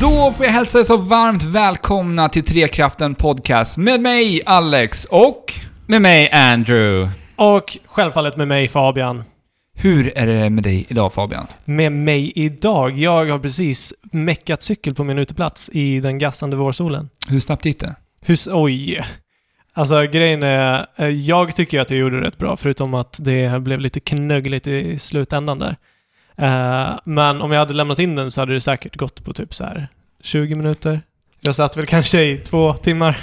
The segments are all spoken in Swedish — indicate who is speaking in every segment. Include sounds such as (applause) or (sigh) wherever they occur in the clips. Speaker 1: Då får jag hälsa er så varmt välkomna till Trekraften Podcast med mig, Alex, och...
Speaker 2: Med mig Andrew.
Speaker 3: Och självfallet med mig Fabian.
Speaker 1: Hur är det med dig idag Fabian?
Speaker 3: Med mig idag. Jag har precis meckat cykel på min uteplats i den gassande vårsolen.
Speaker 1: Hur snabbt gick det?
Speaker 3: Hur... s- Oj! Alltså grejen är, eh, jag tycker att jag gjorde rätt bra, förutom att det blev lite knöggligt i slutändan där. Eh, Men om jag hade lämnat in den så hade det säkert gått på typ så här 20 minuter. Jag satt väl kanske i två timmar.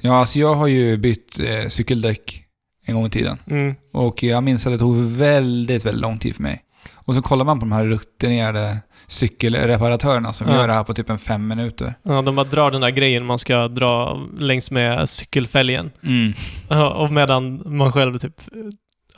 Speaker 1: Ja, alltså jag har ju bytt eh, cykeldäck en gång i tiden.
Speaker 3: Mm.
Speaker 1: Och jag minns att det tog väldigt, väldigt lång tid för mig. Och så kollar man på de här rutinerade cykelreparatörerna som
Speaker 3: Ja.
Speaker 1: gör det här på typ en fem minuter.
Speaker 3: Ja, de bara drar den där grejen man ska dra längs med cykelfälgen.
Speaker 2: Mm.
Speaker 3: Ja, och medan man själv typ...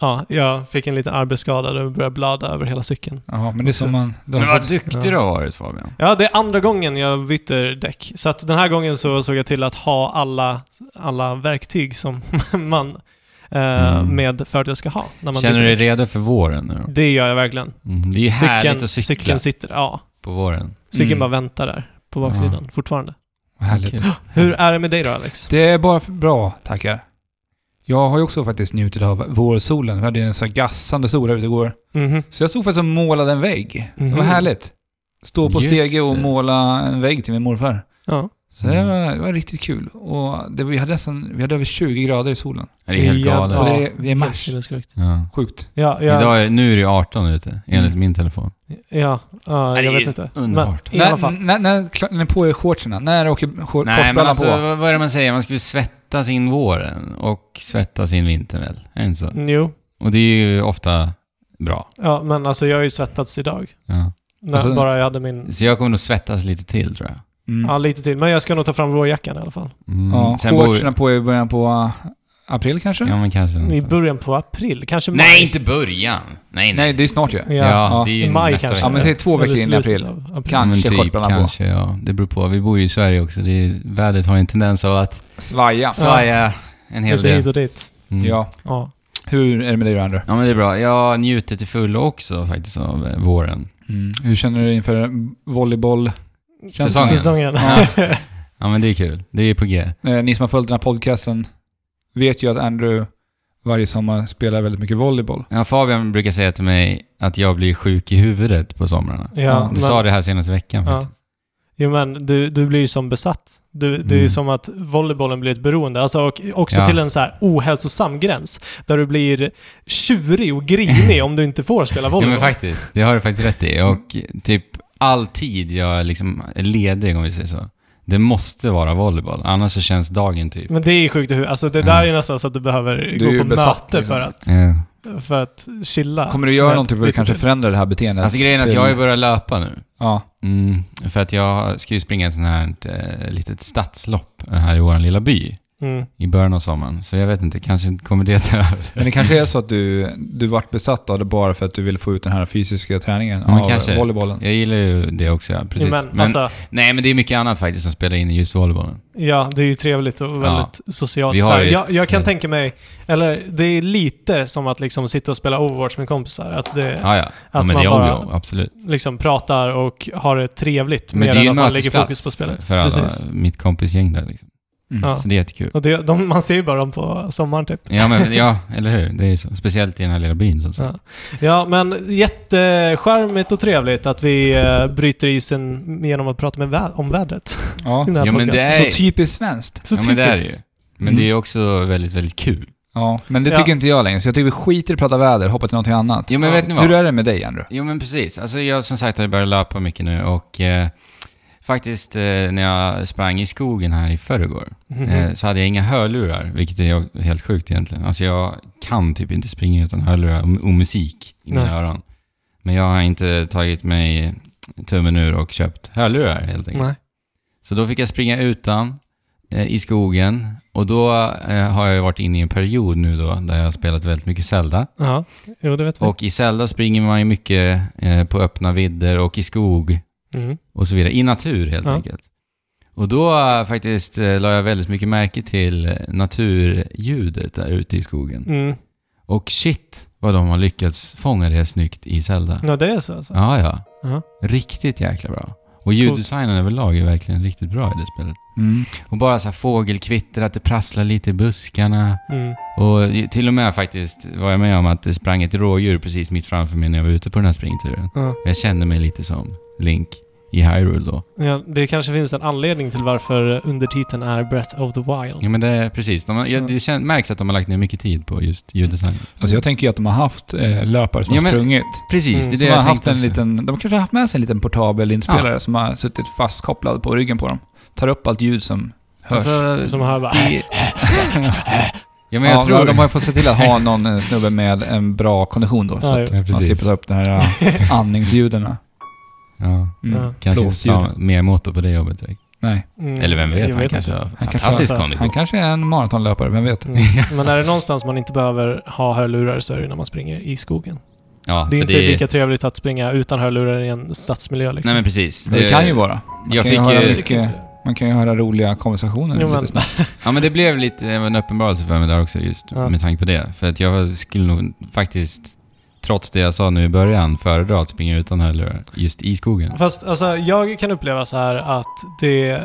Speaker 3: Ja, jag fick en liten arbetsskada och började blöda över hela cykeln.
Speaker 1: Ja, men det är som man... de har
Speaker 2: Men vad
Speaker 1: fått-
Speaker 2: duktig
Speaker 3: ja.
Speaker 2: du har varit Fabian.
Speaker 3: Ja, det är andra gången jag byter däck. Så att den här gången så såg jag till att ha alla, alla verktyg som (laughs) man eh,
Speaker 2: Mm.
Speaker 3: med fördel ska ha. När man
Speaker 2: Känner du
Speaker 3: byter
Speaker 2: dig
Speaker 3: däck.
Speaker 2: redo för våren nu?
Speaker 3: Det gör jag verkligen.
Speaker 2: Mm, det är härligt att cykla
Speaker 3: cykeln sitter, ja.
Speaker 2: på våren.
Speaker 3: Cykeln
Speaker 1: Mm.
Speaker 3: bara väntar där på baksidan fortfarande.
Speaker 1: Vad Härligt.
Speaker 2: Kul.
Speaker 3: Hur är det med dig då Alex?
Speaker 1: Det är bara för bra, tackar. Jag har ju också faktiskt njutit av vårsolen. Vi hade ju en sån här gassande sol här ute igår.
Speaker 2: Mm-hmm.
Speaker 3: Mhm.
Speaker 1: Så jag stod faktiskt och målade en vägg. Det var
Speaker 3: Mhm.
Speaker 1: härligt. Stå på
Speaker 2: Just
Speaker 1: stege och
Speaker 2: det.
Speaker 1: måla en vägg till min morfar.
Speaker 3: Ja.
Speaker 1: Så det, var, det var riktigt kul. Och det, vi, hade nästan, vi hade över 20 grader i solen.
Speaker 2: Det är helt
Speaker 3: Ja,
Speaker 2: galet.
Speaker 1: Och
Speaker 3: ja.
Speaker 1: det, är- det är
Speaker 3: Helt
Speaker 1: mars.
Speaker 3: sinnessjukt.
Speaker 2: Ja.
Speaker 1: Sjukt.
Speaker 3: Ja, jag,
Speaker 2: Idag är, nu är det 18 ute, enligt
Speaker 1: Mm.
Speaker 2: min telefon.
Speaker 3: ja, ja,
Speaker 2: Nej,
Speaker 3: jag
Speaker 2: det är
Speaker 3: vet inte.
Speaker 2: underbart.
Speaker 3: Men, i alla
Speaker 1: När,
Speaker 3: fall.
Speaker 1: när, när, kla- när på er shortsen? När åker shor-
Speaker 2: Nej, men
Speaker 1: kortbrallan
Speaker 2: alltså,
Speaker 1: på?
Speaker 2: vad, vad är det man säger? Man skulle svettas in våren och svettas in vintern väl? Är det inte så?
Speaker 3: Jo,
Speaker 2: Och det är ju ofta bra.
Speaker 3: Ja, men alltså jag har ju svettats idag.
Speaker 2: Ja.
Speaker 3: När
Speaker 1: Alltså-
Speaker 3: bara jag hade min...
Speaker 2: Så jag kommer nog svettas lite till tror jag.
Speaker 1: Mm.
Speaker 3: Ja, lite till. Men jag ska nog ta fram vårjackan i alla fall.
Speaker 2: Mm.
Speaker 1: Ja,
Speaker 2: Sen bor-
Speaker 1: shortsen på er i början på äh, april kanske?
Speaker 2: Ja, men kanske
Speaker 3: I
Speaker 2: någonstans.
Speaker 3: början på april, kanske maj.
Speaker 2: Nej, inte början! Nej, nej.
Speaker 1: Nej, det är snart ju.
Speaker 3: Ja,
Speaker 2: Ja,
Speaker 1: Ja.
Speaker 2: det är
Speaker 3: I
Speaker 2: ju
Speaker 3: maj
Speaker 2: nästa
Speaker 3: kanske.
Speaker 1: Ja,
Speaker 2: vecka.
Speaker 1: men det är två veckor
Speaker 3: Eller
Speaker 1: in i april.
Speaker 3: slutet av
Speaker 1: Kan. Kanske
Speaker 2: Ja, men typ,
Speaker 1: kortbrallan på.
Speaker 2: kanske, ja. Det beror på. Vi bor ju i Sverige också. Det är, vädret har ju en tendens av att
Speaker 1: Svaja.
Speaker 2: svaja en hel
Speaker 3: Lite hit
Speaker 2: del.
Speaker 3: och dit.
Speaker 2: Mm.
Speaker 1: Ja.
Speaker 3: Ja.
Speaker 1: Hur är det med dig då, Andrew?
Speaker 2: ja, men det är bra. Jag njuter till fullo också faktiskt av eh, våren.
Speaker 1: Hur känner du dig inför volleyboll?
Speaker 2: Säsongen.
Speaker 3: Säsongen. (laughs)
Speaker 2: Ja. ja, men det är kul. Det är på G.
Speaker 1: Eh, ni som har följt den här podcasten vet ju att Andrew varje sommar spelar väldigt mycket volleyboll.
Speaker 2: Ja, Fabian brukar säga till mig att jag blir sjuk i huvudet på somrarna.
Speaker 3: Ja,
Speaker 1: Ja,
Speaker 2: Du
Speaker 3: men,
Speaker 2: sa det här senaste veckan
Speaker 3: Ja.
Speaker 2: faktiskt.
Speaker 3: Jo, men du, du blir ju som besatt. Du, Det är
Speaker 2: Mm.
Speaker 3: ju som att volleybollen blir ett beroende. Alltså, och också
Speaker 2: Ja.
Speaker 3: till en så här ohälsosam gräns. Där du blir tjurig och grinig om du inte får spela
Speaker 2: Ja,
Speaker 3: volleyboll.
Speaker 2: men faktiskt. Det har du faktiskt rätt i. Och typ all tid jag liksom är ledig, om vi säger så, det måste vara volleyboll. Annars så känns dagen typ... Mm.
Speaker 3: Men det är ju sjukt i huvudet. Alltså det där är nästan så att du behöver
Speaker 1: är ju
Speaker 3: gå på
Speaker 1: besatt,
Speaker 3: möte
Speaker 1: liksom.
Speaker 3: för att...
Speaker 2: Ja.
Speaker 3: För att chilla.
Speaker 1: Kommer du göra
Speaker 3: Men
Speaker 1: någonting för att
Speaker 3: lite
Speaker 1: kanske
Speaker 3: till.
Speaker 1: förändra det här beteendet?
Speaker 2: Alltså grejen är att
Speaker 1: till-
Speaker 2: jag har ju börjat löpa nu.
Speaker 1: Ja.
Speaker 2: Mm, för att jag ska ju springa ett sånt här eh, litet stadslopp här i vår lilla by
Speaker 3: Mm.
Speaker 2: i början av sommaren. Så jag vet inte, kanske kommer det ta över.
Speaker 1: Men det kanske är så att du, du vart besatt av det bara för att du ville få ut den här fysiska träningen
Speaker 2: Ja, men
Speaker 1: av
Speaker 2: kanske.
Speaker 1: volleybollen.
Speaker 2: Jag gillar ju det också, ja, precis.
Speaker 3: Men,
Speaker 2: Men-
Speaker 3: alltså,
Speaker 2: Nej, men det är mycket annat faktiskt som spelar in i just volleybollen.
Speaker 3: ja, det är ju trevligt och väldigt socialt.
Speaker 2: Vi har
Speaker 3: Så här,
Speaker 2: ju ett-
Speaker 3: jag, jag kan tänka mig, eller det är lite som att liksom sitta och spela Overwatch med kompisar. Att det
Speaker 2: Ja, ja. ja
Speaker 3: Att
Speaker 2: men
Speaker 3: man
Speaker 2: det är
Speaker 3: bara-
Speaker 2: bara... absolut.
Speaker 3: liksom pratar och har det trevligt
Speaker 2: Men
Speaker 3: mer
Speaker 2: det är ju
Speaker 3: än
Speaker 2: en
Speaker 3: att man lägger fokus
Speaker 2: mötesplats
Speaker 3: på spelet.
Speaker 2: för, för alla
Speaker 3: Precis.
Speaker 2: mitt kompisgäng där liksom.
Speaker 1: Mm.
Speaker 3: Ja.
Speaker 2: Så det är jättekul.
Speaker 3: Och det, de, man ser ju bara dem på sommaren typ.
Speaker 2: Ja, men, ja, eller hur? Det är ju så. Speciellt i den här lilla byn som sagt.
Speaker 3: Ja, men jättecharmigt och trevligt att vi eh, bryter isen genom att prata med vä- om vädret.
Speaker 1: Ja.
Speaker 3: I den här
Speaker 2: Ja, men det
Speaker 3: podcasten.
Speaker 2: är-
Speaker 1: Så typiskt svenskt.
Speaker 3: Så
Speaker 2: ja, men det är det ju.
Speaker 3: typiskt.
Speaker 2: Men
Speaker 1: Mm.
Speaker 2: det är ju också väldigt, väldigt kul.
Speaker 1: Ja, men det
Speaker 3: Ja.
Speaker 1: tycker inte jag längre. Så jag tycker vi skiter i att prata väder, hoppa till någonting annat.
Speaker 2: Jo, men
Speaker 3: Ja.
Speaker 2: vet ni vad?
Speaker 1: Hur är det med dig, Andrew?
Speaker 2: Jo men precis. Alltså jag som sagt har börjat löpa mycket nu och eh, faktiskt eh, när jag sprang i skogen här i förrgår eh,
Speaker 3: Mhm.
Speaker 2: så hade jag inga hörlurar, vilket är ju helt sjukt egentligen. Alltså jag kan typ inte springa utan hörlurar och, och musik i mina
Speaker 3: Nej.
Speaker 2: öron. Men jag har inte tagit mig tummen ur och köpt hörlurar helt enkelt.
Speaker 3: Nej.
Speaker 2: Så då fick jag springa utan eh, i skogen och då eh, har jag ju varit inne i en period nu då där jag har spelat väldigt mycket Zelda.
Speaker 3: Ja, jo det vet vi.
Speaker 2: Och i Zelda springer man ju mycket eh, på öppna vidder och i skog
Speaker 3: Mm.
Speaker 2: och så vidare. I natur helt
Speaker 3: Ja.
Speaker 2: enkelt. Och då eh, faktiskt eh, la jag väldigt mycket märke till eh, naturljudet där ute i skogen.
Speaker 3: Mm.
Speaker 2: Och shit vad de har lyckats fånga det snyggt i Zelda.
Speaker 3: Ja, det är så alltså.
Speaker 2: Ja, ja.
Speaker 3: Ja.
Speaker 2: Riktigt jäkla bra. Och ljuddesignen överlag är verkligen riktigt bra i det spelet.
Speaker 1: Mm.
Speaker 2: Och bara så här fågelkvitter, att det prasslar lite i buskarna.
Speaker 3: Mm.
Speaker 2: Och till och med faktiskt var jag med om att det sprang ett rådjur precis mitt framför mig när jag var ute på den här springturen.
Speaker 3: Ja.
Speaker 2: Jag kände mig lite som Link i Hyrule då.
Speaker 3: Ja, det kanske finns en anledning till varför undertiteln är Breath of the Wild.
Speaker 2: Ja men det är precis. De, har- ja, det kän, märks att de har lagt ner mycket tid på just ljuddesign.
Speaker 1: Alltså jag tänker ju att de har haft eh, löpare som
Speaker 2: Ja,
Speaker 1: har
Speaker 2: men-
Speaker 1: sprungit.
Speaker 2: Precis,
Speaker 3: Mm.
Speaker 2: det är det
Speaker 1: Som
Speaker 2: jag
Speaker 1: har haft
Speaker 2: tänkte
Speaker 1: en
Speaker 2: också.
Speaker 1: liten, de kanske har haft med sig en liten portabel inspelare som har suttit fastkopplad på ryggen på dem. Tar upp allt ljud som hörs. (laughs)
Speaker 2: Alltså,
Speaker 3: Som hör bara...
Speaker 2: det- ja men jag
Speaker 1: ja,
Speaker 2: tror...
Speaker 1: De har ju fått se till att ha någon eh, snubbe med en bra kondition då. så
Speaker 3: Ja,
Speaker 1: att
Speaker 3: jo.
Speaker 2: ja,
Speaker 1: man slipper
Speaker 2: precis.
Speaker 1: ta upp de här
Speaker 3: (laughs)
Speaker 1: eh, andningsljuden. Mm.
Speaker 2: Ja,
Speaker 3: Ja.
Speaker 2: kanske inte
Speaker 1: Flåsljuden.
Speaker 2: sa mer motor på det jobbet direkt.
Speaker 1: Nej,
Speaker 3: Mm,
Speaker 2: Eller vem
Speaker 3: jag
Speaker 2: vet, han
Speaker 3: inte.
Speaker 2: kanske har
Speaker 1: kanske
Speaker 2: fantastisk
Speaker 3: har-
Speaker 1: han
Speaker 2: kondition.
Speaker 1: kanske är en maratonlöpare, vem vet?
Speaker 2: (laughs)
Speaker 3: Mm. Men är det någonstans man inte behöver ha hörlurar så är det när man springer i skogen.
Speaker 2: Ja,
Speaker 3: Det är
Speaker 2: för
Speaker 3: inte lika trevligt att springa utan hörlurar i en stadsmiljö liksom.
Speaker 2: Nej men precis.
Speaker 1: Men (laughs) det kan ju vara. Man
Speaker 2: Jag
Speaker 1: kan ju
Speaker 2: fick
Speaker 1: höra
Speaker 2: ju-
Speaker 3: jag
Speaker 1: mycket-
Speaker 3: tycker inte det.
Speaker 1: Man kan ju höra roliga konversationer
Speaker 3: Jo, men-
Speaker 1: lite snabbt.
Speaker 2: Ja men det blev lite av en uppenbarelse för mig där också just
Speaker 3: Ja.
Speaker 2: med tanke på det. För att jag skulle nog faktiskt, trots det jag sa nu i början, föredra att springa utan hörlurar just i skogen.
Speaker 3: Fast alltså, jag kan uppleva så här att det,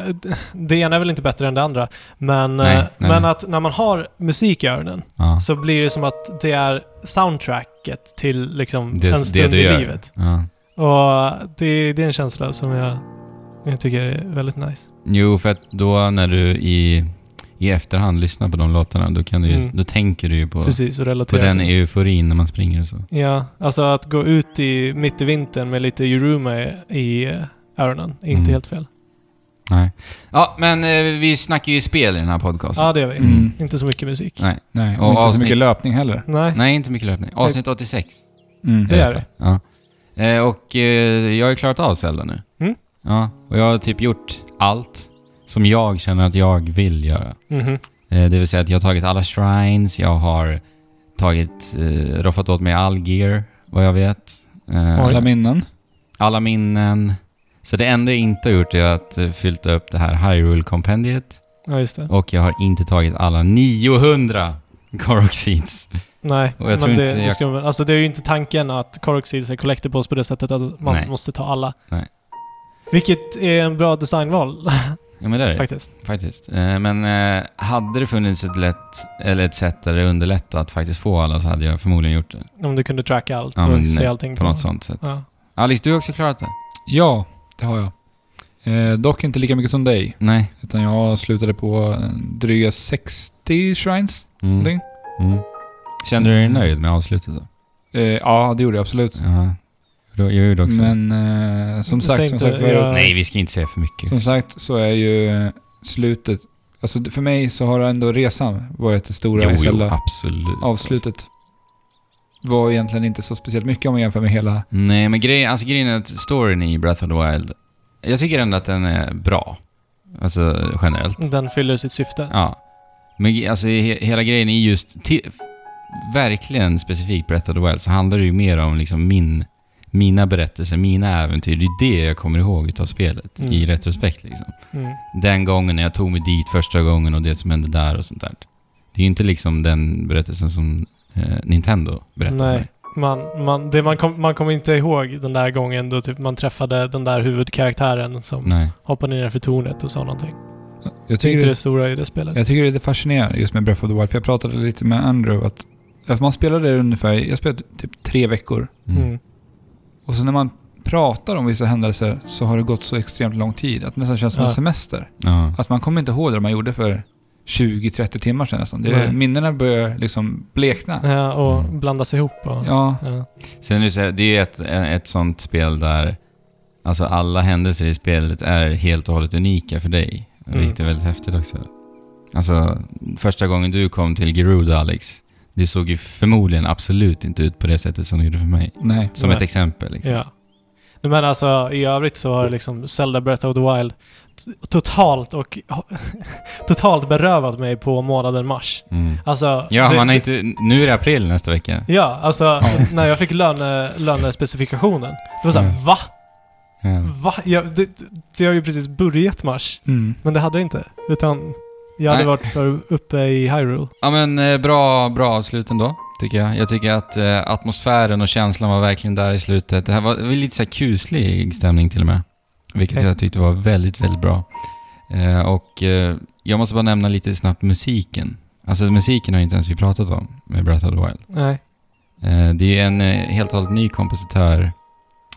Speaker 3: det ena är väl inte bättre än det andra. Men,
Speaker 2: Nej,
Speaker 3: eh,
Speaker 2: nej,
Speaker 3: men
Speaker 2: nej.
Speaker 3: att när man har musik i öronen
Speaker 2: Ja.
Speaker 3: så blir det som att det är soundtracket till liksom
Speaker 2: Det,
Speaker 3: en
Speaker 2: det
Speaker 3: stund
Speaker 2: du
Speaker 3: i
Speaker 2: gör.
Speaker 3: livet.
Speaker 2: Ja.
Speaker 3: Och det, det är en känsla som jag, jag tycker är väldigt nice.
Speaker 2: Jo, för att då när du i, i efterhand lyssnar på de låtarna, då, kan du ju,
Speaker 3: Mm.
Speaker 2: då tänker du ju på,
Speaker 3: Precis, och
Speaker 2: på
Speaker 3: relatera
Speaker 2: den
Speaker 3: till-
Speaker 2: euforin när man springer och så.
Speaker 3: Ja, alltså att gå ut i, mitt i vintern med lite Yuruma i- i eh, öronen är inte
Speaker 2: Mm.
Speaker 3: helt fel.
Speaker 2: Nej. Ja, men eh, vi snackar ju spel i den här podcasten.
Speaker 3: Ja, det gör vi.
Speaker 1: Mm.
Speaker 3: Inte så mycket musik.
Speaker 2: Alltså. Nej.
Speaker 1: Nej,
Speaker 2: Och
Speaker 1: och inte så
Speaker 2: avsnitt.
Speaker 1: mycket löpning heller.
Speaker 3: Nej.
Speaker 2: Nej, inte mycket löpning. Avsnitt 86.
Speaker 1: Mm.
Speaker 3: Det är det.
Speaker 2: Ja. Eh, och eh, jag har ju klarat av Zelda nu.
Speaker 3: Mm.
Speaker 2: Ja, och jag har typ gjort allt som jag känner att jag vill göra.
Speaker 3: Mhm.
Speaker 2: Eh, det vill säga att jag har tagit alla shrines, jag har tagit, eh, roffat åt mig all gear, vad jag vet. Eh,
Speaker 1: Alla minnen.
Speaker 2: alla minnen. Så det enda jag inte har gjort är att eh, fyllt upp det här Hyrule-kompendiet.
Speaker 3: Ja, just det.
Speaker 2: Och jag har inte tagit alla 900 Korok Seeds.
Speaker 3: Nej,
Speaker 2: Och jag tror
Speaker 3: men det,
Speaker 2: inte
Speaker 3: det,
Speaker 2: jag-
Speaker 3: ska man, alltså det är ju inte tanken att Korok Seeds är collectibles på det sättet att man
Speaker 2: Nej.
Speaker 3: måste ta alla.
Speaker 2: Nej.
Speaker 3: Vilket är en bra designval
Speaker 2: Ja men det är det.
Speaker 3: (laughs) faktiskt.
Speaker 2: Faktiskt. Eh, Men eh, hade det funnits ett, lätt, eller ett sätt där det underlättar att faktiskt få alla så hade jag förmodligen gjort det.
Speaker 3: Om du kunde tracka allt
Speaker 2: Ja,
Speaker 3: och
Speaker 2: men
Speaker 3: se allting.
Speaker 2: På något sånt sätt.
Speaker 3: Ja.
Speaker 2: Alice, du har också klarat det?
Speaker 1: Ja, det har jag. Eh, dock inte lika mycket som dig.
Speaker 2: Nej.
Speaker 1: Utan jag slutade på eh, dryga 60 shrines.
Speaker 2: Mm.
Speaker 1: någonting.
Speaker 2: Mm. Kände du dig nöjd med avslutet då?
Speaker 1: Eh, ja, det gjorde jag absolut.
Speaker 2: Ja. Jag gjorde också det.
Speaker 1: Men eh, som
Speaker 3: Säg
Speaker 1: sagt, som
Speaker 3: inte,
Speaker 1: sagt, förut,
Speaker 3: jag-
Speaker 2: Nej, vi ska inte säga för mycket.
Speaker 1: som sagt så är ju eh, slutet... Alltså för mig så har ändå resan varit det stora
Speaker 2: Jo,
Speaker 1: i
Speaker 2: jo,
Speaker 1: Zelda.
Speaker 2: absolut.
Speaker 1: Avslutet var egentligen inte så speciellt mycket om man jämför med hela...
Speaker 2: Nej, men grejen, alltså grejen är att storyn i Breath of the Wild, jag tycker ändå att den är bra. Alltså generellt.
Speaker 3: Den fyller sitt syfte.
Speaker 2: Ja. Men ge- alltså he, hela grejen är just, ti- f- verkligen specifikt Breath of the Wild, så handlar det ju mer om liksom min, mina berättelser, mina äventyr. Det är det jag kommer ihåg utav spelet
Speaker 3: Mm.
Speaker 2: i retrospekt liksom.
Speaker 3: Mm.
Speaker 2: Den gången när jag tog mig dit första gången och det som hände där och sånt där. Det är ju inte liksom den berättelsen som eh, Nintendo berättar
Speaker 3: Nej.
Speaker 2: för mig.
Speaker 3: Man, man, det man, kom, man kommer inte ihåg den där gången då typ man träffade den där huvudkaraktären som
Speaker 2: Nej.
Speaker 3: hoppade ner för tornet och sa någonting.
Speaker 1: Jag
Speaker 3: Det är
Speaker 1: tycker
Speaker 3: inte
Speaker 1: det
Speaker 3: det stora i det spelet.
Speaker 1: Jag tycker det är lite fascinerande just med Breath of the Wild, för jag pratade lite med Andrew att att man spelade det ungefär, jag spelade typ tre veckor.
Speaker 2: Mm.
Speaker 3: Mm.
Speaker 1: Och så när man pratar om vissa händelser så har det gått så extremt lång tid att det nästan känns som en
Speaker 3: Ja.
Speaker 1: semester.
Speaker 2: Ja.
Speaker 1: Att man kommer inte ihåg det man gjorde för 20-30 timmar sedan nästan. Det,
Speaker 3: Nej.
Speaker 1: minnena börjar liksom blekna.
Speaker 3: Ja, Eh, och
Speaker 2: Mm.
Speaker 3: blandas ihop. Och,
Speaker 1: Ja,
Speaker 3: Ja.
Speaker 2: Sen är det, så här, det är ju ett, ett sånt spel där alltså alla händelser i spelet är helt och hållet unika för dig.
Speaker 3: Mm.
Speaker 2: Vilket är väldigt häftigt också. Alltså, första gången du kom till Gerudo, Alex, det såg ju förmodligen absolut inte ut på det sättet som det gjorde för mig.
Speaker 1: nej.
Speaker 2: Som
Speaker 3: Nej.
Speaker 2: ett exempel. Liksom.
Speaker 3: Ja. Nej, Men alltså i övrigt så har liksom Zelda Breath of the Wild t- totalt och (laughs) totalt berövat mig på månaden mars.
Speaker 2: Mm.
Speaker 3: Alltså...
Speaker 2: Ja,
Speaker 3: det-
Speaker 2: man har
Speaker 3: det-
Speaker 2: inte... Nu är det april nästa vecka.
Speaker 3: Ja, alltså (laughs) när jag fick löne, lönespecifikationen. Det var såhär,
Speaker 2: Mm.
Speaker 3: va?
Speaker 2: Ja.
Speaker 3: Va? Jag, det, det- det har ju precis börjat mars.
Speaker 1: Mm.
Speaker 3: Men det hade det inte. Utan jag hade
Speaker 2: Nej.
Speaker 3: varit för uppe i Hyrule.
Speaker 2: Ja men eh, bra, bra avslut ändå, tycker jag. Jag tycker att eh, atmosfären och känslan var verkligen där i slutet. Det här var, det var lite så här kuslig stämning till och med. vilket
Speaker 3: Okej.
Speaker 2: jag tyckte var väldigt, väldigt bra. Eh, och eh, jag måste bara nämna lite snabbt musiken. Alltså musiken har ju inte ens vi pratat om med Breath of the Wild.
Speaker 3: Nej.
Speaker 2: Eh, det är ju en eh, helt och hållet ny kompositör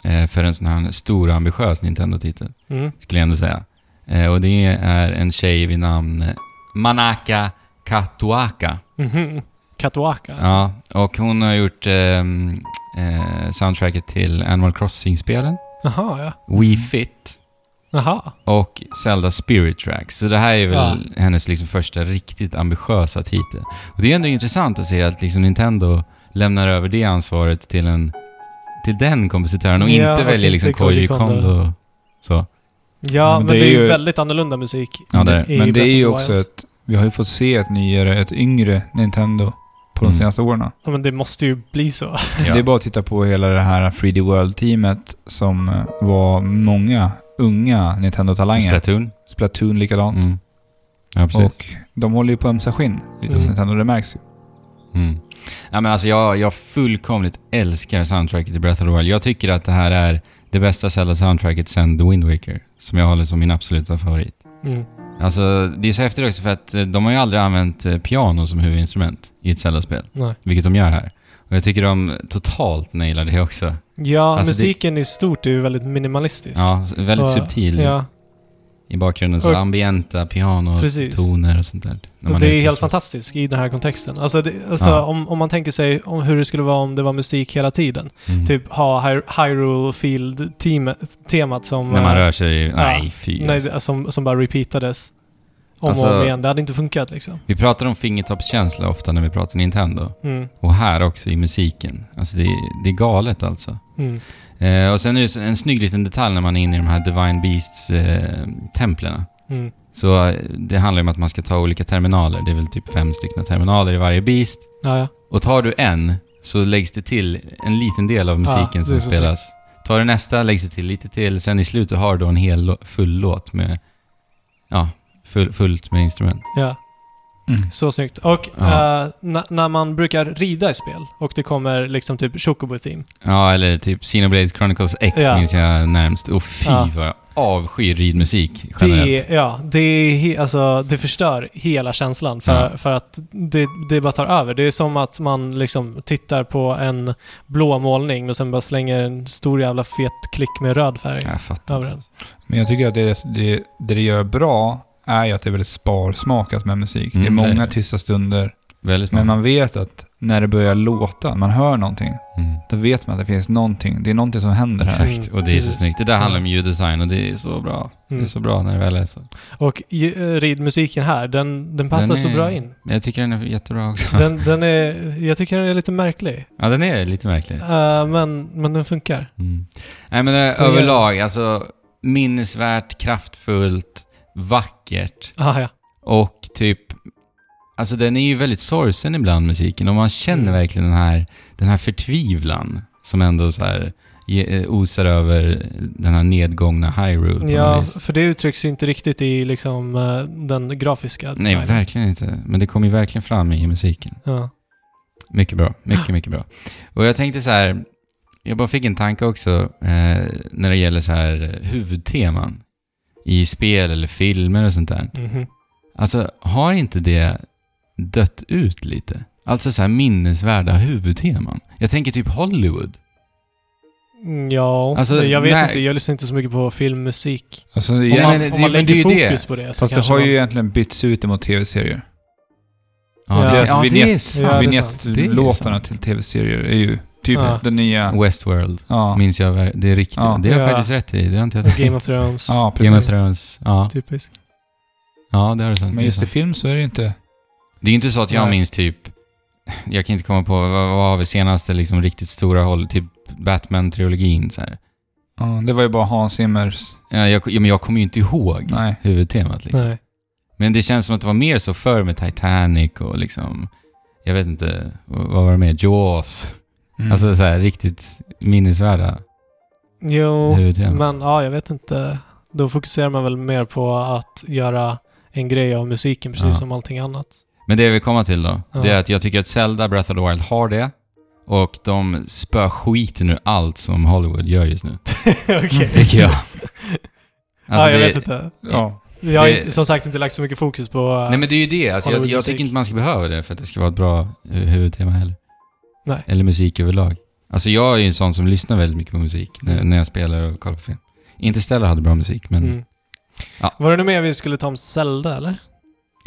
Speaker 2: eh, för en sån här stor och ambitiös Nintendo-titel,
Speaker 3: Mm.
Speaker 2: skulle jag ändå säga. Eh, och det är en tjej vid namn Manaka Katuaka.
Speaker 3: Mhm. Katoaka alltså.
Speaker 2: Ja, och hon har gjort ehm, eh, soundtracket till Animal Crossing-spelen,
Speaker 3: Jaha, ja.
Speaker 2: Wii Fit,
Speaker 3: Jaha.
Speaker 2: och Zelda Spirit Tracks. Så det här är väl hennes liksom första riktigt ambitiösa titel. Och det är ändå intressant att se att liksom Nintendo lämnar över det ansvaret till, en, till den kompositören och
Speaker 3: Ja,
Speaker 2: inte
Speaker 3: och
Speaker 2: väljer
Speaker 3: inte
Speaker 2: liksom Koji
Speaker 3: Koji
Speaker 2: Kondo.
Speaker 3: Kondo.
Speaker 2: Så. Mm,
Speaker 3: Ja, men, det är ju väldigt annorlunda musik.
Speaker 2: Ja, det är det.
Speaker 3: i
Speaker 1: Men det
Speaker 3: Breath of
Speaker 1: är
Speaker 3: the
Speaker 1: ju också
Speaker 3: Wild.
Speaker 1: ett... Vi har ju fått se ett nyare, ett yngre Nintendo på
Speaker 2: Mm.
Speaker 1: de senaste åren.
Speaker 3: Ja, men det måste ju bli så.
Speaker 2: Ja.
Speaker 1: Det är bara att titta på hela det här 3D World-teamet som eh, var många unga Nintendo-talanger.
Speaker 2: Splatoon.
Speaker 1: Splatoon likadant.
Speaker 2: Mm. Ja, precis.
Speaker 1: Och de håller ju på ömsa skinn, lite
Speaker 3: Mm.
Speaker 1: som Nintendo, det märks ju.
Speaker 2: Mm. Ja, men alltså jag, jag fullkomligt älskar soundtracket i Breath of the Wild. Jag tycker att det här är det bästa Zelda-soundtracket sen The Wind Waker, som jag håller som min absoluta favorit.
Speaker 3: Mm.
Speaker 2: Alltså, det är så häftigt också för att eh, de har ju aldrig använt eh, piano som huvudinstrument i ett Zelda-spel,
Speaker 3: Nej.
Speaker 2: vilket de gör här. Och jag tycker de totalt nailar det också.
Speaker 3: Ja,
Speaker 2: Alltså, det-
Speaker 3: musiken i stort är ju väldigt minimalistisk.
Speaker 2: Ja, s- väldigt
Speaker 3: Och-
Speaker 2: subtil
Speaker 3: Ja,
Speaker 2: i bakgrunden. Så
Speaker 3: Och-
Speaker 2: ambienta
Speaker 3: Precis.
Speaker 2: pianotoner och sånt där. när
Speaker 3: och
Speaker 2: man
Speaker 3: det är
Speaker 2: ute
Speaker 3: helt
Speaker 2: och så.
Speaker 3: fantastiskt i den här kontexten. Alltså, det, alltså
Speaker 2: Ja.
Speaker 3: om, om man tänker sig om hur det skulle vara om det var musik hela tiden.
Speaker 2: Mm.
Speaker 3: Typ ha Hy- Hyrule Field-temat som...
Speaker 2: När man
Speaker 3: eh,
Speaker 2: rör sig. Nej, fy.
Speaker 3: Nej,
Speaker 2: alltså.
Speaker 3: det- som, som bara repeatades om
Speaker 2: Alltså-
Speaker 3: och om igen. Det hade inte funkat liksom.
Speaker 2: Vi pratar om fingertoppskänsla ofta när vi pratar Nintendo.
Speaker 3: Mm.
Speaker 2: Och här också i musiken. Alltså det, är- det är galet alltså.
Speaker 3: Mm.
Speaker 2: Eh, och sen är det en snygg liten detalj när man är inne i de här Divine Beasts-templerna.
Speaker 3: Mm.
Speaker 2: Så eh, det handlar om att man ska ta olika terminaler. Det är väl typ fem stycken terminaler i varje beast.
Speaker 3: Ja, ja.
Speaker 2: Och tar du en så läggs det till en liten del av
Speaker 3: Ja, det
Speaker 2: musiken
Speaker 3: är
Speaker 2: som
Speaker 3: så
Speaker 2: spelas. Tar du nästa läggs det till lite till. Sen i slutet har du då en hel lå- full låt med... Ja, full, fullt med instrument.
Speaker 3: ja.
Speaker 1: Mm.
Speaker 3: Så snyggt. Och
Speaker 2: Ja.
Speaker 3: eh, na- när man brukar rida i spel och det kommer liksom typ Chocobo-theme.
Speaker 2: Ja, eller typ Xenoblade Chronicles X
Speaker 3: Ja.
Speaker 2: minns jag närmst. Och fy
Speaker 3: Ja.
Speaker 2: vad jag avskyr ridmusik generellt.
Speaker 3: Det, ja, det, är he- alltså, det förstör hela känslan för, för att det, det bara tar över. Det är som att man liksom tittar på en blå målning och sen bara slänger en stor jävla fet klick med röd färg.
Speaker 2: Jag fattar inte.
Speaker 3: Överallt.
Speaker 1: Men jag tycker att det det, det, det gör bra är ju att det är väldigt sparsmakat med musik.
Speaker 2: Mm,
Speaker 1: det
Speaker 2: det
Speaker 1: är
Speaker 2: är
Speaker 1: många
Speaker 2: det.
Speaker 1: tysta stunder,
Speaker 2: Väldigt
Speaker 1: men
Speaker 2: många.
Speaker 1: man vet att när det börjar låta, man hör någonting,
Speaker 2: Mm.
Speaker 1: då vet man att det finns någonting. Det är någonting som händer här.
Speaker 2: Exakt, och det är så
Speaker 3: Precis.
Speaker 2: snyggt. Det där handlar om ljuddesign och det är så bra. Det
Speaker 3: Mm.
Speaker 2: är så bra när det väl är så.
Speaker 3: Och ju- eh, ridmusiken här, den, den passar
Speaker 2: Den
Speaker 3: så
Speaker 2: är-
Speaker 3: bra in.
Speaker 2: Men jag tycker den är jättebra också.
Speaker 3: Den, den är, jag tycker den är lite märklig,
Speaker 2: Ja, den är lite märklig.
Speaker 3: Eh, men, men den funkar.
Speaker 2: Nej, men eh,
Speaker 3: gör-
Speaker 2: överlag, alltså minnesvärt, kraftfullt, vackert
Speaker 3: Ah, ja.
Speaker 2: och typ... Alltså den är ju väldigt sorgsen ibland, musiken. Och man känner
Speaker 3: Mm.
Speaker 2: verkligen den här, den här förtvivlan som ändå så här ge- eh, osar över den här nedgångna Hyrule. på något
Speaker 3: ja,
Speaker 2: vis.
Speaker 3: för det uttrycks ju inte riktigt i liksom, eh, den grafiska
Speaker 2: Nej,
Speaker 3: designen.
Speaker 2: verkligen inte. Men det kommer ju verkligen fram i musiken.
Speaker 3: ja.
Speaker 2: Mycket bra, mycket, mycket bra. Och jag tänkte så här, jag bara fick en tanke också eh, när det gäller så här huvudteman i spel eller filmer och sånt där.
Speaker 3: Mhm.
Speaker 2: Alltså, har inte det dött ut lite? Alltså så här minnesvärda huvudteman. Jag tänker typ Hollywood.
Speaker 3: Mm, Ja,
Speaker 2: Alltså,
Speaker 3: jag vet
Speaker 2: nej.
Speaker 3: inte. Jag lyssnar inte så mycket på filmmusik.
Speaker 1: Alltså,
Speaker 3: Om
Speaker 1: ja,
Speaker 2: Ja,
Speaker 3: man,
Speaker 2: men det-
Speaker 3: om man
Speaker 2: men det är
Speaker 3: lägger
Speaker 2: ju det.
Speaker 3: fokus på det så
Speaker 1: fast det
Speaker 3: kanske
Speaker 1: har
Speaker 3: man...
Speaker 1: ju egentligen bytts ut emot tv-serier. alltså
Speaker 2: Ja,
Speaker 3: Ja.
Speaker 2: det,
Speaker 1: Deras
Speaker 2: ja, det är
Speaker 1: vignett-
Speaker 3: Ja, det
Speaker 2: sant.
Speaker 3: är
Speaker 1: Vinjettlåtarna
Speaker 2: sant.
Speaker 1: till tv-serier är ju typ
Speaker 3: Ja.
Speaker 1: den nya...
Speaker 2: Westworld
Speaker 1: Ja,
Speaker 2: minns jag ver- det är riktigt.
Speaker 1: Ja.
Speaker 2: Det har jag
Speaker 3: Ja.
Speaker 2: faktiskt rätt i. Det har inte jag
Speaker 3: (laughs)
Speaker 2: tänkt.
Speaker 3: Game of Thrones.
Speaker 1: ja
Speaker 2: Game of
Speaker 1: precis.
Speaker 2: Thrones. Ja,
Speaker 3: Typiskt.
Speaker 2: ja det har du sant.
Speaker 1: Men
Speaker 2: är
Speaker 1: just i
Speaker 2: sant.
Speaker 1: film så är det ju inte...
Speaker 2: Det är inte så att jag
Speaker 3: Nej.
Speaker 2: minns typ... Jag kan inte komma på, vad, vad har vi senaste liksom riktigt stora håll? Typ Batman-trilogin så här.
Speaker 1: Ja, det var ju bara Hans Zimmers...
Speaker 2: Ja, Jag, ja, men jag kommer ju inte ihåg
Speaker 1: Nej.
Speaker 2: huvudtemat liksom.
Speaker 3: Nej.
Speaker 2: Men det känns som att det var mer så förr med Titanic och liksom... Jag vet inte, vad vad var det mer? Jaws.
Speaker 1: Mm.
Speaker 2: Alltså så här riktigt minnesvärda
Speaker 3: Jo,
Speaker 2: huvudteman.
Speaker 3: men ja, jag vet inte. Då fokuserar man väl mer på att göra en grej av musiken precis
Speaker 2: Ja.
Speaker 3: som allting annat. (laughs)
Speaker 2: Men det jag vill komma till då,
Speaker 3: Ja.
Speaker 2: det är att jag tycker att Zelda Breath of the Wild har det. Och de spöar skiten ur allt som Hollywood Mm, gör just nu.
Speaker 3: (laughs) Okej.
Speaker 2: Tycker jag. Alltså,
Speaker 3: ja, jag
Speaker 2: det-
Speaker 3: vet inte.
Speaker 1: Ja.
Speaker 3: Jag har
Speaker 2: det-
Speaker 3: ju som sagt inte lagt så mycket fokus på... eh,
Speaker 2: Nej men det är ju det. Alltså, jag, jag
Speaker 3: Hollywoodmusik.
Speaker 2: tycker inte man ska behöva det för att det ska vara ett bra eh, huvudtema heller.
Speaker 3: Nej.
Speaker 2: Eller musik överlag. Alltså jag är ju en sån som lyssnar väldigt mycket på musik när, när jag spelar och kollar på film. Interstellar hade bra musik, men...
Speaker 3: Mm.
Speaker 2: Ja.
Speaker 3: Var det nu mer vi skulle ta om Zelda, eller?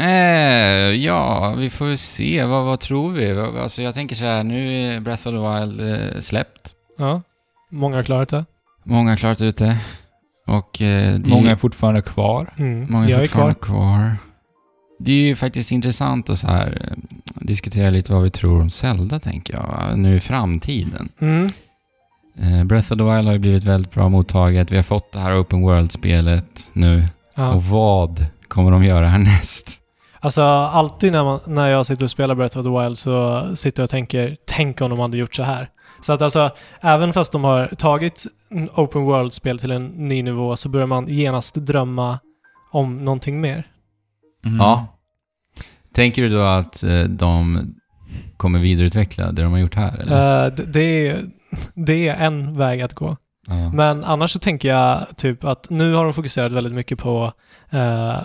Speaker 2: Eh, ja, vi får väl se. Vad, vad tror vi? Vad- Alltså jag tänker så här, nu är Breath of the Wild eh, släppt.
Speaker 3: Ja. Många har klarat det.
Speaker 2: Många har klarat ut det. Och... Eh, det
Speaker 1: Många är fortfarande kvar.
Speaker 3: Mm.
Speaker 2: Många
Speaker 3: jag är kvar.
Speaker 2: fortfarande kvar. Det är ju faktiskt intressant att så här, eh, diskutera lite vad vi tror om Zelda, tänker jag. Nu i framtiden.
Speaker 3: Mm.
Speaker 2: Eh, Breath of the Wild har ju blivit väldigt bra mottaget. Vi har fått det här Open World-spelet nu.
Speaker 3: Ja.
Speaker 2: Och vad kommer de göra härnäst?
Speaker 3: Alltså, alltid när, man, när jag sitter och spelar Breath of the Wild så sitter jag och tänker, tänk om de hade gjort så här. Så att alltså, även fast de har tagit en Open World-spel till en ny nivå så börjar man genast drömma om någonting mer.
Speaker 1: Mm.
Speaker 2: Ja. Tänker du då att eh, de kommer vidareutveckla det de har gjort här? Eller?
Speaker 3: Eh, d- det, är, (laughs) det är en väg att gå.
Speaker 2: ja.
Speaker 3: Men annars så tänker jag typ att nu har de fokuserat väldigt mycket på eh,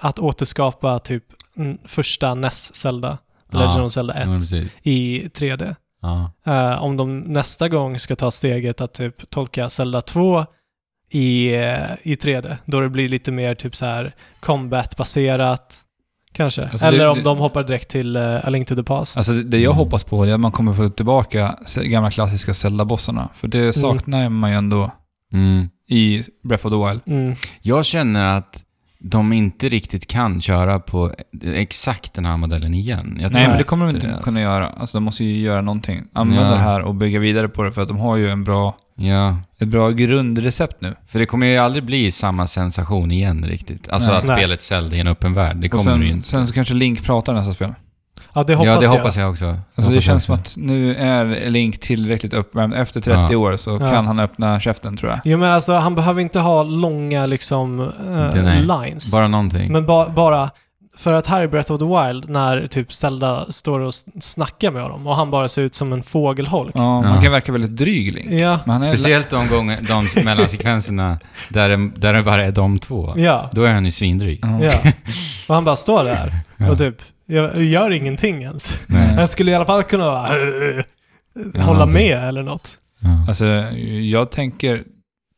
Speaker 3: att återskapa typ mm, första NES Zelda, The Legend
Speaker 2: Ja. Mm.
Speaker 3: of Zelda 1,
Speaker 2: Ja, precis.
Speaker 3: i 3D.
Speaker 2: Ja.
Speaker 3: Eh, om de nästa gång ska ta steget att typ tolka Zelda 2 i, eh, i 3D, då det blir lite mer typ så här combat-baserat kanske.
Speaker 1: Alltså,
Speaker 3: Eller
Speaker 1: det-
Speaker 3: om
Speaker 1: det-
Speaker 3: de hoppar direkt till eh, A Link to the Past.
Speaker 1: Alltså det- det jag
Speaker 2: Mm.
Speaker 1: hoppas på är att man kommer få tillbaka se- gamla klassiska Zelda-bossarna. För det saknar man ju ändå
Speaker 2: Mm.
Speaker 1: i Breath of the Wild.
Speaker 3: mm.
Speaker 2: Jag känner att de inte riktigt kan köra på exakt den här modellen igen. Jag tror
Speaker 1: Nej, men
Speaker 3: Nej,
Speaker 1: det kommer de inte
Speaker 2: det är alltså.
Speaker 1: kunna göra. Alltså de måste ju göra någonting. Använda
Speaker 2: Ja.
Speaker 1: det här och bygga vidare på det för att de har ju en bra,
Speaker 2: Ja,
Speaker 1: ett bra grundrecept nu.
Speaker 2: för det kommer ju aldrig bli samma sensation igen riktigt. Alltså
Speaker 1: Nej.
Speaker 2: att
Speaker 3: Nej.
Speaker 2: spelet Zelda i en öppen värld, det
Speaker 1: Och
Speaker 2: kommer det ju
Speaker 1: sen,
Speaker 2: inte.
Speaker 1: sen så kanske Link pratar nästa spel.
Speaker 3: Ja, det hoppas
Speaker 2: ja, det
Speaker 3: jag.
Speaker 2: hoppas jag också.
Speaker 1: Alltså det
Speaker 2: hoppas
Speaker 1: känns
Speaker 2: jag
Speaker 1: som
Speaker 2: också.
Speaker 1: att nu är Link tillräckligt uppvärmd. Efter 30
Speaker 2: Ja.
Speaker 1: år så
Speaker 3: Ja.
Speaker 1: kan han öppna käften tror jag.
Speaker 3: Jo, men alltså han behöver inte ha långa liksom eh,
Speaker 2: Det- nej.
Speaker 3: lines.
Speaker 2: Bara någonting.
Speaker 3: Men ba bara, för att här i Breath of the Wild, när typ Zelda står och s- snackar med honom och han bara ser ut som en fågelholk.
Speaker 1: Ja, man
Speaker 2: Ja.
Speaker 1: kan verka väldigt dryg Link.
Speaker 3: Ja,
Speaker 1: Men han är
Speaker 2: Speciellt de gånger, de mellansekvenserna där det, där det bara är de två.
Speaker 3: ja,
Speaker 2: Då är han ju svindryg.
Speaker 1: Ja.
Speaker 2: (laughs)
Speaker 3: ja. Och han bara står där
Speaker 2: Ja.
Speaker 3: och typ, jag gör ingenting ens.
Speaker 1: Nej.
Speaker 3: Jag skulle i alla fall kunna bara, eh, eh, hålla
Speaker 2: någonting.
Speaker 3: med eller något.
Speaker 2: Ja.
Speaker 1: Alltså, jag tänker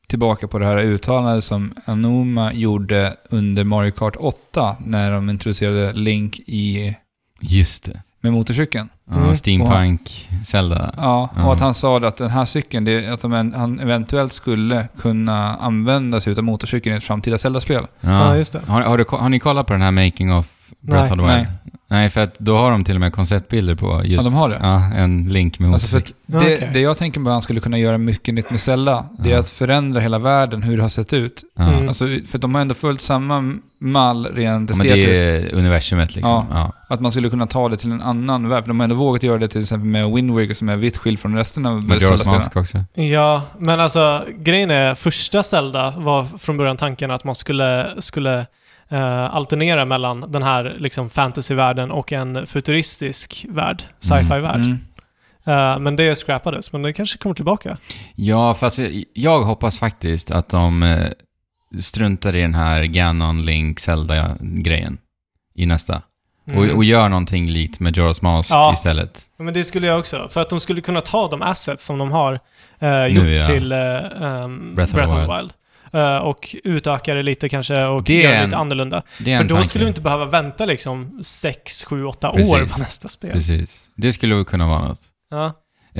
Speaker 1: tillbaka på det här uttalandet som Anoma gjorde under Mario Kart 8 när de introducerade Link i,
Speaker 2: Just det.
Speaker 1: med motorcykeln.
Speaker 2: Ja,
Speaker 3: Mm.
Speaker 2: Steampunk, Zelda.
Speaker 1: Ja, och
Speaker 2: Ja.
Speaker 1: att han sa det att den här cykeln, det, är att de, en- han eventuellt skulle kunna använda sig av motorcykeln i ett framtida Zelda-spel.
Speaker 3: Ja,
Speaker 2: Ja.
Speaker 3: just det.
Speaker 2: Har, har, du, ko- har ni kollat på den här Making of Breath
Speaker 3: Nej.
Speaker 2: of the
Speaker 1: Nej.
Speaker 2: Wild? Nej. för att då har de till och med konceptbilder på just...
Speaker 1: Ja, de har det.
Speaker 2: Ja, en link med
Speaker 1: Alltså för
Speaker 2: motorcykel.
Speaker 1: att det,
Speaker 3: Okej.
Speaker 1: det jag tänker på att han skulle kunna göra mycket nytt med Zelda, det är
Speaker 2: Ja.
Speaker 1: att förändra hela världen, hur det har sett ut.
Speaker 2: ja.
Speaker 3: Mm.
Speaker 1: Alltså, för de har ändå följt samma mall rent
Speaker 2: Ja, men
Speaker 1: estetiskt.
Speaker 2: det är universumet liksom. Ja.
Speaker 1: Att man skulle kunna ta det till en annan värld. För de har ändå vågat göra det till exempel med Wind Waker som är vitt skild från resten av
Speaker 2: Majora's
Speaker 1: Zelda-spelarna.
Speaker 2: Mask också.
Speaker 3: Ja, men alltså grejen är, första Zelda var från början tanken att man skulle, skulle eh, alternera mellan den här liksom, fantasyvärlden och en futuristisk värld, sci-fi-värld.
Speaker 1: Mm.
Speaker 3: Eh, men det scrappades, men det kanske kommer tillbaka.
Speaker 2: Ja, fast jag, jag hoppas faktiskt att de eh, struntar i den här Ganon, Link, Zelda-grejen i nästa.
Speaker 3: Mm.
Speaker 2: Och, och gör någonting likt Majora's Mask
Speaker 3: Ja.
Speaker 2: istället.
Speaker 3: Ja, Men det skulle jag också, för att de skulle kunna ta de assets som de har eh,
Speaker 2: Nu,
Speaker 3: gjort
Speaker 2: ja.
Speaker 3: till eh, ehm,
Speaker 2: Breath
Speaker 3: Breath,
Speaker 2: of the
Speaker 3: of the
Speaker 2: Wild.
Speaker 3: Wild. Eh, och utöka det lite kanske och
Speaker 2: Det är
Speaker 3: göra det
Speaker 2: en-
Speaker 3: lite annorlunda.
Speaker 2: Det är
Speaker 3: För
Speaker 2: en
Speaker 3: då
Speaker 2: tanke.
Speaker 3: skulle vi inte behöva vänta liksom 6, 7, 8
Speaker 2: Precis.
Speaker 3: år på nästa spel.
Speaker 2: Precis. Det skulle väl kunna vara något.
Speaker 3: Ja.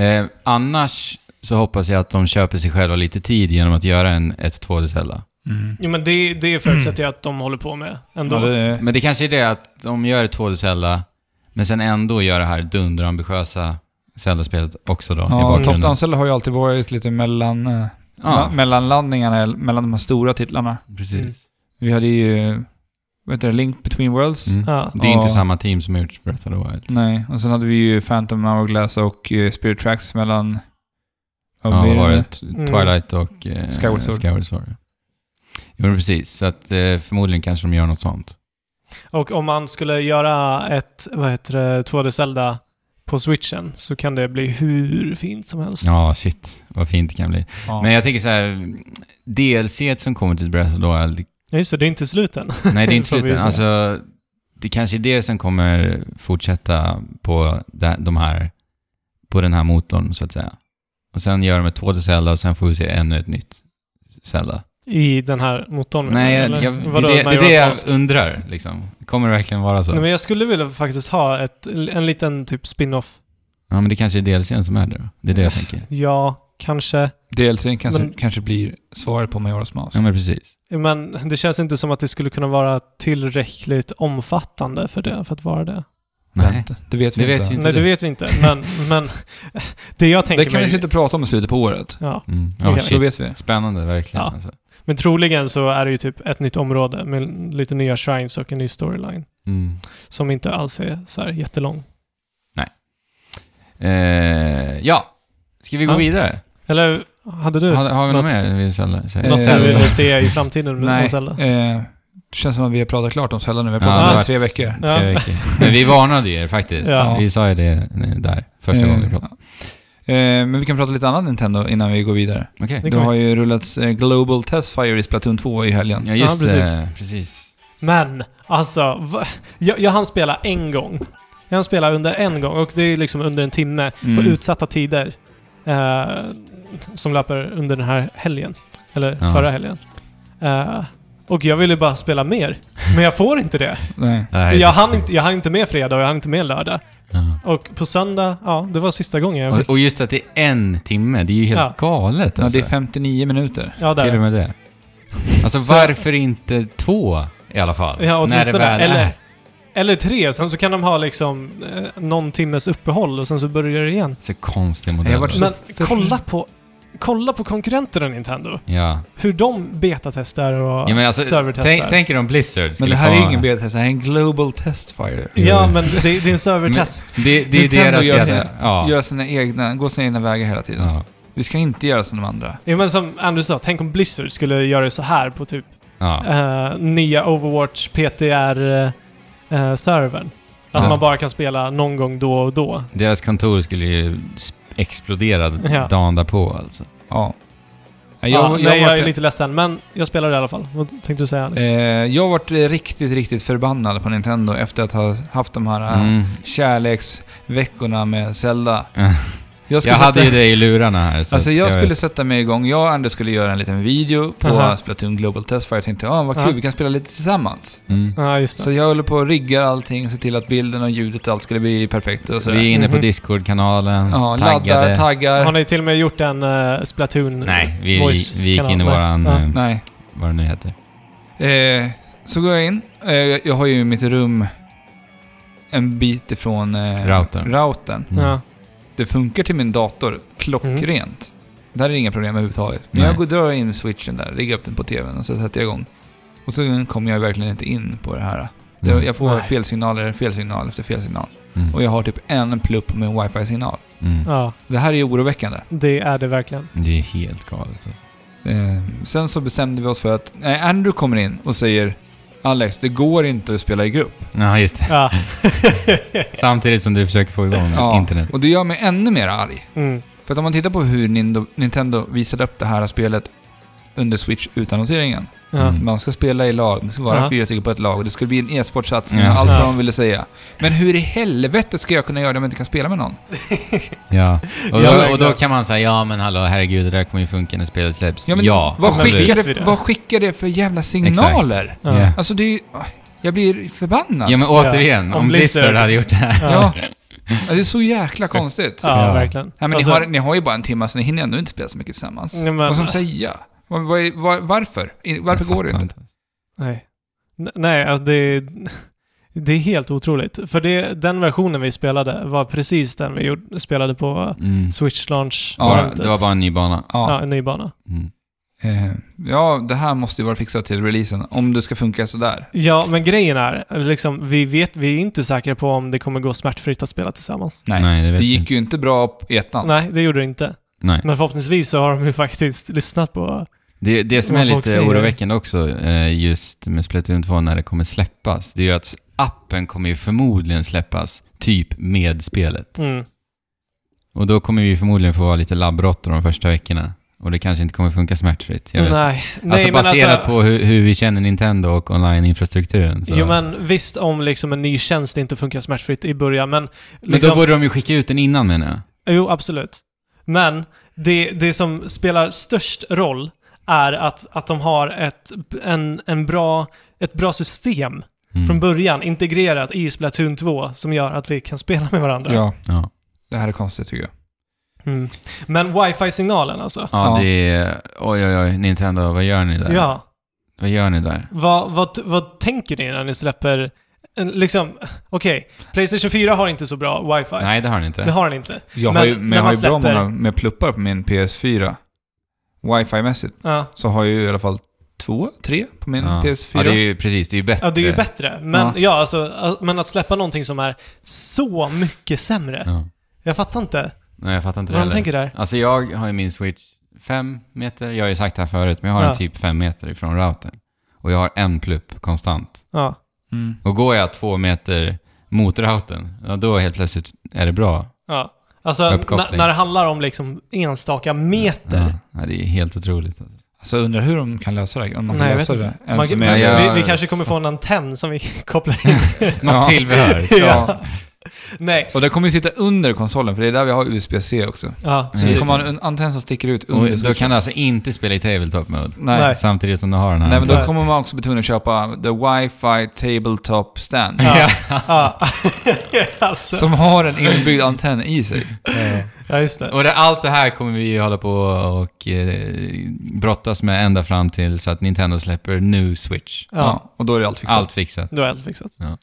Speaker 2: Eh, annars så hoppas jag att de köper sig själva lite tid genom att göra en, ett 2D-Zelda.
Speaker 1: Mm.
Speaker 3: Jo, men det, det förutsätter jag att de håller på med ändå.
Speaker 1: Ja, det är,
Speaker 2: Men det kanske är det att de gör ett 2D-Zelda, men sen ändå gör det här dunderambitiösa Zelda-spelet också då i
Speaker 1: ja, Top
Speaker 2: bakgrunden. Ah.
Speaker 1: Down Zelda har ju alltid varit lite mellan, eh,
Speaker 2: Ja,
Speaker 1: ma- mellanlandningarna, eller mellan de här stora titlarna.
Speaker 2: precis.
Speaker 1: Vi hade ju, vad heter det, Link Between Worlds.
Speaker 2: Mm.
Speaker 3: Ja.
Speaker 2: Det är inte
Speaker 1: Ja.
Speaker 2: samma team som har gjort Breath of the Wild.
Speaker 1: Nej, och sen hade vi ju Phantom Hourglass och eh, Spirit Tracks mellan...
Speaker 2: Ja,
Speaker 1: vad blir
Speaker 2: vad var
Speaker 1: nu?
Speaker 2: det? Twilight och eh,
Speaker 1: Mm. Skyward Sword.
Speaker 2: Skyward Sword, ja. Jo, men precis. Så att eh, förmodligen kanske de gör något sånt.
Speaker 3: Och om man skulle göra ett, vad heter det, 2D Zelda på switchen så kan det bli hur fint som helst.
Speaker 2: Ja, shit. Vad fint det kan bli.
Speaker 1: Ja.
Speaker 2: Men jag tänker så här, DLC som kommer till Breath of the Wild,
Speaker 3: Ja, just det, det är inte slut än.
Speaker 2: (laughs) nej det är inte
Speaker 3: Får vi
Speaker 2: slut än.
Speaker 3: se.
Speaker 2: Alltså, det kanske är det som kommer fortsätta på de- de här, på den här motorn så att säga. Och sen gör de ett två till Zelda och sen får vi se ännu ett nytt Zelda.
Speaker 3: I den här motorn.
Speaker 2: Nej, jag,
Speaker 3: eller?
Speaker 2: jag, det, är
Speaker 3: Vadå,
Speaker 2: det, det är det
Speaker 3: Majora's
Speaker 2: jag
Speaker 3: Mask?
Speaker 2: undrar liksom. Kommer det verkligen vara så?
Speaker 3: Nej, men jag skulle vilja faktiskt ha ett, en liten typ spin-off.
Speaker 2: Ja, men det kanske är DLCn som är det då. Det är det jag tänker.
Speaker 3: Ja, kanske.
Speaker 1: DLCn kanske,
Speaker 3: Men-
Speaker 1: kanske blir svaret på Majoras Mask.
Speaker 2: Ja, men precis.
Speaker 3: Men det känns inte som att det skulle kunna vara tillräckligt omfattande för det, för att vara det.
Speaker 2: Nej.
Speaker 1: Vänta, Det vet vi
Speaker 2: Det vet
Speaker 1: inte.
Speaker 2: vi inte.
Speaker 3: Nej, det vet vi inte. Men, (laughs) men det jag tänker
Speaker 1: Det kan vi
Speaker 3: mig...
Speaker 1: sitta och prata om i slutet på året.
Speaker 3: Ja,
Speaker 2: Mm.
Speaker 3: Det
Speaker 2: Ja,
Speaker 3: kan-
Speaker 1: Då
Speaker 2: shit.
Speaker 1: vet vi.
Speaker 2: Spännande, verkligen.
Speaker 3: Ja.
Speaker 2: Alltså.
Speaker 3: men troligen så är det ju typ ett nytt område med lite nya shrines och en ny storyline.
Speaker 2: Mm.
Speaker 3: Som inte alls är så här jättelång.
Speaker 2: Eh, ja, ska vi gå
Speaker 3: Ja.
Speaker 2: vidare?
Speaker 3: Eller hade du
Speaker 2: Har, har vi något
Speaker 3: något-
Speaker 2: mer vi vill sälja- säga?
Speaker 1: Eh,
Speaker 3: något du vill se i framtiden med
Speaker 1: Nej.
Speaker 3: med Zelda?
Speaker 1: Eh, det känns som att vi har pratat klart om Zelda nu. Vi har
Speaker 2: Ja,
Speaker 1: pratat om det i
Speaker 2: exakt.
Speaker 1: tre veckor.
Speaker 3: Ja.
Speaker 2: Tre veckor. Men vi varnade ju er faktiskt.
Speaker 3: Ja.
Speaker 2: Vi sa ju det eh, där, första
Speaker 1: Eh,
Speaker 2: gången vi pratade.
Speaker 1: Eh, men vi kan prata lite annat Nintendo innan vi går vidare.
Speaker 2: Okej.
Speaker 3: Det
Speaker 1: Det
Speaker 3: kan vi.
Speaker 1: har ju rullats eh, Global Testfire i Splatoon 2 i helgen.
Speaker 2: Ja, just
Speaker 3: Ja,
Speaker 2: det.
Speaker 3: precis.
Speaker 2: Precis. precis.
Speaker 3: Men, alltså. Va? Jag, jag hann spela en gång. Jag hann spela under en gång och det är liksom under en timme
Speaker 1: Mm.
Speaker 3: på utsatta tider. Eh, som löper under den här helgen. Eller
Speaker 2: Ja.
Speaker 3: förra helgen. Eh, och jag ville bara spela mer. Men jag får inte det.
Speaker 1: Nej.
Speaker 2: Nej.
Speaker 3: Jag hann inte, jag hann inte med fredag och jag hann inte med lördag.
Speaker 2: Ja.
Speaker 3: Och på söndag, ja, det var sista gången jag fick.
Speaker 2: Och, och just att det är en timme, det är ju helt
Speaker 3: Ja.
Speaker 2: galet.
Speaker 1: Ja,
Speaker 2: Alltså.
Speaker 1: det är 59 minuter.
Speaker 3: Ja,
Speaker 2: Till och
Speaker 3: där.
Speaker 2: med det. Alltså
Speaker 3: Så-
Speaker 2: varför inte två i alla fall?
Speaker 3: Ja,
Speaker 2: när det
Speaker 3: åtminstone.
Speaker 2: väl
Speaker 3: Eller,
Speaker 2: är.
Speaker 3: eller tre. Sen så kan de ha liksom eh, någon timmes uppehåll och sen så börjar det igen.
Speaker 2: Så konstig modell.
Speaker 1: Jag har varit-
Speaker 3: Men
Speaker 1: för-
Speaker 3: kolla på, kolla på konkurrenterna Nintendo.
Speaker 2: ja.
Speaker 3: Hur de betatestar och
Speaker 2: ja, men alltså,
Speaker 3: servertestar.
Speaker 2: tänk, tänker om Blizzard
Speaker 1: Men
Speaker 2: skulle
Speaker 1: det här är ju
Speaker 2: komma-
Speaker 1: ingen beta, det här är en Global Testfire.
Speaker 3: ja, men det, det är en servertest.
Speaker 2: Det, det är
Speaker 1: Nintendo
Speaker 2: deras
Speaker 1: gör
Speaker 2: jävla...
Speaker 1: sina-
Speaker 2: Ja.
Speaker 1: Göra sina egna, gå sina egna vägar hela tiden.
Speaker 2: Ja.
Speaker 1: Vi ska inte göra som de andra.
Speaker 3: Ja, men som Anders sa, tänk om Blizzard skulle göra så här på typ
Speaker 2: ja.
Speaker 3: eh, nya Overwatch PTR-servern. eh, att
Speaker 2: Ja.
Speaker 3: man bara kan spela någon gång då och då.
Speaker 2: Deras kontor skulle ju s- explodera
Speaker 3: Ja.
Speaker 2: dagen därpå alltså.
Speaker 1: Ja. Jag, jag,
Speaker 3: ja, nej,
Speaker 1: har
Speaker 3: jag är
Speaker 1: varit-
Speaker 3: lite ledsen, men jag spelar det i alla fall. Vad tänkte du säga Alex?
Speaker 1: eh, jag har varit eh, riktigt, riktigt förbannad på Nintendo efter att ha haft de här eh,
Speaker 2: Mm.
Speaker 1: kärleksveckorna med Zelda.
Speaker 2: Ja.
Speaker 1: Jag
Speaker 2: Jag
Speaker 1: skulle
Speaker 2: hade
Speaker 1: sätta,
Speaker 2: ju dig i lurarna här. Så
Speaker 1: alltså
Speaker 2: att
Speaker 1: jag skulle
Speaker 2: vet.
Speaker 1: sätta mig igång. Jag och Anders skulle göra en liten video på
Speaker 3: Aha.
Speaker 1: Splatoon Global Test Fire. Jag tänkte, ah, vad kul,
Speaker 3: Ja.
Speaker 1: vi kan spela lite tillsammans.
Speaker 2: Mm.
Speaker 3: Ja, just
Speaker 1: Så
Speaker 3: det.
Speaker 1: jag håller på och riggar allting, ser till att bilden och ljudet och allt skulle bli perfekt och sådär.
Speaker 2: Vi är inne på
Speaker 3: Mhm.
Speaker 2: Discord-kanalen,
Speaker 1: ja,
Speaker 2: taggade.
Speaker 1: laddar, taggar.
Speaker 3: Har ni till och med gjort en eh, Splatoon
Speaker 2: Nej, vi,
Speaker 3: voice
Speaker 2: vi gick in i
Speaker 3: kanal?
Speaker 2: våran...
Speaker 3: Nej.
Speaker 2: eh,
Speaker 1: Nej.
Speaker 2: Vad det nu heter.
Speaker 1: Eh, så går jag in. Eh, jag har ju mitt rum en bit ifrån eh,
Speaker 2: Routern.
Speaker 1: routern.
Speaker 2: Mm.
Speaker 3: Ja.
Speaker 1: Det funkar till min dator klockrent. Där är det inga problem överhuvudtaget. Men
Speaker 2: Nej.
Speaker 1: jag går drar in switchen där, riggar upp den på tvn och så sätter jag igång. Och så kommer jag verkligen inte in på det här. Det-
Speaker 2: Mm.
Speaker 1: Jag får
Speaker 3: Nej.
Speaker 1: fel signaler, fel signal efter fel signal.
Speaker 2: Mm.
Speaker 1: Och jag har typ en plupp med wifi-signal.
Speaker 2: Mm.
Speaker 3: Ja,
Speaker 1: Det här är ju oroväckande.
Speaker 3: det är det verkligen.
Speaker 2: Det är helt galet alltså.
Speaker 1: Eh, sen så bestämde vi oss för att nej, Andrew kommer in och säger Alex, det går inte att spela i grupp.
Speaker 2: Ja, just det.
Speaker 3: Ja.
Speaker 2: Samtidigt som du försöker få igång
Speaker 1: Ja,
Speaker 2: internet.
Speaker 1: och det gör mig ännu mer arg.
Speaker 3: Mm.
Speaker 1: För att om man tittar på hur Nindo- Nintendo visade upp det här spelet under Switch-utannonseringen.
Speaker 3: Ja.
Speaker 2: Mm.
Speaker 1: Man ska spela i lag, det ska vara
Speaker 3: Ja.
Speaker 1: fyra stycken på ett lag och det skulle bli en e-sportsatsning
Speaker 2: Ja.
Speaker 1: och allt vad
Speaker 3: Ja.
Speaker 1: de ville säga. Men hur i helvete ska jag kunna göra det om jag inte kan spela med någon? (laughs)
Speaker 2: Ja. Och
Speaker 3: Ja,
Speaker 2: då,
Speaker 3: verkligen.
Speaker 2: och då kan man säga, ja men hallå, herregud, det där kommer ju funka när spelet släpps.
Speaker 1: Ja,
Speaker 2: Ja,
Speaker 1: men vad,
Speaker 2: absolut.
Speaker 1: skickar
Speaker 3: Vet vi
Speaker 1: det,
Speaker 3: det?
Speaker 1: vad skickar det för jävla signaler?
Speaker 3: Ja.
Speaker 2: Ja.
Speaker 1: Alltså det är ju... Jag blir förbannad.
Speaker 2: Ja,
Speaker 1: Ja.
Speaker 2: men återigen,
Speaker 3: Ja,
Speaker 2: om
Speaker 3: om
Speaker 2: Blizzard.
Speaker 3: Blizzard
Speaker 2: hade gjort det här.
Speaker 3: Ja.
Speaker 1: Ja, Det är så jäkla konstigt.
Speaker 3: Ja,
Speaker 2: Ja.
Speaker 3: verkligen.
Speaker 1: Nej, men
Speaker 3: Alltså,
Speaker 1: ni, har, ni har ju bara en timme, så ni hinner ändå inte spela så mycket tillsammans.
Speaker 3: Nej, men-
Speaker 1: Vad ska de säga? Vad- vad är- vad- varför? I- Varför
Speaker 2: Jag
Speaker 1: går det
Speaker 2: fattar
Speaker 1: inte?
Speaker 3: Nej. N- Nej, alltså det, är- det är helt otroligt. För det, den versionen vi spelade var precis den vi gjorde, spelade på
Speaker 2: Mm.
Speaker 3: Switch Launch.
Speaker 2: Bara,
Speaker 3: eventet.
Speaker 2: det var bara en ny bana.
Speaker 1: Ja.
Speaker 3: Ja, en ny bana.
Speaker 2: Mm.
Speaker 1: Eh, ja, det här måste ju vara fixat till releasen, om det ska funka sådär.
Speaker 3: Ja, men grejen är, liksom, vi vet, vi är inte säkra på om det kommer gå smärtfritt att spela tillsammans.
Speaker 1: Nej,
Speaker 2: det
Speaker 1: Det
Speaker 2: vet vi
Speaker 1: gick
Speaker 2: inte.
Speaker 1: ju inte bra på ettan.
Speaker 3: Nej, det gjorde det inte.
Speaker 2: Nej.
Speaker 3: Men förhoppningsvis så har de ju faktiskt lyssnat på...
Speaker 2: Det, det som
Speaker 3: Vad
Speaker 2: är
Speaker 3: folk
Speaker 2: lite
Speaker 3: säger.
Speaker 2: oroväckande också, eh, just med Splatoon 2 när det kommer släppas, det är ju att appen kommer ju förmodligen släppas typ med spelet.
Speaker 3: Mm.
Speaker 2: Och då kommer vi förmodligen få vara lite labbråttor de första veckorna. Och det kanske inte kommer funka smärtfritt. Jag vet.
Speaker 3: Nej.
Speaker 2: alltså
Speaker 3: Nej, men
Speaker 2: baserat på hur, hur vi känner Nintendo och online-infrastrukturen. Så.
Speaker 3: Jo men visst om liksom en ny tjänst inte funkar smärtfritt i början, men...
Speaker 2: Men
Speaker 3: liksom-
Speaker 2: då borde de ju skicka ut den innan menar jag.
Speaker 3: Jo, absolut. Men det, det som spelar störst roll är att, att de har ett, en, en bra, ett bra system
Speaker 2: Mm.
Speaker 3: från början integrerat i Splatoon 2 som gör att vi kan spela med varandra.
Speaker 1: Ja,
Speaker 2: Ja.
Speaker 1: det här är konstigt tycker jag.
Speaker 3: Mm. Men wifi-signalen alltså?
Speaker 2: Ja,
Speaker 1: Ja.
Speaker 2: det är... Oj, oj, oj. Nintendo, vad gör ni där?
Speaker 3: Ja.
Speaker 2: Vad gör ni där?
Speaker 3: Vad, vad, vad tänker ni när ni släpper... en- Liksom, okej. Playstation 4 har inte så bra wifi.
Speaker 2: Nej, det har ni inte.
Speaker 3: Det har den inte.
Speaker 1: Jag
Speaker 3: Men
Speaker 1: har ju, men
Speaker 3: när
Speaker 1: jag har
Speaker 3: man
Speaker 1: ju bra
Speaker 3: släpper-
Speaker 1: många med pluppar på min PS4. Wifi-mässigt
Speaker 3: Ja.
Speaker 1: så har jag ju i alla fall två, tre på min
Speaker 2: ja.
Speaker 1: PS4.
Speaker 2: Ja, det är ju precis. Det är ju bättre.
Speaker 3: Ja, det är ju bättre. Men,
Speaker 1: Ja.
Speaker 3: ja. alltså, att- men att släppa någonting som är så mycket sämre.
Speaker 2: Ja.
Speaker 3: Jag fattar inte
Speaker 2: Nej, jag fattar inte det
Speaker 3: vad de
Speaker 2: heller.
Speaker 3: tänker där.
Speaker 2: Alltså jag har ju min Switch 5 meter, jag har ju sagt det här förut, men jag har
Speaker 3: Ja.
Speaker 2: den typ 5 meter ifrån routern. Och jag har en plupp konstant.
Speaker 3: Ja.
Speaker 1: Mm.
Speaker 2: Och går jag två meter mot routern, ja, då helt plötsligt är det bra.
Speaker 3: ja. Alltså,
Speaker 2: Uppkoppling. Mm.
Speaker 3: när- när det handlar om liksom enstaka meter.
Speaker 2: Ja, ja, det är helt otroligt. alltså.
Speaker 1: Alltså jag undrar hur de kan lösa det. Om de
Speaker 3: Nej, jag
Speaker 1: kan
Speaker 3: vet
Speaker 1: lösa
Speaker 3: inte.
Speaker 1: det. Än
Speaker 3: Man,
Speaker 1: som
Speaker 2: men
Speaker 1: är,
Speaker 2: jag-
Speaker 3: vi, vi kanske kommer få en antenn som vi (laughs) kopplar
Speaker 2: (laughs)
Speaker 3: in.
Speaker 2: Alltså. Något
Speaker 1: Ja.
Speaker 2: tillbehör.
Speaker 1: ja.
Speaker 3: (laughs) Nej.
Speaker 1: Och det kommer ju sitta under konsolen, för det är där vi har USB-C också.
Speaker 2: Mm.
Speaker 3: Ja,
Speaker 1: Så det
Speaker 3: precis.
Speaker 1: kommer ha en antenn som sticker ut under.
Speaker 2: Och då
Speaker 1: switchen.
Speaker 2: kan du alltså inte spela i tabletop mode
Speaker 1: Nej.
Speaker 3: Nej.
Speaker 1: Nej.
Speaker 2: samtidigt som du har den här.
Speaker 1: men
Speaker 3: Nej.
Speaker 1: då kommer man också bli tvungen att köpa the wifi tabletop stand.
Speaker 2: (laughs)
Speaker 3: Ja. Ja. (laughs) alltså.
Speaker 1: Som har en inbyggd antenn i sig.
Speaker 3: ja, just det.
Speaker 2: Och det, allt det här kommer vi ju hålla på och eh, brottas med ända fram till så att Nintendo släpper new Switch.
Speaker 1: Ja.
Speaker 3: Ja,
Speaker 1: och då är det allt fixat.
Speaker 2: Allt fixat.
Speaker 3: då har jag allt fixat.
Speaker 2: Ja.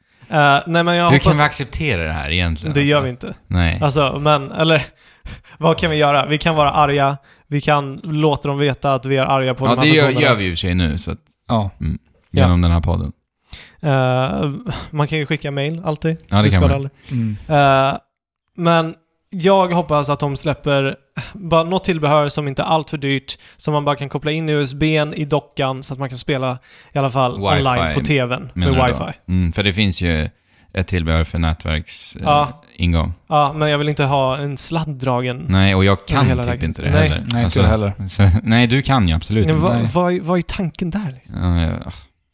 Speaker 3: Eh, nej, men jag
Speaker 2: Hur kan
Speaker 3: hoppas...
Speaker 2: vi acceptera det här egentligen?
Speaker 3: det gör
Speaker 2: alltså?
Speaker 3: vi inte.
Speaker 2: Nej.
Speaker 3: Alltså, men, eller... (laughs) Vad kan vi göra? Vi kan vara arga. Vi kan låta dem veta att vi är arga på de
Speaker 2: ja, det
Speaker 3: här
Speaker 2: gör,
Speaker 3: personerna.
Speaker 2: gör vi ju i och för sig nu, så att,
Speaker 1: Ja.
Speaker 3: Ja.
Speaker 2: genom den här podden.
Speaker 3: Eh, man kan ju skicka mail, alltid.
Speaker 2: Ja, det kan
Speaker 3: skadar
Speaker 2: man.
Speaker 3: aldrig.
Speaker 1: Mm.
Speaker 3: Eh, men jag hoppas att de släpper bara något tillbehör som inte är allt för dyrt, som man bara kan koppla in USBn i dockan så att man kan spela i alla fall
Speaker 2: Wifi,
Speaker 3: online på TVn med
Speaker 2: menar du
Speaker 3: wifi.
Speaker 2: då? Mm, för det finns ju ett tillbehör för nätverksingång. Eh,
Speaker 3: Ja.
Speaker 2: ingång.
Speaker 3: Ja, men jag vill inte ha en sladd dragen.
Speaker 2: Nej, och jag
Speaker 3: Över
Speaker 2: kan
Speaker 3: hela
Speaker 2: typ
Speaker 3: vägen.
Speaker 2: inte det
Speaker 3: Nej.
Speaker 2: heller.
Speaker 1: Nej,
Speaker 2: Alltså,
Speaker 1: inte det heller.
Speaker 2: så, nej, du kan ju absolut
Speaker 3: Men
Speaker 2: inte.
Speaker 3: vad,
Speaker 1: Nej.
Speaker 3: vad, vad är tanken där? Liksom?
Speaker 2: Ja, ja,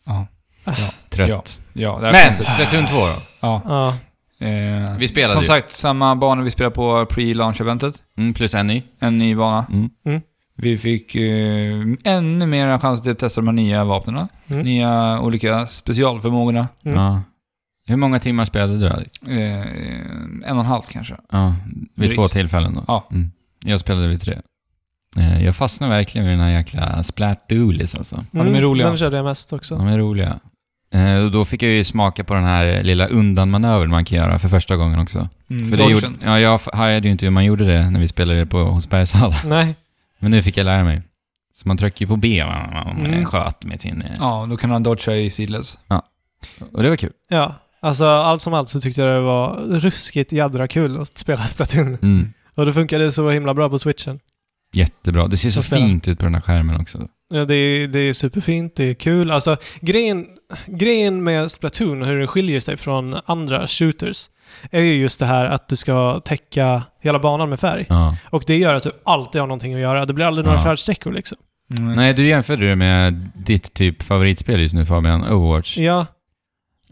Speaker 1: Ja.
Speaker 3: Ah.
Speaker 2: Trött.
Speaker 1: Ja. Ja, det är
Speaker 2: Men,
Speaker 1: konstigt.
Speaker 2: Splatoon 2 då?
Speaker 1: Ja.
Speaker 3: Ja,
Speaker 1: Eh,
Speaker 2: Vi spelade
Speaker 1: Som
Speaker 2: ju.
Speaker 1: sagt, samma banor vi spelade på pre-launch-eventet.
Speaker 2: Mm, plus en ny.
Speaker 1: En ny bana.
Speaker 2: Mm.
Speaker 1: Vi fick eh, ännu mer chans att testa de här nya vapnen.
Speaker 3: Mm.
Speaker 1: Nya olika specialförmågorna.
Speaker 3: Mm.
Speaker 2: Ja. Hur många timmar spelade du Alex?
Speaker 1: Eh, en och en halv kanske.
Speaker 2: Ja, vid
Speaker 1: Drygt.
Speaker 2: två tillfällen då?
Speaker 1: Ja.
Speaker 2: Mm. Jag spelade vid tre. Eh, Jag fastnar verkligen vid den här jäkla Splat-doolies alltså.
Speaker 1: de är roliga.
Speaker 3: Den Mm. körde jag mest också.
Speaker 2: De är roliga. Eh, och Då fick jag ju smaka på den här lilla undanmanövern man kan göra för första gången också.
Speaker 1: Mm,
Speaker 2: För det gjorde,
Speaker 1: Dodgen.
Speaker 2: ja, jag f- hajade ju inte hur man gjorde det när vi spelade på hos Bergsala. (laughs)
Speaker 3: Nej.
Speaker 2: Men nu fick jag lära mig. Så man trycker ju på B va, va, om man
Speaker 3: Mm.
Speaker 2: sköt med sin... eh,
Speaker 1: Ja, då kan han dodga i sidleds.
Speaker 2: Och det var kul.
Speaker 3: Ja, alltså allt som allt så tyckte jag det var ruskigt jädra kul att spela (laughs) Splatoon.
Speaker 2: Mm.
Speaker 3: Och det funkade så himla bra på switchen.
Speaker 2: Jättebra. Det ser så
Speaker 3: Jag spelar.
Speaker 2: fint ut på den här skärmen också.
Speaker 3: Ja, det, är, det är superfint, det är kul. Alltså, grejen, grejen med Splatoon och hur det skiljer sig från andra shooters är ju just det här att du ska täcka hela banan med färg.
Speaker 2: Ja.
Speaker 3: Och det gör att du alltid har någonting att göra. Det blir aldrig några
Speaker 2: Ja.
Speaker 3: färdsträckor liksom.
Speaker 1: Mm.
Speaker 2: Nej, du jämförde det med ditt typ favoritspel just nu Fabian, Overwatch.
Speaker 3: Ja,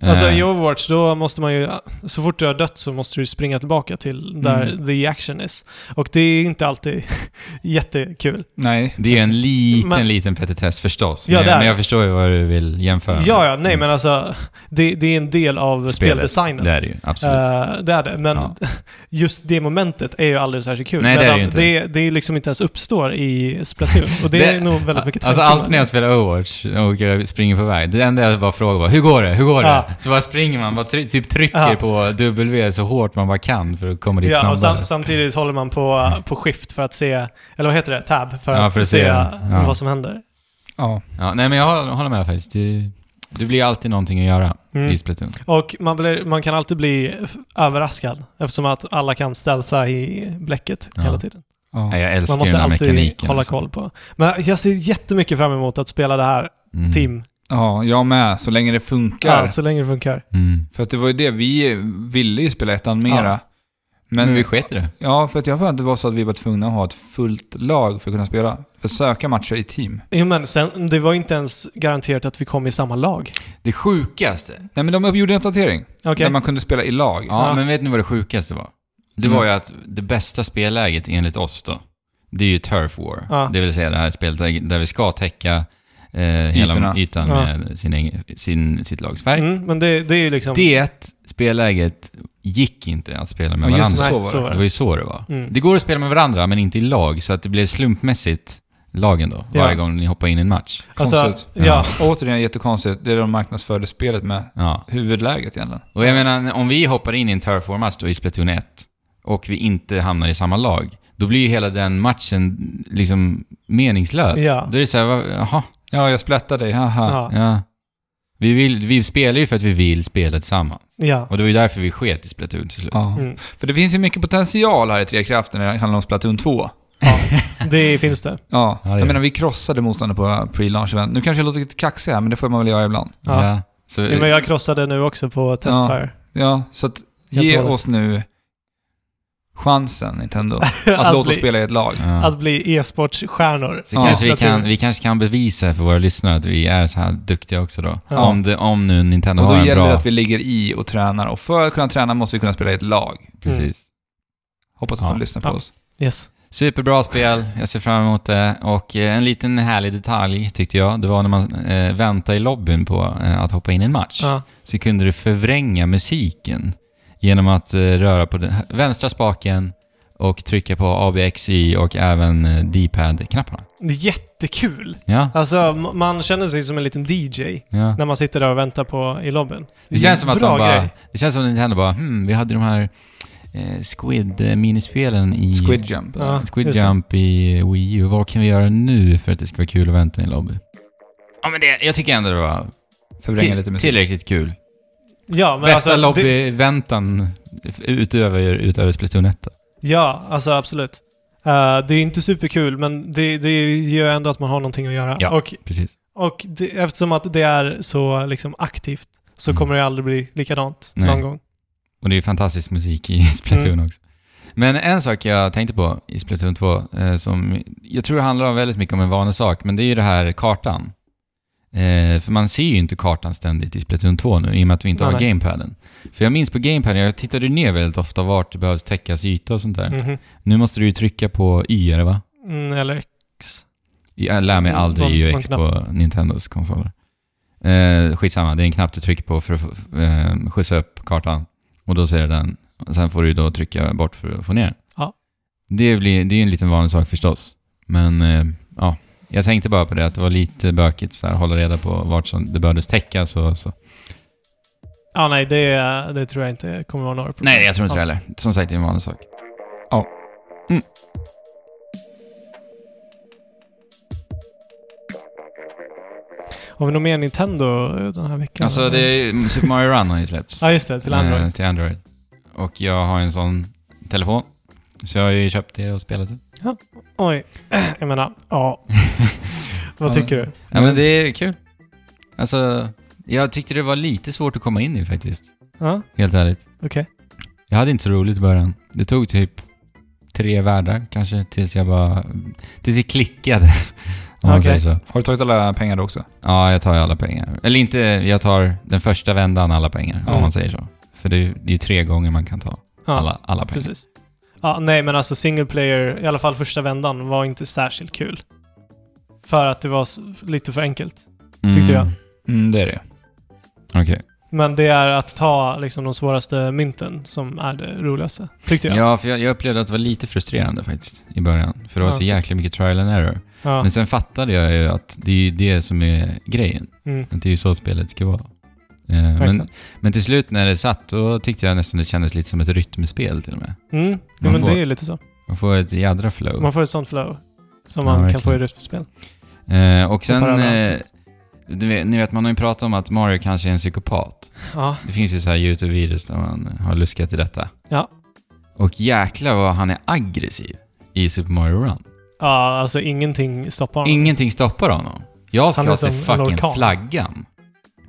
Speaker 3: alltså
Speaker 2: Eh,
Speaker 3: i Overwatch då måste man ju, så fort du har dött så måste du springa tillbaka till där
Speaker 1: Mm.
Speaker 3: the action is. Och det är inte alltid (laughs) jättekul.
Speaker 1: Nej.
Speaker 2: Det är ju en liten,
Speaker 3: Men-
Speaker 2: liten petitess förstås.
Speaker 3: Ja,
Speaker 2: men,
Speaker 3: det är
Speaker 2: jag, men jag
Speaker 3: det.
Speaker 2: förstår ju vad du vill jämföra
Speaker 3: Ja,
Speaker 2: med.
Speaker 3: ja, nej
Speaker 2: Mm.
Speaker 3: men alltså det, det är en del av
Speaker 2: Spelet.
Speaker 3: speldesignen.
Speaker 2: Det är det ju, absolut.
Speaker 3: Eh, det är det, men
Speaker 2: Ja.
Speaker 3: (laughs) just det momentet är ju aldrig särskilt kul.
Speaker 2: Nej, det är det
Speaker 3: Medan
Speaker 2: ju inte.
Speaker 3: Det, det är liksom inte ens uppstår i
Speaker 2: (laughs)
Speaker 3: Splatoon. Och det, är
Speaker 2: Det-
Speaker 3: nog väldigt mycket
Speaker 2: Alltså
Speaker 3: tanke
Speaker 2: allt när jag spelar Overwatch och jag springer på väg, det enda jag bara frågar var hur går det? Hur går det?
Speaker 3: Ja.
Speaker 2: Så bara springer man, bara try- typ trycker
Speaker 3: Ja.
Speaker 2: på W så hårt man bara kan för att komma dit
Speaker 3: Ja, och
Speaker 2: snabbare.
Speaker 3: sam, samtidigt håller man på, på skift för att se, eller vad heter det? Tab, för
Speaker 2: Ja,
Speaker 3: att
Speaker 2: för att
Speaker 3: se
Speaker 2: se, ja.
Speaker 3: vad som händer.
Speaker 1: Ja.
Speaker 2: Ja, nej men jag håller- håller med faktiskt. Det, det blir alltid någonting att göra
Speaker 3: Mm.
Speaker 2: i Splatoon.
Speaker 3: Och man, blir, man kan alltid bli f- överraskad eftersom att alla kan stealtha i bläcket
Speaker 2: Ja.
Speaker 3: hela tiden.
Speaker 1: ja.
Speaker 2: Ja, jag älskar
Speaker 3: Man
Speaker 2: ju den
Speaker 3: måste
Speaker 2: här
Speaker 3: alltid
Speaker 2: mekaniken.
Speaker 3: hålla
Speaker 2: alltså.
Speaker 3: koll på. Men jag ser jättemycket fram emot att spela det här
Speaker 2: Mm.
Speaker 3: Tim.
Speaker 1: Ja, jag med. Så länge det funkar.
Speaker 3: Ja, så länge det funkar.
Speaker 2: Mm.
Speaker 1: För att det var ju det, vi ville ju spela ettan mera.
Speaker 3: Ja.
Speaker 1: Men,
Speaker 3: Mm.
Speaker 1: vi
Speaker 2: sket i det.
Speaker 1: Ja, för att jag har för mig att det var så att vi var tvungna att ha ett fullt lag för att kunna spela. För att söka matcher i team.
Speaker 3: Jo, men sen, det var ju inte ens garanterat att vi kom i samma lag.
Speaker 2: Det sjukaste.
Speaker 1: Nej, men de gjorde en uppdatering.
Speaker 3: Okej.
Speaker 1: Där man kunde spela i lag.
Speaker 2: Ja,
Speaker 3: Ja. Mm.
Speaker 2: men vet ni vad det sjukaste var? Det var ju att det bästa spelläget enligt oss då, det är ju Turf War.
Speaker 3: Ja.
Speaker 2: Det vill säga det här spelet där- där vi ska täcka eh, hela
Speaker 1: Ytorna.
Speaker 2: ytan
Speaker 3: Ja.
Speaker 2: med sin, egen- sin, sitt lags färg.
Speaker 3: Mm, men det, det är ju liksom...
Speaker 2: Det spelläget gick inte att spela med
Speaker 1: Ja,
Speaker 2: varandra.
Speaker 1: just
Speaker 3: nej,
Speaker 1: så var det.
Speaker 2: Det var ju så det var.
Speaker 3: Mm.
Speaker 2: Det går att spela med varandra, men inte i lag, så att det blev slumpmässigt lagen då,
Speaker 3: Ja.
Speaker 2: varje gång ni hoppar in i en match.
Speaker 3: Alltså,
Speaker 1: Konstigt.
Speaker 3: ja.
Speaker 1: Återigen jättekonstigt. Det är de marknadsförde spelet med.
Speaker 2: Ja.
Speaker 1: Huvudläget egentligen.
Speaker 2: Och jag menar, om vi hoppar in i en Turf War-match då i Splatoon 1 och vi inte hamnar i samma lag, då blir ju hela den matchen liksom meningslös.
Speaker 3: Ja.
Speaker 2: Då är det så här, va- jaha,
Speaker 1: Ja, jag splättade dig. Haha.
Speaker 3: Ja.
Speaker 2: ja. Vi, vill, vi spelar ju för att vi vill spela tillsammans.
Speaker 3: ja.
Speaker 2: Och det var ju därför vi sket i Splatoon till slut.
Speaker 1: Ja.
Speaker 3: Mm.
Speaker 1: För det finns ju mycket potential här i Tre Krafter när det handlar om Splatoon 2.
Speaker 3: Det finns det.
Speaker 1: Ja,
Speaker 2: Ja, det gör
Speaker 1: jag
Speaker 2: det.
Speaker 1: menar vi krossade motståndarna på pre-launch event. Nu kanske jag låter lite kaxig här, men det får man väl göra ibland.
Speaker 3: Ja.
Speaker 2: Så,
Speaker 3: Jo, men jag krossade nu också på Testfire.
Speaker 1: Ja, så att
Speaker 3: Helt
Speaker 1: ge
Speaker 3: och hållet.
Speaker 1: oss nu chansen, Nintendo, att,
Speaker 3: (laughs) Att
Speaker 1: låta oss
Speaker 3: bli-
Speaker 1: spela i ett lag.
Speaker 2: ja.
Speaker 3: Att bli e-sportstjärnor.
Speaker 2: Så
Speaker 1: Ja.
Speaker 2: kanske vi,
Speaker 3: Splatoon.
Speaker 2: kan, vi kanske kan bevisa för våra lyssnare att vi är så här duktiga också då.
Speaker 3: Ja.
Speaker 2: Om, det, om nu Nintendo
Speaker 1: Och då
Speaker 2: har en
Speaker 1: gäller
Speaker 2: bra...
Speaker 1: det att vi ligger i och tränar. Och för att kunna träna måste vi kunna spela i ett lag.
Speaker 2: Precis.
Speaker 1: Hoppas att
Speaker 2: Ja.
Speaker 1: man lyssnar på
Speaker 3: Ja.
Speaker 1: oss.
Speaker 3: Yes.
Speaker 2: Superbra spel, jag ser fram emot det. Och eh, en liten härlig detalj tyckte jag, det var när man eh, väntade i lobbyn på eh, att hoppa in i en match.
Speaker 3: Ja.
Speaker 2: Så kunde du förvränga musiken genom att eh, röra på den hö- vänstra spaken och trycka på ABXY och även eh, D-pad-knapparna.
Speaker 3: Det är jättekul.
Speaker 2: Ja,
Speaker 3: Alltså, m- man känner sig som en liten DJ
Speaker 2: ja.
Speaker 3: när man sitter där och väntar på i lobbyn.
Speaker 2: Det känns som att
Speaker 3: Bra
Speaker 2: de bara,
Speaker 3: grej.
Speaker 2: det känns som att Nintendo bara, hmm, vi hade de här eh, Squid-minispelen i...
Speaker 1: Squid Jump.
Speaker 3: Ja,
Speaker 2: Squid
Speaker 3: just det.
Speaker 2: Jump i Wii U. Vad kan vi göra nu för att det ska vara kul att vänta i en lobby? Ja, men det, jag tycker ändå det var
Speaker 1: Förvränga
Speaker 2: till-
Speaker 1: lite musik.
Speaker 2: tillräckligt kul.
Speaker 3: Ja, men
Speaker 2: Bästa
Speaker 3: alltså, det-
Speaker 2: lobbyväntan utöver, utöver Splatoon 1. då.
Speaker 3: Ja, alltså absolut. Eh, det är inte superkul, men det, det gör ändå att man har någonting att göra.
Speaker 2: Ja.
Speaker 3: Och,
Speaker 2: Precis.
Speaker 3: och det, eftersom att det är så liksom, aktivt så
Speaker 2: Mm.
Speaker 3: kommer det aldrig bli likadant
Speaker 2: Nej.
Speaker 3: någon gång.
Speaker 2: Och det är ju fantastisk musik i (laughs) Splatoon
Speaker 3: Mm.
Speaker 2: också. Men en sak jag tänkte på i Splatoon 2, eh, som jag tror handlar om väldigt mycket om en vanlig sak, men det är ju det här kartan. Eh, för man ser ju inte kartan ständigt i Splatoon 2 nu, i och med att vi inte
Speaker 3: Nej,
Speaker 2: har
Speaker 3: nej.
Speaker 2: gamepaden. För jag minns på gamepaden, jag tittade ner väldigt ofta vart det behövs täckas yta och sånt där.
Speaker 3: Mhm.
Speaker 2: Nu måste du ju trycka på Y, är det va?
Speaker 3: Mm, eller X.
Speaker 2: Jag lär mig
Speaker 3: Mm,
Speaker 2: aldrig
Speaker 3: någon-
Speaker 2: Y och
Speaker 3: någon
Speaker 2: X
Speaker 3: knapp.
Speaker 2: på Nintendos konsoler. Eh, skitsamma, det är en knapp du trycker på för att få- f- eh, skjutsa upp kartan. Och då ser den. Och sen får du då trycka bort för att få ner den.
Speaker 3: Ja.
Speaker 2: Det, blir, det är ju en liten vanlig sak förstås. Men eh, ja, jag tänkte bara på det att det var lite bökigt så här, hålla reda på vart som det behövdes täckas och så.
Speaker 3: Ja, nej, det, det tror jag inte kommer vara några problem.
Speaker 2: Nej, jag tror inte det
Speaker 3: alls.
Speaker 2: heller. Som sagt, det är en vanlig sak.
Speaker 3: Har vi något mer Nintendo den här veckan?
Speaker 2: Alltså, det är, Super Mario Run har ju släppts.
Speaker 3: Ja, just det. Till Android.
Speaker 2: Eh, till Android. Och jag har en sån telefon. Så jag har ju köpt det och spelat det.
Speaker 3: Oj. (clears throat) Jag menar,
Speaker 2: (laughs)
Speaker 3: ja. Vad
Speaker 1: Ja,
Speaker 3: tycker du?
Speaker 2: Ja, men det är kul. Alltså, jag tyckte det var lite svårt att komma in i faktiskt.
Speaker 3: Ja,
Speaker 2: Helt ärligt.
Speaker 3: okej.
Speaker 2: Jag hade inte så roligt i början. Det tog typ tre världar kanske tills jag bara... Tills jag klickade. (laughs) Om man
Speaker 3: Okej.
Speaker 2: säger så.
Speaker 1: Har du tagit alla pengar då också?
Speaker 2: Ja, jag tar ju alla pengar. Eller inte, jag tar den första vändan alla pengar. Om
Speaker 1: Mm.
Speaker 2: man säger så. För det är ju- det är ju tre gånger man kan ta
Speaker 3: Ja,
Speaker 2: alla, alla pengar.
Speaker 3: precis. Ja, nej, men alltså single player, i alla fall första vändan, var inte särskilt kul. För att det var s- lite för enkelt. Tyckte jag.
Speaker 1: Mm, det är det.
Speaker 2: Okej.
Speaker 3: Men det är att ta liksom de svåraste mynten som är det roligaste, tyckte
Speaker 2: Ja,
Speaker 3: jag.
Speaker 2: för jag, jag upplevde att det var lite frustrerande faktiskt i början. För det var
Speaker 3: Ja.
Speaker 2: så jäkla mycket trial and error.
Speaker 3: Ja.
Speaker 2: Men sen fattade jag ju att det är ju det som är grejen.
Speaker 3: Mm.
Speaker 2: Att det är ju så spelet ska vara. Eh, men,
Speaker 3: Verkligen.
Speaker 2: men till slut när det satt, då tyckte jag nästan det kändes lite som ett rytmspel till och med.
Speaker 3: Mm. Jo,
Speaker 2: Man
Speaker 3: men
Speaker 2: får-
Speaker 3: det är ju lite så.
Speaker 2: Man får ett jädra flow.
Speaker 3: Man får ett sånt flow som
Speaker 2: Ja,
Speaker 3: man kan
Speaker 2: verkligen.
Speaker 3: få i rytmspel.
Speaker 2: Eh, och sen, eh,
Speaker 3: parallellt.
Speaker 2: du vet, ni vet, man har ju pratat om att Mario kanske är en psykopat.
Speaker 3: Ja,
Speaker 2: Det finns ju så här YouTube-videos där man har luskat i detta.
Speaker 3: Ja.
Speaker 2: Och jäklar vad han är aggressiv i Super Mario Run.
Speaker 3: ja alltså ingenting stoppar honom.
Speaker 2: Ingenting stoppar honom. Jag
Speaker 3: Han är
Speaker 2: ska se
Speaker 3: som en
Speaker 2: fucking
Speaker 3: orkan.
Speaker 2: flaggan.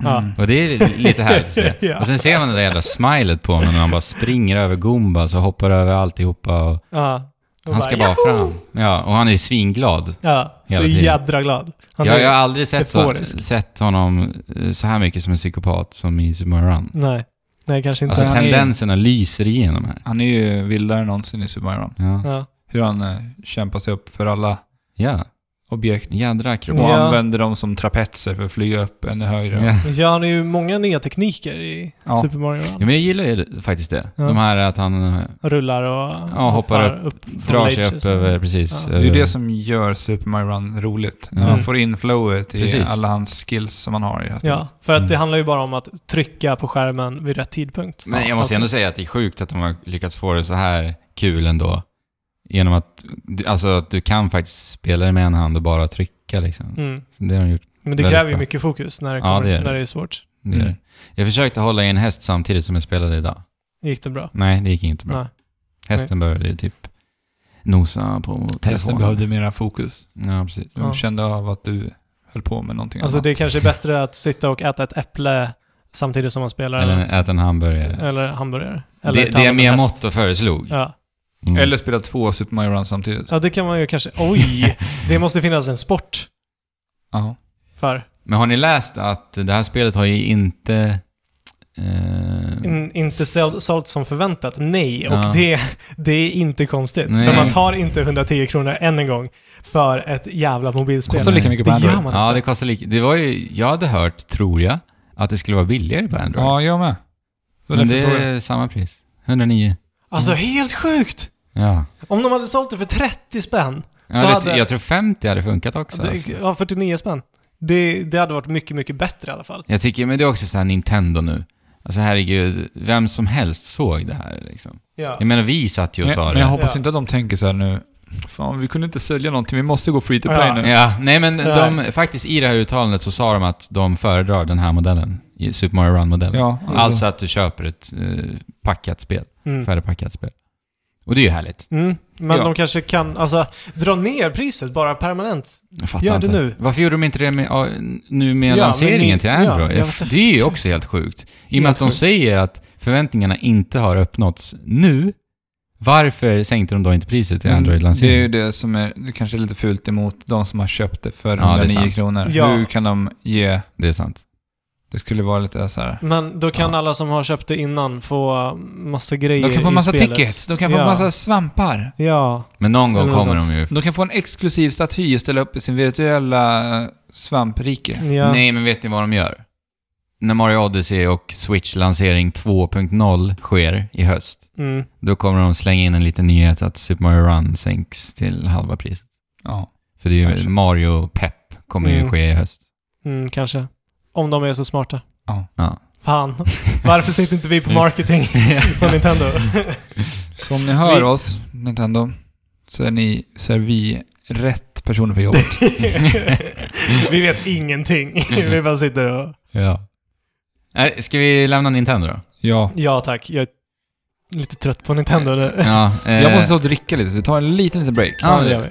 Speaker 3: Ja.
Speaker 2: Och det är li- Mm. lite Alltså, härligt att
Speaker 3: (laughs)
Speaker 2: se.
Speaker 3: Ja.
Speaker 2: Och sen ser man det där jävla smilet på honom när han bara springer över Gumbas och hoppar över alltihopa. Och
Speaker 3: Ja. Och
Speaker 2: han ska
Speaker 3: ja,
Speaker 2: bara fram. Ja, och han är ju svinglad.
Speaker 3: ja, så
Speaker 2: hela tiden.
Speaker 3: jädra glad. Han
Speaker 2: Jag,
Speaker 3: är-
Speaker 2: jag har aldrig sett,
Speaker 3: euforisk.
Speaker 2: sett honom eh, så här mycket som en psykopat som i Simon Run.
Speaker 3: Nej. Nej, kanske inte.
Speaker 2: Alltså
Speaker 1: han är-
Speaker 2: tendenserna lyser igenom här.
Speaker 1: Han är ju vildare än någonsin i Submaron.
Speaker 2: Ja,
Speaker 3: ja.
Speaker 1: Hur han eh, kämpar sig upp för alla
Speaker 2: ja.
Speaker 1: objekt.
Speaker 2: jädra akrobat.
Speaker 1: Och
Speaker 3: Ja.
Speaker 1: använder dem som trapetser för att flyga upp ännu högre.
Speaker 2: Ja.
Speaker 3: ja, han har ju många nya tekniker i
Speaker 1: Ja.
Speaker 3: Super Mario
Speaker 2: Ja,
Speaker 3: Run.
Speaker 2: men jag gillar ju faktiskt det.
Speaker 3: Ja.
Speaker 2: De här att han eh,
Speaker 3: Rullar och
Speaker 2: Ja, hoppar
Speaker 3: upp,
Speaker 2: drar sig upp
Speaker 3: ledges.
Speaker 2: över, precis.
Speaker 3: Ja.
Speaker 1: Det är ju
Speaker 2: över-
Speaker 1: det som gör Super Mario Run roligt. När
Speaker 2: Mm.
Speaker 1: man får in flowet i
Speaker 2: Precis.
Speaker 1: alla hans skills som han har. i det.
Speaker 3: Ja, för att det
Speaker 2: Mm.
Speaker 3: handlar ju bara om att trycka på skärmen vid rätt tidpunkt.
Speaker 2: Men
Speaker 3: Ja,
Speaker 2: jag måste
Speaker 3: att-
Speaker 2: ändå säga att det är sjukt att de har lyckats få det så här kul ändå. Genom att, alltså, att du kan faktiskt spela det med en hand och bara trycka liksom.
Speaker 3: Mm.
Speaker 2: Så det har de gjort.
Speaker 3: Men det
Speaker 2: Väldigt
Speaker 3: kräver ju
Speaker 2: bra.
Speaker 3: mycket fokus när det,
Speaker 2: Ja,
Speaker 3: kommer,
Speaker 2: det gör det.
Speaker 3: när det är svårt.
Speaker 2: Det är
Speaker 1: Mm.
Speaker 2: det. Jag försökte hålla i en häst samtidigt som jag spelade idag.
Speaker 3: Gick det bra?
Speaker 2: Nej, det gick inte bra.
Speaker 3: Nej.
Speaker 2: Hästen började ju typ nosa på
Speaker 1: Testen
Speaker 2: telefonen.
Speaker 1: behövde mera fokus.
Speaker 2: Ja, precis.
Speaker 1: De
Speaker 3: Ja.
Speaker 1: kände av att du höll på med någonting
Speaker 3: Alltså
Speaker 1: annat.
Speaker 3: det är kanske är bättre att sitta och äta ett äpple samtidigt som man spelar än
Speaker 2: Eller
Speaker 3: att-
Speaker 2: äta en hamburgare.
Speaker 3: eller hamburgare. Eller
Speaker 2: Det,
Speaker 3: ta
Speaker 2: det
Speaker 3: hand om en häst.
Speaker 2: Miyamoto föreslog.
Speaker 3: Ja.
Speaker 2: Mm.
Speaker 1: Eller spela två Super Mario Run samtidigt.
Speaker 3: ja, det kan man ju kanske...
Speaker 2: (laughs)
Speaker 3: Oj! det måste finnas en sport
Speaker 1: Ja.
Speaker 3: för.
Speaker 2: Men har ni läst att det här spelet har ju inte... eh,
Speaker 1: Mm.
Speaker 3: In, Mm, inte såld, sålt som förväntat. Nej, och
Speaker 2: Ja.
Speaker 3: det, det är inte konstigt.
Speaker 2: Nej.
Speaker 3: För man tar inte 110 kronor än en gång för ett jävla mobilspel.
Speaker 1: Kostar lika mycket på
Speaker 3: Det gör
Speaker 1: Android.
Speaker 3: man
Speaker 2: Ja,
Speaker 3: inte.
Speaker 2: det kostar lika. Det var ju, jag hade hört, tror jag, att det skulle vara billigare på Android.
Speaker 1: Ja, jag med. Det var
Speaker 2: Men
Speaker 1: därför
Speaker 2: det
Speaker 1: jag frågade.
Speaker 2: är samma pris. 109.
Speaker 1: mm.
Speaker 3: Alltså helt sjukt!
Speaker 2: Ja.
Speaker 3: Om de hade sålt det för 30 spänn.
Speaker 2: ja
Speaker 3: Så
Speaker 2: det,
Speaker 3: hade-
Speaker 2: Jag tror 50 hade funkat också.
Speaker 3: Det,
Speaker 2: alltså.
Speaker 3: ja, 49 spänn. Det, det hade varit mycket, mycket bättre i alla fall.
Speaker 2: Jag tycker, men det är också så här Nintendo nu. Alltså herregud, vem som helst såg det här liksom.
Speaker 3: Ja.
Speaker 2: Jag menar, vi satt ju och
Speaker 1: Men,
Speaker 2: sa
Speaker 1: men
Speaker 2: det.
Speaker 1: jag hoppas
Speaker 3: Ja.
Speaker 1: inte att de tänker så här nu. Fan, vi kunde inte sälja någonting. Vi måste gå free to play
Speaker 3: Ja.
Speaker 1: nu.
Speaker 2: Ja, nej men
Speaker 3: Nej.
Speaker 2: de, faktiskt i det här uttalandet så sa de att de föredrar den här modellen. i Super Mario Run-modellen.
Speaker 1: Ja,
Speaker 2: Alltså att du köper ett eh, packat spel.
Speaker 3: Mm.
Speaker 2: Färdigpackat spel. Och det är ju härligt.
Speaker 3: Mm. Men
Speaker 1: Ja.
Speaker 3: de kanske kan, alltså, dra ner priset bara permanent.
Speaker 2: Jag fattar
Speaker 3: Gör det
Speaker 2: inte.
Speaker 3: nu.
Speaker 2: Varför gjorde de inte det med, ja, nu med
Speaker 3: Ja,
Speaker 2: lanseringen
Speaker 3: men ni-
Speaker 2: till
Speaker 3: ja,
Speaker 2: Android?
Speaker 3: jag vet inte.
Speaker 2: det är ju också helt sjukt. I och med
Speaker 3: Helt
Speaker 2: att de
Speaker 3: sjukt.
Speaker 2: säger att förväntningarna inte har uppnåtts nu, varför sänkte de då inte priset i
Speaker 3: Mm.
Speaker 1: Men Mm. Det är ju
Speaker 2: Android-lanseringen?
Speaker 1: det som är det kanske är lite fult emot de som har köpt det för
Speaker 2: Ja, det är
Speaker 1: 109
Speaker 2: sant.
Speaker 1: kronor.
Speaker 3: Ja.
Speaker 1: Hur kan de ge...
Speaker 2: Det är sant.
Speaker 1: Det skulle vara lite så här...
Speaker 3: Men då kan
Speaker 2: Ja.
Speaker 3: alla som har köpt det innan få massa grejer
Speaker 1: De kan få
Speaker 3: i
Speaker 1: massa
Speaker 3: spelet.
Speaker 1: tickets, de kan få
Speaker 3: Ja.
Speaker 1: massa svampar.
Speaker 3: Ja.
Speaker 2: Men någon gång
Speaker 3: Eller något
Speaker 2: kommer
Speaker 3: sånt.
Speaker 2: de ju...
Speaker 1: De kan få en exklusiv staty och ställa upp i sin virtuella eh, svamprike.
Speaker 3: ja.
Speaker 2: Nej, men vet ni vad de gör? När Mario Odyssey och Switch lansering 2.0 sker i höst,
Speaker 3: Mm.
Speaker 2: då kommer de slänga in en liten nyhet att Super Mario Run sänks till halva priset.
Speaker 1: Ja.
Speaker 2: För det är ju
Speaker 1: Kanske.
Speaker 2: Mario-pepp kommer ju
Speaker 3: Mm.
Speaker 2: ske i höst.
Speaker 3: (laughs) Mm, kanske. Om de är så smarta.
Speaker 1: Ja.
Speaker 2: Ja.
Speaker 3: Fan. (laughs) Varför sitter inte vi på marketing på Nintendo?
Speaker 1: Så om ni hör
Speaker 3: Vi-
Speaker 1: oss, Nintendo, så är, ni, så är vi rätt personer för jobbet.
Speaker 3: (laughs) vi vet ingenting. (laughs) vi bara sitter och...
Speaker 2: Ja. Nej, ska vi lämna
Speaker 1: (laughs)
Speaker 2: Nintendo då?
Speaker 1: ja.
Speaker 3: Ja tack, jag är lite trött på Nintendo nu.
Speaker 2: Ja, eh,
Speaker 1: Jag måste ta och dricka lite, så vi tar en liten, liten break.
Speaker 2: Ja, det gör
Speaker 3: vi.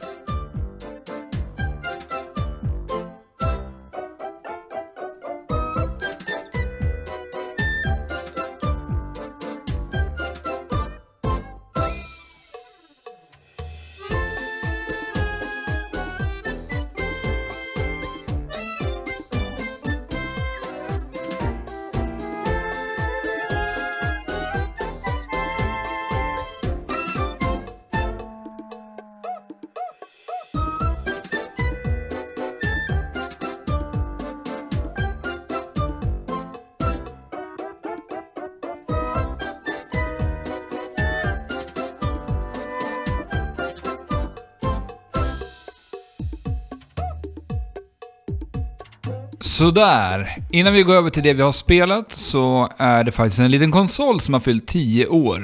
Speaker 1: Sådär. Innan vi går över till det vi har spelat så är det faktiskt en liten konsol som har fyllt 10 år.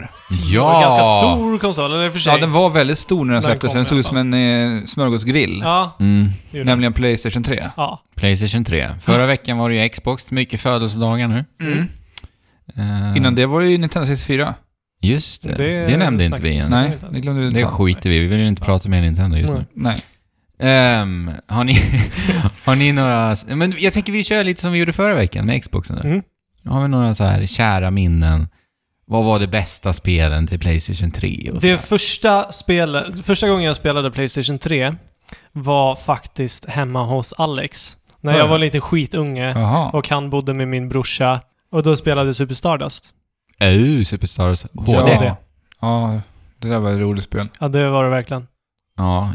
Speaker 3: Det var
Speaker 2: Ja!
Speaker 3: en ganska stor konsol, eller i och för sig.
Speaker 1: Ja, den var väldigt stor när den
Speaker 3: När den
Speaker 1: släpptes.
Speaker 3: kom
Speaker 1: Den såg
Speaker 3: i
Speaker 1: ut
Speaker 3: alla
Speaker 1: som en eh, smörgåsgrill.
Speaker 3: Ja, det
Speaker 2: Mm,
Speaker 3: gjorde den.
Speaker 1: Nämligen Playstation 3.
Speaker 3: Ja.
Speaker 2: Playstation 3. Förra veckan var det ju Xbox, mycket födelsedagar nu.
Speaker 1: Mm.
Speaker 2: Eh,
Speaker 1: Innan det var det ju Nintendo 64.
Speaker 2: Just det, det, nämnde inte vi ens.
Speaker 1: Nej, Mm.
Speaker 3: snackade vi inte ens.
Speaker 1: det glömde vi
Speaker 2: Det
Speaker 1: ta.
Speaker 2: skiter vi i. vi vill ju inte prata mer Nintendo just
Speaker 3: Nej.
Speaker 2: nu.
Speaker 1: Nej.
Speaker 2: Ehm, har, ni, (laughs) har ni några... Men jag tänker vi kör lite som vi gjorde förra veckan med Xboxen. Där.
Speaker 3: Mm.
Speaker 2: Har vi några så här kära minnen? Vad var det bästa spelen till Playstation 3? Och så
Speaker 3: Det
Speaker 2: där?
Speaker 3: första, spel, första gången jag spelade Playstation 3 var faktiskt hemma hos Alex. När
Speaker 1: Var
Speaker 3: jag
Speaker 1: det?
Speaker 3: var lite skitunge
Speaker 1: Jaha.
Speaker 3: och han bodde med min brorsa. Och då spelade Super Stardust.
Speaker 2: Oh, Superstars HD. Ja.
Speaker 1: Ja. ja, det där var ett roligt spel.
Speaker 3: Ja, det var det verkligen.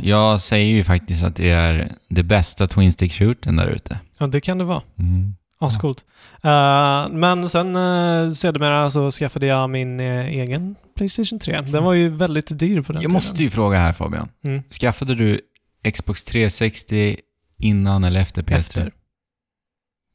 Speaker 2: jag säger ju faktiskt att det är det bästa Twin Stick Shooten där ute.
Speaker 3: Ja, det kan det vara.
Speaker 2: Mm.
Speaker 3: Ascoolt. Eh, men sen uh, sedermera så skaffade jag min eh, egen Playstation 3. Den var ju väldigt dyr på den
Speaker 2: Mm. Jag måste
Speaker 3: tiden.
Speaker 2: ju fråga här Fabian.
Speaker 3: Mm.
Speaker 2: Skaffade du Xbox 360 innan eller efter PS3?
Speaker 3: Efter.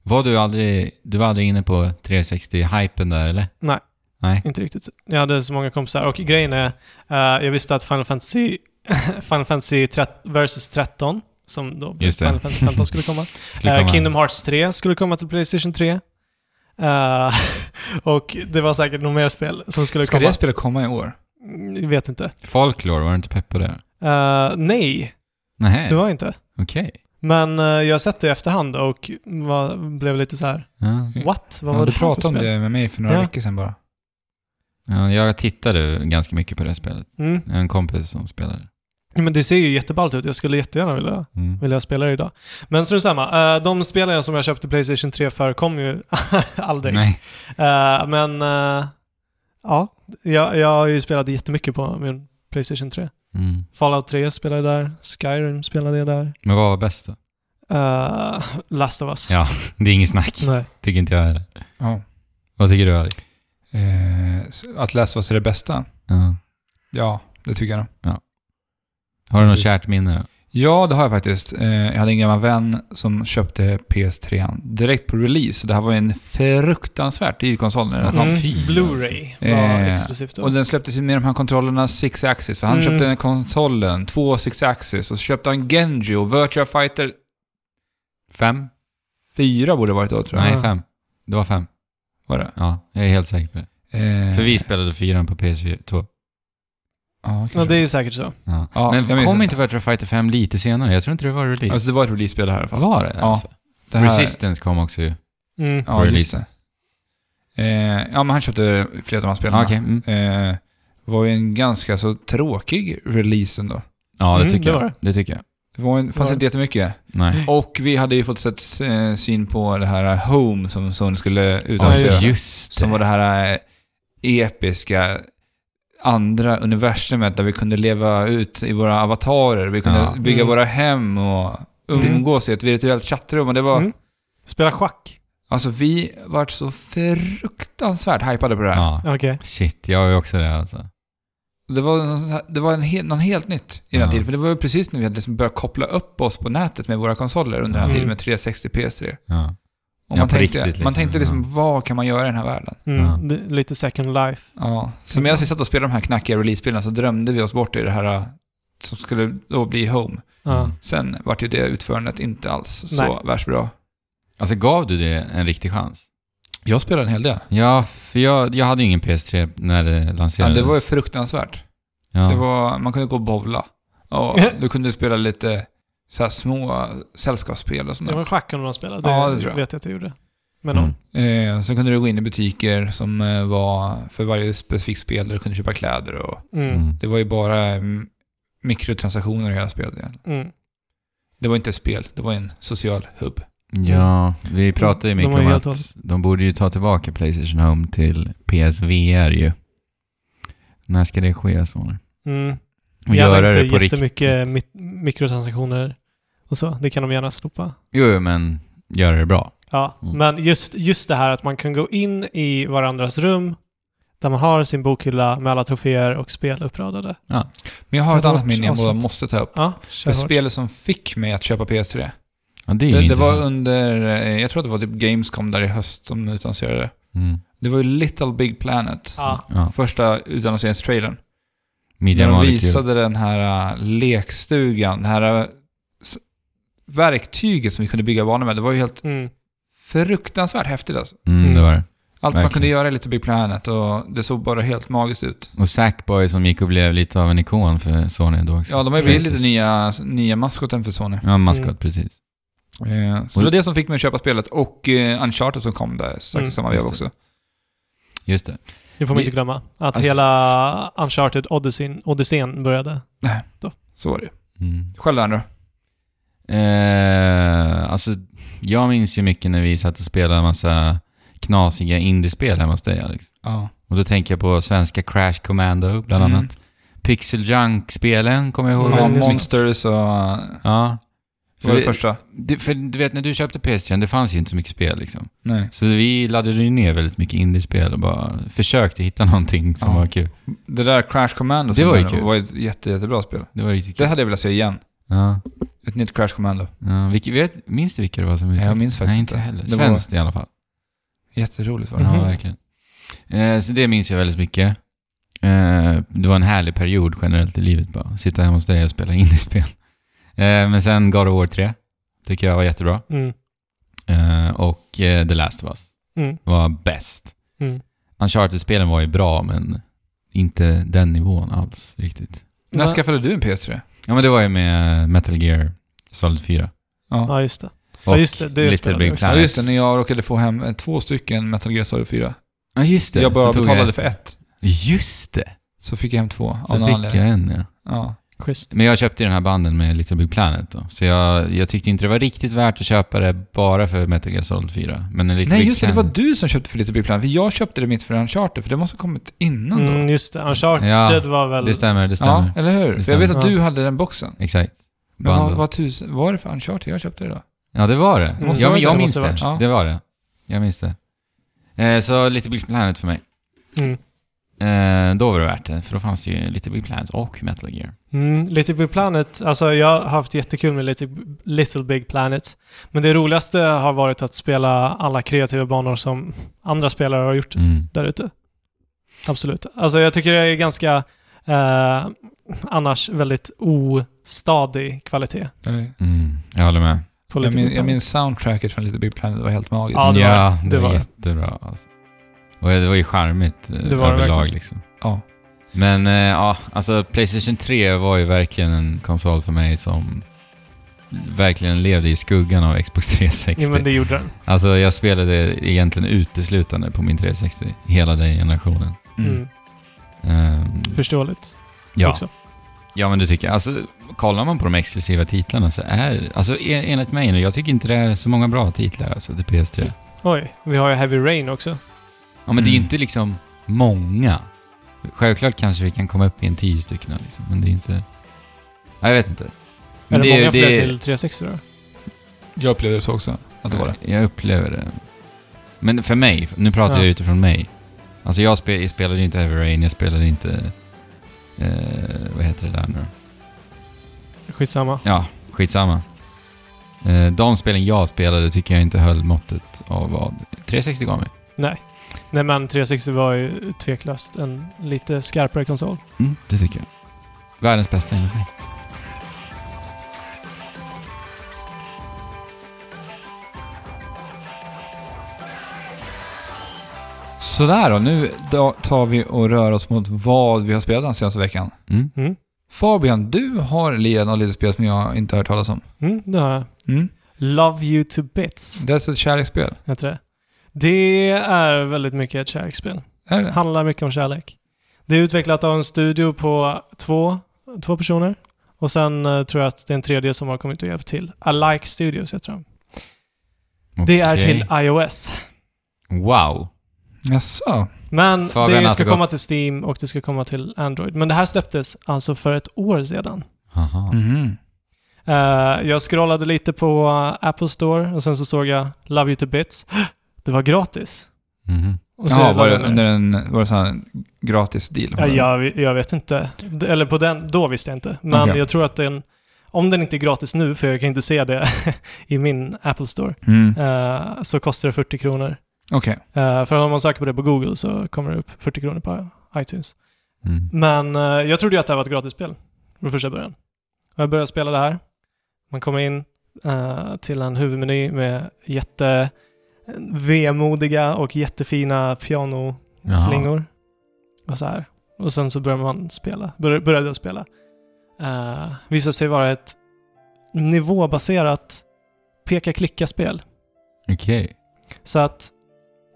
Speaker 2: Var du aldrig, du var aldrig inne på 360-hypen där eller?
Speaker 3: Nej. Eh,
Speaker 2: Nej.
Speaker 3: Inte riktigt. Jag hade så många kompisar. Och grejen är, eh, jag visste att Final Fantasy, (laughs) Final Fantasy 13, versus 13, som då blev
Speaker 2: Just det.
Speaker 3: Final Fantasy 15 skulle komma.
Speaker 2: Skulle
Speaker 3: Eh,
Speaker 2: komma-
Speaker 3: Kingdom Hearts 3 skulle komma till Playstation 3. Eh, (laughs) och det var säkert några mer spel som skulle
Speaker 1: Ska
Speaker 3: komma.
Speaker 1: det spelet komma i år?
Speaker 3: Mm, Jag vet inte.
Speaker 2: Folklore, var du inte pepp på det?
Speaker 3: Eh, nej,
Speaker 2: Nej,
Speaker 3: det var jag inte.
Speaker 2: okej.
Speaker 3: Men eh, jag har sett det i efterhand och var, blev lite så här:
Speaker 2: Mm. Ja.
Speaker 3: what? Vad
Speaker 1: Ja,
Speaker 3: var
Speaker 1: du
Speaker 3: det här för
Speaker 1: pratade om
Speaker 3: spel?
Speaker 1: det med mig för några
Speaker 3: Ja.
Speaker 1: veckor sedan bara.
Speaker 2: Ja, jag tittade ganska mycket på det här spelet.
Speaker 3: Mm.
Speaker 2: Jag har en kompis som spelade.
Speaker 3: Men det ser ju jätteballt ut. Jag skulle jättegärna vilja
Speaker 2: Mm.
Speaker 3: vill jag spela det idag. Men strunt samma. Eh, De spelare som jag köpte Playstation 3 för kom ju (laughs) aldrig.
Speaker 2: Nej.
Speaker 3: Eh, Men eh, ja, jag, jag har ju spelat jättemycket på min Playstation 3.
Speaker 2: Mm.
Speaker 3: Fallout 3 spelade jag där, Skyrim spelade jag där,
Speaker 2: Men vad var bäst då? (laughs)
Speaker 3: Eh, Last of Us.
Speaker 2: Ja. Det är inget snack.
Speaker 3: Nej.
Speaker 2: Tycker inte jag heller.
Speaker 1: Ja.
Speaker 2: Vad tycker du Alex?
Speaker 1: Eh, så att läsa vad som är det bästa?
Speaker 2: Ja.
Speaker 1: Ja, det tycker jag nog.
Speaker 2: Har du något
Speaker 1: Precis.
Speaker 2: kärt minne då?
Speaker 1: Ja, det har jag faktiskt. Eh, jag hade en gammal vän som köpte PS3 an direkt på release. Det här var ju en fruktansvärt dyr konsol. när den kom.
Speaker 2: fan fy, alltså.
Speaker 3: Mm. Blu-ray var
Speaker 1: Eh,
Speaker 3: exklusivt då.
Speaker 1: Och den släpptes ju med de här kontrollerna 6-axis. Så han
Speaker 3: Mm.
Speaker 1: köpte den konsolen, två 6-axis, och så köpte han Genji och Virtua Fighter
Speaker 2: Fem?
Speaker 1: 4 borde det varit då tror jag.
Speaker 2: Nej,
Speaker 3: Ja.
Speaker 2: fem. Det var fem.
Speaker 1: Var det?
Speaker 2: Ja, jag är helt säker på det.
Speaker 1: Eh,
Speaker 2: För vi spelade fyran på PS2.
Speaker 1: Ja,
Speaker 3: Ja, det
Speaker 1: det...
Speaker 3: är ju säkert så.
Speaker 2: Ja.
Speaker 1: Ja, jag
Speaker 2: Men
Speaker 1: minns
Speaker 2: kom
Speaker 1: det.
Speaker 2: inte Virtua Fighter 5 lite senare? Jag tror inte det var release.
Speaker 1: Alltså det var ett release-spel det här i alla fall.
Speaker 2: var det?
Speaker 1: Ja,
Speaker 2: Alltså?
Speaker 1: Det här-
Speaker 2: Resistance kom också ju.
Speaker 3: Mm.
Speaker 1: Ja, just
Speaker 2: release.
Speaker 1: det. Eh, ja, men han köpte flera av de här spelen.
Speaker 2: Ja, okej. Mm.
Speaker 1: eh, var ju en ganska så tråkig release ändå.
Speaker 2: Ja, det
Speaker 3: Mm,
Speaker 2: tycker
Speaker 3: det var
Speaker 2: jag. Det tycker jag.
Speaker 1: Det var en, fanns
Speaker 3: Var-
Speaker 1: inte jättemycket.
Speaker 2: Nej.
Speaker 1: Och vi hade ju fått sett eh, syn på det här eh, Home som Sony skulle
Speaker 2: Ja,
Speaker 1: utannonsera.
Speaker 3: just det.
Speaker 2: just
Speaker 1: som var det här eh, episka andra universumet där vi kunde leva ut i våra avatarer. Vi kunde
Speaker 2: Ja.
Speaker 1: bygga
Speaker 3: Mm.
Speaker 1: våra hem och umgås i ett virtuellt chattrum. Och det var,
Speaker 3: Mm. Spela schack.
Speaker 1: Alltså vi vart så fruktansvärt hypade på det här.
Speaker 2: Ja.
Speaker 3: Okej.
Speaker 2: Shit, jag är ju också det alltså.
Speaker 1: Det var, någon sån här- det var en hel, någon helt nytt i den här
Speaker 2: Ja.
Speaker 1: tiden. För det var ju precis när vi hade liksom börjat koppla upp oss på nätet med våra konsoler under den här
Speaker 3: Mm.
Speaker 1: tiden med 360 PS3. Och
Speaker 2: Ja. Ja,
Speaker 1: man,
Speaker 2: på
Speaker 1: tänkte,
Speaker 2: riktigt liksom,
Speaker 1: man tänkte liksom,
Speaker 2: ja.
Speaker 1: vad kan man göra i den här världen?
Speaker 3: Mm.
Speaker 2: Ja.
Speaker 3: det- Lite second life.
Speaker 1: Ja. Så medan vi satt och spelade de här knackiga release-spelen så drömde vi oss bort i det här äh, som skulle då bli Home.
Speaker 3: Ja.
Speaker 2: Mm.
Speaker 1: Sen vart ju det utförandet inte alls så
Speaker 3: Nej.
Speaker 1: värst bra.
Speaker 2: Alltså gav du det en riktig chans?
Speaker 1: Jag spelade en hel del.
Speaker 2: Ja, för jag, jag hade ju ingen PS3 när det
Speaker 1: Ja,
Speaker 2: lanserades.
Speaker 1: det var ju fruktansvärt.
Speaker 2: Ja.
Speaker 1: Det var, man kunde gå och bowla. Och du kunde spela lite så här små sällskapsspel och sånt
Speaker 3: Det
Speaker 1: där.
Speaker 3: var schack om man spelade. Det,
Speaker 1: Ja, det tror jag.
Speaker 3: vet jag att jag gjorde. Men
Speaker 2: Mm.
Speaker 3: om.
Speaker 1: Eh, så kunde du gå in i butiker som eh, var för varje specifikt spel där du kunde köpa kläder och
Speaker 3: Mm. Mm.
Speaker 2: Mm.
Speaker 1: det var ju bara mm, mikrotransaktioner i hela spelet egentligen.
Speaker 3: Mm.
Speaker 1: Det var inte ett spel, det var en social hubb.
Speaker 2: Ja, vi pratade ju
Speaker 3: Mm. De
Speaker 2: mycket
Speaker 3: var ju
Speaker 2: om
Speaker 3: helt
Speaker 2: att de borde ju ta tillbaka Playstation Home till PSVR ju. När ska det ske, Sony?
Speaker 3: Mm.
Speaker 2: Och
Speaker 3: Gärna
Speaker 2: göra det
Speaker 3: inte
Speaker 2: på riktigt.
Speaker 3: jättemycket mi mikrotransaktioner och så. Det kan de gärna slopa.
Speaker 2: Jo, jo, men göra det bra.
Speaker 3: Ja,
Speaker 2: Mm.
Speaker 3: men just, just det här att man kan gå in i varandras rum där man har sin bokhylla med alla troféer och spel uppradade.
Speaker 1: Men jag har
Speaker 3: Det
Speaker 1: ett
Speaker 3: var
Speaker 1: annat minne jag
Speaker 3: asfalt.
Speaker 1: bara måste ta upp.
Speaker 3: Ja,
Speaker 1: För
Speaker 3: kör hårt.
Speaker 1: spelet som fick mig att köpa PS3,
Speaker 2: Ja, det är ju
Speaker 1: det, det
Speaker 2: intressant.
Speaker 1: var under, eh, jag tror att det var typ Gamescom där i höst som utannonserade det.
Speaker 2: Mm.
Speaker 1: Det var ju Little Big Planet,
Speaker 3: Ja.
Speaker 2: Ja.
Speaker 1: första utannonseringstrailern.
Speaker 2: Media
Speaker 1: När de
Speaker 2: Molecule.
Speaker 1: visade den här äh, lekstugan, det här äh, s- verktyget som vi kunde bygga banor med. Det var ju helt
Speaker 3: Mm.
Speaker 1: fruktansvärt häftigt alltså.
Speaker 2: Mm, det
Speaker 3: Mm.
Speaker 2: var det.
Speaker 1: Allt man
Speaker 2: Verkligen.
Speaker 1: kunde göra i Little Big Planet och det såg bara helt magiskt ut.
Speaker 2: Och Sackboy som gick och blev lite av en ikon för Sony då också.
Speaker 1: Ja, de har ju blivit lite
Speaker 2: Precis.
Speaker 1: nya, nya maskoten för Sony.
Speaker 2: Ja, maskot,
Speaker 3: Mm.
Speaker 2: precis.
Speaker 1: Eh, Så det var det som fick mig att köpa spelet och eh, Uncharted som kom där strax
Speaker 3: Mm,
Speaker 1: i samma veva
Speaker 2: just det.
Speaker 1: också.
Speaker 2: Just det.
Speaker 3: Det får man
Speaker 2: Vi-
Speaker 3: inte glömma. Att
Speaker 1: Alltså-
Speaker 3: hela Uncharted Odyssey, Odysseen började.
Speaker 1: Så var det.
Speaker 2: Mm.
Speaker 1: Själv då, Andrew?
Speaker 2: Eh, alltså, jag minns ju mycket när vi satt och spelade en massa knasiga indiespel hemma hos dig, Alex.
Speaker 1: Ja.
Speaker 2: Och då tänker jag på svenska Crash Commando, bland
Speaker 1: Mm.
Speaker 2: annat. Pixel Junk-spelen kommer jag ihåg
Speaker 3: Mm.
Speaker 2: väldigt
Speaker 3: just det.
Speaker 2: mycket.
Speaker 1: Monsters och... eh,
Speaker 2: Ja.
Speaker 1: Det var det
Speaker 2: Vi-
Speaker 1: första.
Speaker 2: Det, för du vet, när du köpte PS3, det fanns ju inte så mycket spel liksom.
Speaker 1: Nej.
Speaker 2: Så vi laddade ju ner väldigt mycket indiespel och bara försökte hitta någonting som
Speaker 1: Ja.
Speaker 2: var kul.
Speaker 1: Det där Crash Commando
Speaker 2: Det
Speaker 1: som
Speaker 2: var ju
Speaker 1: är-
Speaker 2: kul.
Speaker 1: var ett jätte, jättebra spel.
Speaker 2: Det var riktigt
Speaker 1: Det
Speaker 2: kul.
Speaker 1: hade jag velat se igen.
Speaker 2: Ja.
Speaker 1: Ett nytt Crash Commando.
Speaker 2: Ja, vilka, vet, minns du vilka det var som
Speaker 1: jag minns faktiskt
Speaker 2: Nej, inte
Speaker 1: inte.
Speaker 2: heller.
Speaker 1: Det var-
Speaker 2: Svenskt i alla fall.
Speaker 1: Jätteroligt var det.
Speaker 2: Ja,
Speaker 3: Mhm.
Speaker 2: verkligen. Eh, så det minns jag väldigt mycket. Eh, det var en härlig period generellt i livet bara. Sitta hemma hos dig och spela indiespel. Eh, men sen God of War 3. Tycker jag var jättebra.
Speaker 3: Mm.
Speaker 2: Eh, och eh, The Last of Us
Speaker 3: Mm.
Speaker 2: var bäst.
Speaker 3: Mm.
Speaker 2: Uncharted-spelen var ju bra, men inte den nivån alls riktigt.
Speaker 1: När
Speaker 3: Va-
Speaker 1: skaffade du en PS3?
Speaker 2: Ja, men det var ju med Metal Gear Solid 4.
Speaker 1: Ja.
Speaker 3: Ja, just det.
Speaker 2: Och
Speaker 3: Ja, just det. Det
Speaker 2: Little
Speaker 3: spelade
Speaker 2: Big
Speaker 3: vi också.
Speaker 1: Ja,
Speaker 2: Planet.
Speaker 1: just det. När jag råkade få hem eh, två stycken Metal Gear Solid 4.
Speaker 2: Ja, just det.
Speaker 1: jag bara
Speaker 2: Så tog
Speaker 1: betalade
Speaker 2: jag-
Speaker 1: för ett.
Speaker 2: Just det!
Speaker 1: Så fick jag hem två.
Speaker 2: Så
Speaker 1: Av någon
Speaker 2: fick
Speaker 1: anledning.
Speaker 2: jag en, ja.
Speaker 1: Ja.
Speaker 3: Schysst.
Speaker 2: Men jag köpte ju den här banden med Little Big Planet då. Så jag, jag tyckte inte det var riktigt värt att köpa det bara för Metal Gear Solid 4. Men en Little
Speaker 1: Nej,
Speaker 2: Big
Speaker 1: just det. Det
Speaker 2: Planet...
Speaker 1: var du som köpte för Little Big Planet. För jag köpte det mitt för Uncharted. För det måste ha kommit innan då.
Speaker 3: Mm, just det. Uncharted
Speaker 2: Ja,
Speaker 3: var väl...
Speaker 2: Det stämmer, det stämmer.
Speaker 1: Ja, eller hur?
Speaker 2: Det
Speaker 1: För jag vet att
Speaker 3: stämmer.
Speaker 1: du hade den boxen.
Speaker 2: Exakt.
Speaker 1: Men vad,
Speaker 2: Banden.
Speaker 1: vad, tusen, vad är det för Uncharted jag köpte det då?
Speaker 2: Ja, det var det.
Speaker 3: Det måste
Speaker 2: ja,
Speaker 3: ha varit
Speaker 2: men jag
Speaker 3: det, det
Speaker 2: minns
Speaker 3: måste ha
Speaker 2: det.
Speaker 1: varit. Ja.
Speaker 2: Det var det. Jag minns det. Eh, så Little Big Planet för mig.
Speaker 3: Mm.
Speaker 2: Eh, då var det värt det, för då fanns det ju Little Big Planet och Metal Gear.
Speaker 3: Mm, Little Big Planet, alltså jag har haft jättekul med Little, Little Big Planet. Men det roligaste har varit att spela alla kreativa banor som andra spelare har gjort där ute. Absolut. Alltså jag tycker det är ganska eh, annars väldigt ostadig kvalitet
Speaker 2: Mm, jag håller med.
Speaker 3: på
Speaker 1: Jag minns,
Speaker 3: Little Big
Speaker 1: jag
Speaker 3: Planet.
Speaker 1: minns soundtracket från Little Big Planet. Det var helt magiskt.
Speaker 3: Ja, det var
Speaker 2: ja,
Speaker 3: det.
Speaker 2: det
Speaker 3: Det
Speaker 2: var
Speaker 3: var det.
Speaker 2: jättebra. Alltså. Och det var ju charmigt eh,
Speaker 3: Det var det
Speaker 2: överlag
Speaker 3: verkligen.
Speaker 2: liksom.
Speaker 1: Ja.
Speaker 2: Men eh, ja, alltså Playstation 3 var ju verkligen en konsol för mig som verkligen levde i skuggan av Xbox 360.
Speaker 3: Jo, men det gjorde den.
Speaker 2: Alltså jag spelade egentligen uteslutande på min 360, hela den generationen.
Speaker 1: Mm.
Speaker 3: Mm.
Speaker 2: Ehm,
Speaker 3: Förståeligt
Speaker 2: ja.
Speaker 3: också.
Speaker 2: ja, men det tycker jag. Alltså, kollar man på de exklusiva titlarna så är alltså en- enligt mig nu, jag tycker inte det är så många bra titlar alltså till PS3.
Speaker 3: Oj, vi har ju Heavy Rain också.
Speaker 2: Ja, men det är ju
Speaker 1: Mm.
Speaker 2: inte liksom många. Självklart kanske vi kan komma upp i en tio stycken här, liksom, men det är inte... Ja, jag vet inte.
Speaker 3: Är
Speaker 2: Men
Speaker 3: det,
Speaker 2: är-
Speaker 3: många fler
Speaker 2: är-
Speaker 3: till 360 då?
Speaker 1: Jag upplevde det så också. Att det var det.
Speaker 2: Jag upplever det. Men för mig, nu pratar
Speaker 3: Ja.
Speaker 2: jag utifrån mig. Alltså jag, spe, jag spelade ju inte Heavy Rain, jag spelade inte... Eh, vad heter det där nu då?
Speaker 3: Skitsamma.
Speaker 2: Ja, skitsamma. Eh, de spelen jag spelade tycker jag inte höll måttet av vad 360 gav mig.
Speaker 3: Nej men 360 var ju tveklöst en lite skarpare konsol.
Speaker 2: Mm, det tycker jag. Världens bästa enligt mig.
Speaker 1: Sådär då. Nu då tar vi och rör oss mot vad vi har spelat den senaste veckan.
Speaker 2: Mm.
Speaker 3: Mm.
Speaker 1: Fabian, du har lirat något litet spel som jag inte har hört talas om.
Speaker 3: Mm, det har jag.
Speaker 1: Mm.
Speaker 3: Love You To Bits
Speaker 1: Det är ett kärleksspel.
Speaker 3: heter det. Det är väldigt mycket ett kärleksspel.
Speaker 1: Är det det?
Speaker 3: Handlar mycket om kärlek. Det är utvecklat av en studio på två, två personer. Och sen eh, tror jag att det är en tredje som har kommit och hjälpt till. Alike Studios heter de. Det är
Speaker 2: Mm. Okej.
Speaker 3: till iOS.
Speaker 2: Wow.
Speaker 1: Jaså?
Speaker 3: Men
Speaker 2: Fabian har
Speaker 3: det
Speaker 2: alltså
Speaker 3: ska
Speaker 2: gått-
Speaker 3: komma till Steam och det ska komma till Android. Men det här släpptes alltså för ett år sedan.
Speaker 2: Aha.
Speaker 3: Mm.
Speaker 1: Mhm.
Speaker 3: Eh, jag scrollade lite på eh, Apple Store och sen så såg jag Love You To Bits. (gasps) Det var gratis.
Speaker 2: Mhm.
Speaker 3: Och så
Speaker 1: Jaha, var det
Speaker 3: laddade jag ner
Speaker 1: under en var det sån här gratis deal?
Speaker 3: Ja, jag, jag vet inte. D- Eller på den, då visste jag inte. Men
Speaker 1: Okej.
Speaker 3: jag tror att den, om den inte är gratis nu, för jag kan inte se det (laughs) i min Apple Store,
Speaker 1: Mm.
Speaker 3: eh, så kostar det 40 kronor.
Speaker 1: Okej.
Speaker 3: Eh, för om man söker på det på Google så kommer det upp 40 kronor på iTunes.
Speaker 2: Mm.
Speaker 3: Men eh, jag trodde ju att det här var ett gratisspel från första början. Och jag började spela det här. Man kommer in eh, till en huvudmeny med jätte vemodiga och jättefina pianoslingor.
Speaker 2: Jaha.
Speaker 3: Och så här. Och sen så började man spela. Bör, började jag spela. Uh, visade sig vara ett nivåbaserat peka-klicka-spel.
Speaker 2: Okej.
Speaker 3: Så att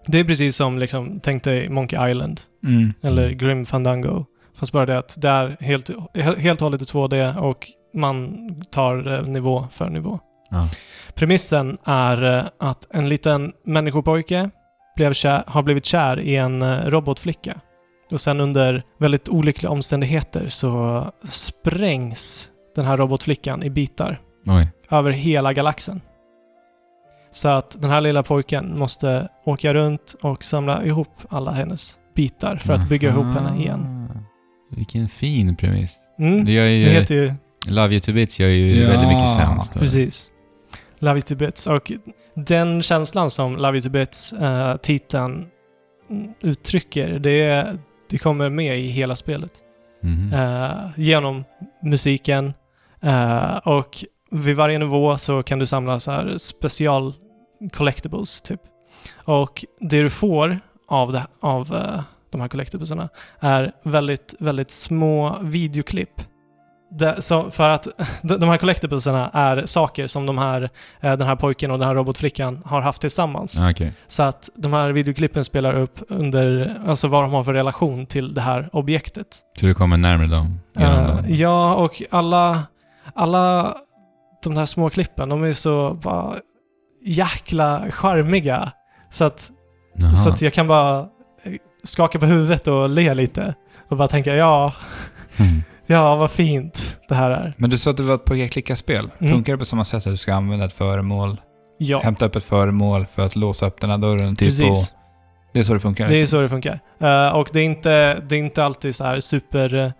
Speaker 3: det är precis som, liksom, tänk dig Monkey Island
Speaker 1: Mm.
Speaker 3: eller Grim Fandango. Fast bara det att det är helt, helt och hållet i 2D och man tar eh, nivå för nivå.
Speaker 2: Ja.
Speaker 3: Premissen är eh, att en liten människopojke blev kär, har blivit kär i en eh, robotflicka. Och sen under väldigt olyckliga omständigheter så sprängs den här robotflickan i bitar
Speaker 2: Oj.
Speaker 3: över hela galaxen. Så att den här lilla pojken måste åka runt och samla ihop alla hennes bitar för att bygga ihop
Speaker 2: Aha.
Speaker 3: henne igen.
Speaker 2: Ah. Vilken fin premiss.
Speaker 3: Mm.
Speaker 2: Mm. Det gör
Speaker 3: Det
Speaker 2: ju...
Speaker 3: heter ju
Speaker 2: Love You To Bits gör ju
Speaker 1: Ja,
Speaker 2: väldigt mycket sens. då.
Speaker 3: precis Love You To Bits. Och den känslan som Love You To Bits-titeln mm, uttrycker, det, det kommer med i hela spelet.
Speaker 2: Mhm.
Speaker 3: eh, genom musiken. eh, och vid varje nivå så kan du samla så här special collectibles typ. Och det du får av, det, av eh, de här collectiblesarna är väldigt, väldigt små videoklipp. Det, så för att (laughs) de de här collectiblesarna är saker som de här, eh, den här pojken och den här robotflickan har haft tillsammans.
Speaker 2: Ah, Okej.
Speaker 3: Så att de här videoklippen spelar upp under, alltså vad de har för relation till det här objektet.
Speaker 2: Så du kommer närmare dem? Genom
Speaker 3: Eh,
Speaker 2: dem.
Speaker 3: ja, och alla, alla de där små klippen, de är så bara jäkla charmiga. Så att,
Speaker 2: Jaha.
Speaker 3: så att jag kan bara eh, skaka på huvudet och le lite. Och bara tänka, ja,
Speaker 2: Mm.
Speaker 3: ja vad fint det här är.
Speaker 1: Men du sa att det var ett peka-klicka-spel.
Speaker 3: Mm.
Speaker 1: Funkar det på samma sätt att du ska använda ett föremål,
Speaker 3: Ja,
Speaker 1: hämta upp ett föremål för att låsa upp den här dörren? Typ,
Speaker 3: precis.
Speaker 1: Och, det är så det funkar?
Speaker 3: Det är så det funkar. Eh, och det är, inte, det är inte alltid så här super eh,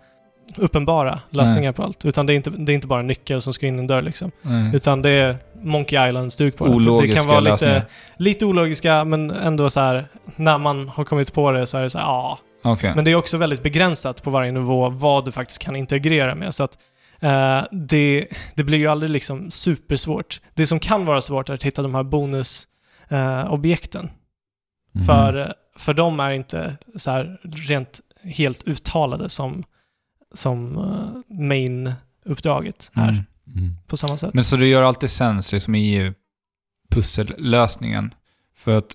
Speaker 3: uppenbara lösningar på allt. Utan det är, inte, det är inte bara en nyckel som ska in i en dörr liksom.
Speaker 1: Mm.
Speaker 3: Utan det är Monkey Island-stuk på det. Det
Speaker 1: Ologiska
Speaker 3: kan vara lite,
Speaker 1: lösningar.
Speaker 3: lite ologiska, men ändå så här, när man har kommit på det så är det så här, ja.
Speaker 1: Okej.
Speaker 3: Men det är också väldigt begränsat på varje nivå vad du faktiskt kan integrera med. Så att eh, det, det blir ju aldrig liksom supersvårt. Det som kan vara svårt är att hitta de här bonusobjekten. Eh, objekten. (laughs)
Speaker 2: Mhm.
Speaker 3: För, för de är inte så här rent helt uttalade som, som eh, main-uppdraget är
Speaker 1: Mm.
Speaker 2: Mm.
Speaker 3: på samma sätt.
Speaker 1: Men så du gör alltid sens liksom i pussellösningen? För att